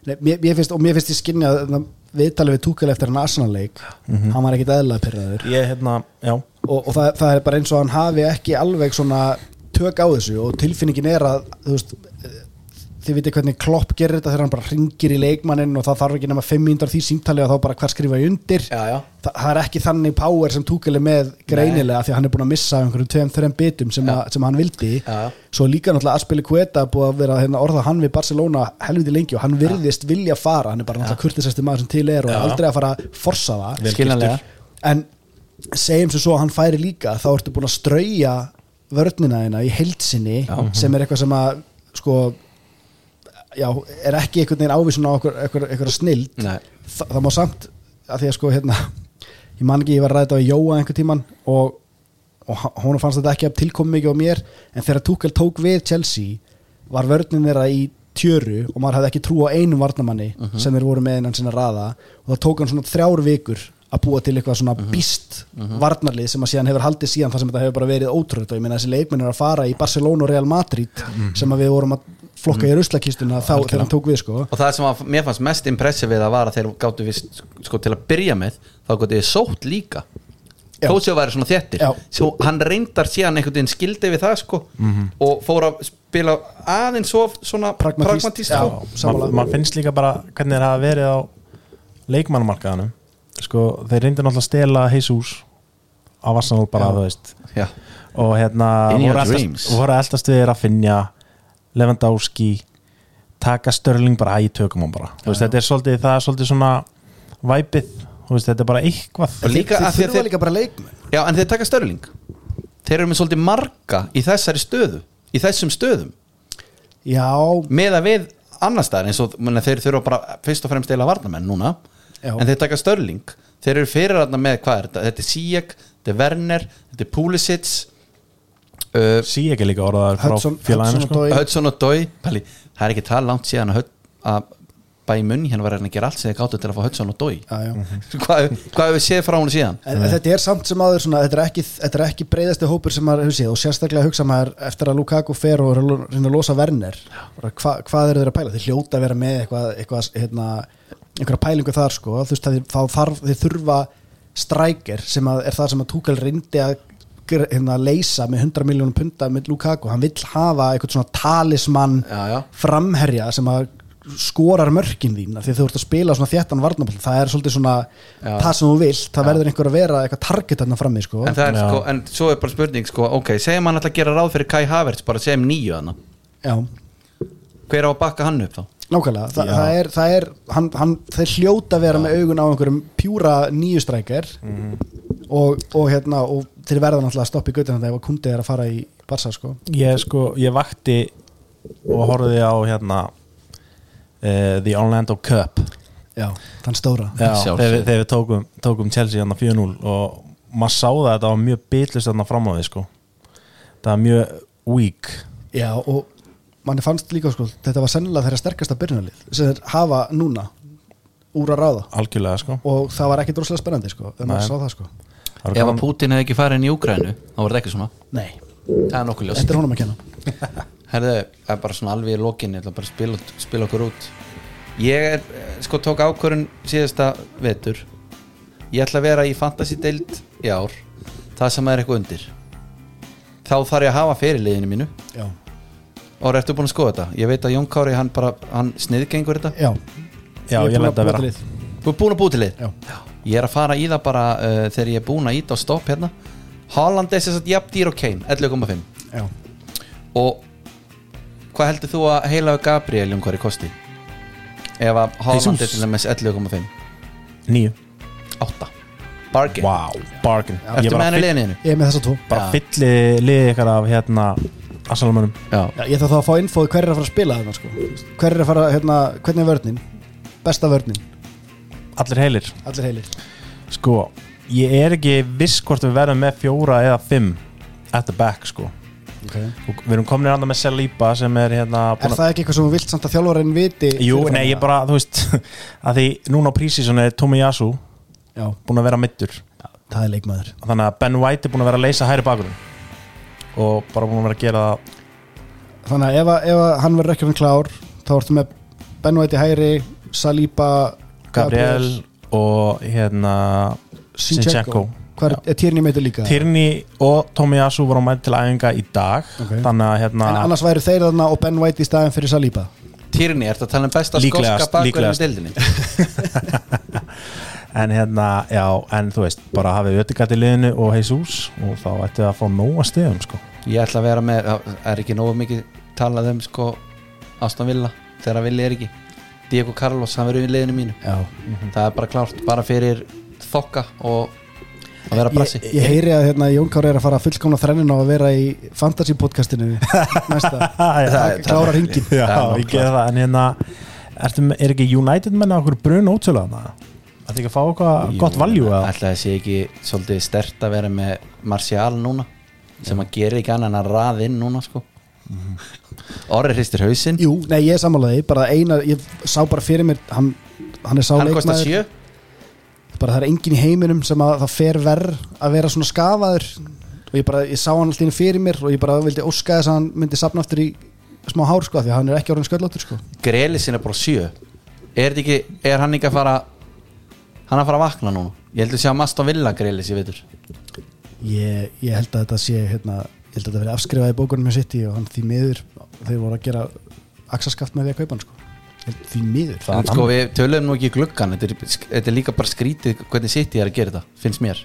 Speaker 3: Nei, mér, mér finnst, og mér finnst ég skynja að það- viðtalið við Tuchel eftir hann Arsenal-leik hann var ekkit eðlega pyrraður
Speaker 4: ég hérna, já,
Speaker 3: og, og það, það er bara eins og hann hafi ekki alveg svona tök á þessu og tilfinningin er að þú veist eh, þið viti hvernig Klopp gerir þetta þegar hann bara ringir í leikmannin og það þarf ekki nema 500 því símtali og þá bara hver skrifa ég undir
Speaker 2: Já, já.
Speaker 3: Þa, það er ekki þannig power sem túkeli með greinilega því að hann er búin að missa af einhverjum tveim, þreim bitum sem, að, sem hann vildi
Speaker 2: Já.
Speaker 3: svo líka náttúrulega Aspili Kueta búið að vera hérna, orða hann við Barcelona helviti lengi og hann virðist vilja fara, hann er bara náttúrulega kurtisæsti maður sem til er og
Speaker 2: Já.
Speaker 3: aldrei að fara að forsa það
Speaker 2: skiljanlega
Speaker 3: en segjum sem svo að hann færi líka þá ertu búin að strauja vörnina þína í heilsinni sem er eitthvað sem að sko já, er ekki einhvern veginn ávísun á einhver, einhver, einhver snild
Speaker 2: Nei.
Speaker 3: Þa, það má samt að því að sko hérna ég man ekki, ég var ræðið á Jóa einhvern tíman og, og hún fannst þetta ekki að tilkomi mikið á mér en þegar Tuchel tók við Chelsea var vörnin þeirra í tjöru og maður hafði ekki trú á einum varnamanni
Speaker 2: Mhm.
Speaker 3: sem þeir voru með innan sinna raða og það tók hann svona þrjár vikur að búa til eitthvað svona
Speaker 2: Mhm.
Speaker 3: býst varnarlið sem að síðan hefur haldið síðan þar sem þetta hefur bara verið ótrútt og ég meina þessi leikmenn er að fara í Barcelona og Real Madrid
Speaker 2: Mhm.
Speaker 3: sem að við vorum að flokka í ruslakistuna þá þegar hann tók við sko
Speaker 2: og það sem að, mér fannst mest impressið við að var að þeir gáttu vist sko til að byrja með þá gáttu þið sótt líka
Speaker 3: Já.
Speaker 2: þó séu að væri svona þéttir
Speaker 3: Já.
Speaker 2: svo hann reyndar síðan einhvern veginn skildi við það sko og fór að spila aðeins svo svona
Speaker 3: Mhm. Pragmatist.
Speaker 2: pragmatist
Speaker 3: Já.
Speaker 2: sko.
Speaker 3: Sammála.
Speaker 4: maður ma finnst líka bara hvernig það hafa verið á leikmannumarkaðanum sko, þeir reyndu náttúrulega að stela heisús á Arsenal bara, þú veist
Speaker 2: Já.
Speaker 4: og hérna
Speaker 2: In your
Speaker 4: voru að
Speaker 2: dreams.
Speaker 4: eltast- voru að eldast við að finja Lewandowski taka Störling bara æg tökum hann bara Þú veist, þetta er svolítið, það er svolítið svona væpið, þú veist, þetta er bara eitthvað
Speaker 2: Og líka að
Speaker 3: þeir
Speaker 2: því að
Speaker 3: þurfa
Speaker 2: þeir-
Speaker 3: líka bara leikmenn
Speaker 2: Já, en þeir taka störling þeir eru með svolítið marga í þessari stöðu í þessum stöðum
Speaker 3: já,
Speaker 2: með að við annars staðar eins og mena, þeir þurfa bara fyrst og fremst eila varnamenn núna
Speaker 3: Já.
Speaker 2: en þeir taka Störling þeir eru fyrirarna með hvað er þetta þetta er Sijek, þetta er Werner, þetta er Pulisic uh,
Speaker 4: sí ekki líka orðaður frá
Speaker 3: Hudson- Hudson
Speaker 4: félaginu
Speaker 3: og
Speaker 4: sko.
Speaker 3: Doy.
Speaker 2: Hudson og Dói Pæli, það er ekki tala langt síðan að, Hud- að Bæmunn hérna var hann að gera allt sem þeir gáttu til að fá Hudson og
Speaker 3: <laughs>
Speaker 2: Dói
Speaker 3: já, já.
Speaker 4: Mhm.
Speaker 2: hvað, hvað hefur séð frá hún síðan?
Speaker 3: En þetta er samt sem áður svona, þetta er ekki, þetta er ekki breyðasti hópur sem maður hefur séð og sérstaklega hugsa maður eftir að Lukaku fer og er að lo- reyna að losa Werner bara hva, hvað eru þeir að pæla? Þeir hljóta að vera með eitthvað, eitthvað hérna, einhverja pælingu þar sko, þú veist að þeir, þá þarf, þeir þurfa strækir sem að, er það sem að Tuchel reyndi að gr- hérna, leysa með 100 miljónum punda með Lukaku, hann vill hafa eitthvað svona talismann
Speaker 2: Já, já.
Speaker 3: framherja sem að skorar mörkin þín af því að þú ert að spila svona þjættan varnaball það er svolítið svona
Speaker 2: Já.
Speaker 3: það sem þú vilt það verður einhver að vera eitthvað target þarna frammi sko.
Speaker 2: En, það er,
Speaker 4: Já.
Speaker 2: sko, en svo er bara spurning sko, ok, segjum hann alltaf að gera ráð fyrir Kai Havertz bara segjum nýju hann
Speaker 3: já,
Speaker 2: hver á að bakka hann upp þá?
Speaker 3: nákvæmlega Þa,
Speaker 4: Já.
Speaker 3: það er, það er hann, hann, þeir hljóta að vera með augun á einhverjum pjúra nýju strækjar og, og hérna og þeir verða náttúrulega að stoppa í gautina þegar kundið er að fara í barsa sko.
Speaker 4: ég sko, ég vakti og horfði á hérna uh, The Orlando Cup
Speaker 3: já, þann stóra
Speaker 4: Já,
Speaker 2: Sjálfsögðu.
Speaker 4: þegar, við- þegar við tókum, tókum Chelsea hann 4-0 og maður sá það að þetta var mjög bitlust hann fram á því sko það var mjög weak
Speaker 3: Já og manni fannst líka sko, þetta var sennilega þeirra sterkasta byrjunalið sem þeir hafa núna úr að ráða
Speaker 4: algjörlega sko
Speaker 3: og það var ekki droslega spennandi sko, þegar maður
Speaker 4: Nei.
Speaker 3: sá það sko
Speaker 4: Það var
Speaker 2: Ef að
Speaker 4: gaman-
Speaker 2: Putin hefði ekki farið inn í Úgrænu þá var þetta ekki svona
Speaker 3: Nei,
Speaker 2: Það er nokkuð
Speaker 3: þetta
Speaker 2: ljóst
Speaker 3: er honum að kenna
Speaker 2: Herðu, það er bara svona alveg í lokinni Það er bara að spila, spila okkur út Ég er, eh, sko, tók ákvörun síðasta vetur Ég ætla að vera í fantasy deild í ár Það sem er eitthvað undir Þá þarf ég að hafa fyrirliðinu mínu
Speaker 3: Já,
Speaker 2: Og ertu búin að skoða þetta? Ég veit að Jón Kári, hann bara, hann sniðgengur þetta
Speaker 3: já,
Speaker 4: já, ég lenda að vera
Speaker 2: Þú er búin að búi til lið?
Speaker 3: Já.
Speaker 2: Ég er að fara í það bara uh, þegar ég er búin að íta á stopp hérna Haaland er sér satt jafn dýr og Kane 11,5
Speaker 3: Já,
Speaker 2: og hvað heldur þú að heilaðu Gabriel um hverju kosti ef að Haaland er
Speaker 4: Jesus.
Speaker 2: til dæmis 11,5
Speaker 4: nýju
Speaker 2: 8 bargain
Speaker 4: wow, bargain
Speaker 2: ertu með henni
Speaker 4: fyll-
Speaker 2: legininu
Speaker 3: ég er með þessa tvo
Speaker 4: bara
Speaker 2: Já.
Speaker 4: fylli liðið ykkar af hérna Assalmanum
Speaker 2: já.
Speaker 3: já, Ég þarf þá að fá infóð hver er að fara að spila þarna sko Hver er að fara, hérna, hvernig er vörnin? Besta vörnin,
Speaker 4: allir heilir
Speaker 3: allir heilir
Speaker 4: sko, ég er ekki viss hvort við verðum með fjóra eða fimm at the back sko
Speaker 3: okay.
Speaker 4: og við erum komin hérna með Saliba sem er hérna búin
Speaker 3: Er það ekki eitthvað sem þú vilt samt að þjálfarinn viti?
Speaker 4: Jú,
Speaker 3: fyrirfram?
Speaker 4: nei, ég bara, þú veist <laughs> að því núna á prísísson er Tomi Yasu
Speaker 3: Já,
Speaker 4: búin að vera mittur
Speaker 3: það er leikmaður
Speaker 4: þannig að Ben White er búin að vera að leysa hæri bakurinn og bara búin að vera að gera það
Speaker 3: Þannig að ef, að- ef að hann verður ekki hann klár þá ertu með Benvæti Hæri, Saliba
Speaker 4: Gabriel og hérna Sinchenko
Speaker 3: Sinchenko Hvað er, er Tierney meitur líka?
Speaker 4: Tyrni og Tomiyasu voru mætt til æfinga í dag
Speaker 3: Ok.
Speaker 4: þannig að hérna
Speaker 3: En annars væru þeir þarna og Ben White í staðin fyrir Saliba
Speaker 2: Tyrni, ertu að tala um besta
Speaker 4: Líklegast,
Speaker 2: skóska bakverðin í
Speaker 4: líklegast.
Speaker 2: deildinni?
Speaker 4: en hérna, já, en þú veist bara hafið Ödegaard í liðinu og Jesus og þá ætti það að fá nóga stegum sko.
Speaker 2: Ég ætla að vera með, það er ekki nógu mikið talað um sko Aston Villa, þegar Villa er ekki Diego Carlos, hann verður í liðinu mínu
Speaker 3: Já
Speaker 2: það er bara klárt, bara fyrir þokka og að vera brassi
Speaker 3: Ég, ég heyri að hérna, Jón Kár er að fara fullkomna þrennin á að vera í fantasy podcastinu
Speaker 2: <laughs>
Speaker 3: næsta,
Speaker 4: já,
Speaker 3: klára ringin
Speaker 2: það er
Speaker 4: ég geði það en hérna, ertu, með- er ekki United menna okkur brun ótsölu þarna? Það er ekki að fá eitthvað gott valjú eða?
Speaker 2: Ætla þessi ekki svolítið stert að vera með Martial núna sem að gera ekki annað en að raða inn núna sko Orri hristir hausinn
Speaker 3: Mhm. Jú, nei, ég er sammálaði, bara eina ég sá bara fyrir mér, hann, hann er sá
Speaker 2: hann kostar
Speaker 3: leikmaður,
Speaker 2: sjö
Speaker 3: bara það er engin í heiminum sem að það fer verð að vera svona skafaður og ég bara, ég sá hann alltaf fyrir mér og ég bara vildi óska þess að hann myndi safna aftur í smá hár sko, af því að hann er ekki orðin sköllóttur sko
Speaker 2: Grelisinn er bara sjö er, þetta ekki, er hann ekki að fara hann að fara að vakna núna ég heldur sé að Maston Villa Grelis ég veitur
Speaker 3: ég, ég held að þetta sé hérna, ég held að þetta verið afskrifað í bókunum með City og hann því miður, þeir voru að gera axaskaft með því að kaupa hann sko Ég held- því miður,
Speaker 2: en sko við töluðum nú ekki í gluggan þetta er, þetta er líka bara skrítið hvernig sitt ég er að gera þetta finnst mér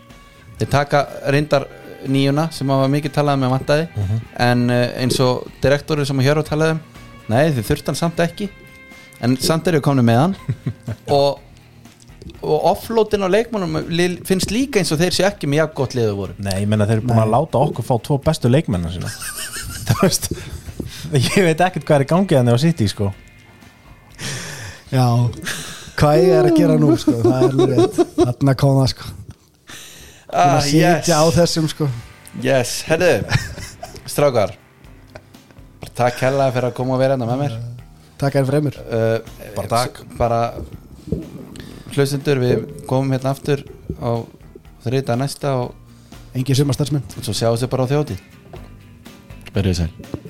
Speaker 2: þeir taka reyndar nýjuna sem hafa mikið talað með vantaði uh
Speaker 3: Mhm.
Speaker 2: -huh. en eh, eins og direktorið sem hér á talaði um nei þið þurft hann samt ekki en samt eru komin með
Speaker 3: <laughs>
Speaker 2: hann og, og offloadin á leikmannum li- finnst líka eins og þeir sé ekki með jafn gott liðu voru
Speaker 4: Nei, ég menna þeir eru búin að láta okkur fá tvo bestu leikmennar <laughs> sína Það veist Ég veit ekkert hvað er í gangi þannig á City sko
Speaker 3: já hvað ég er að gera nú sko, það er alveg rétt þarna kom það sko, það
Speaker 2: ah,
Speaker 3: sitja á þessum sko
Speaker 2: Yes, herðu Strákar Bara Takk hella fyrir að koma og vera hérna með mér
Speaker 3: taka þér fremur,
Speaker 2: uh,
Speaker 4: Bara takk.
Speaker 2: s- Bara Hlustendur, við komum hérna aftur á þriðdag næsta og
Speaker 3: engin sumastarsmenn
Speaker 2: svo sjáum við bara á þjóti Verðið sæl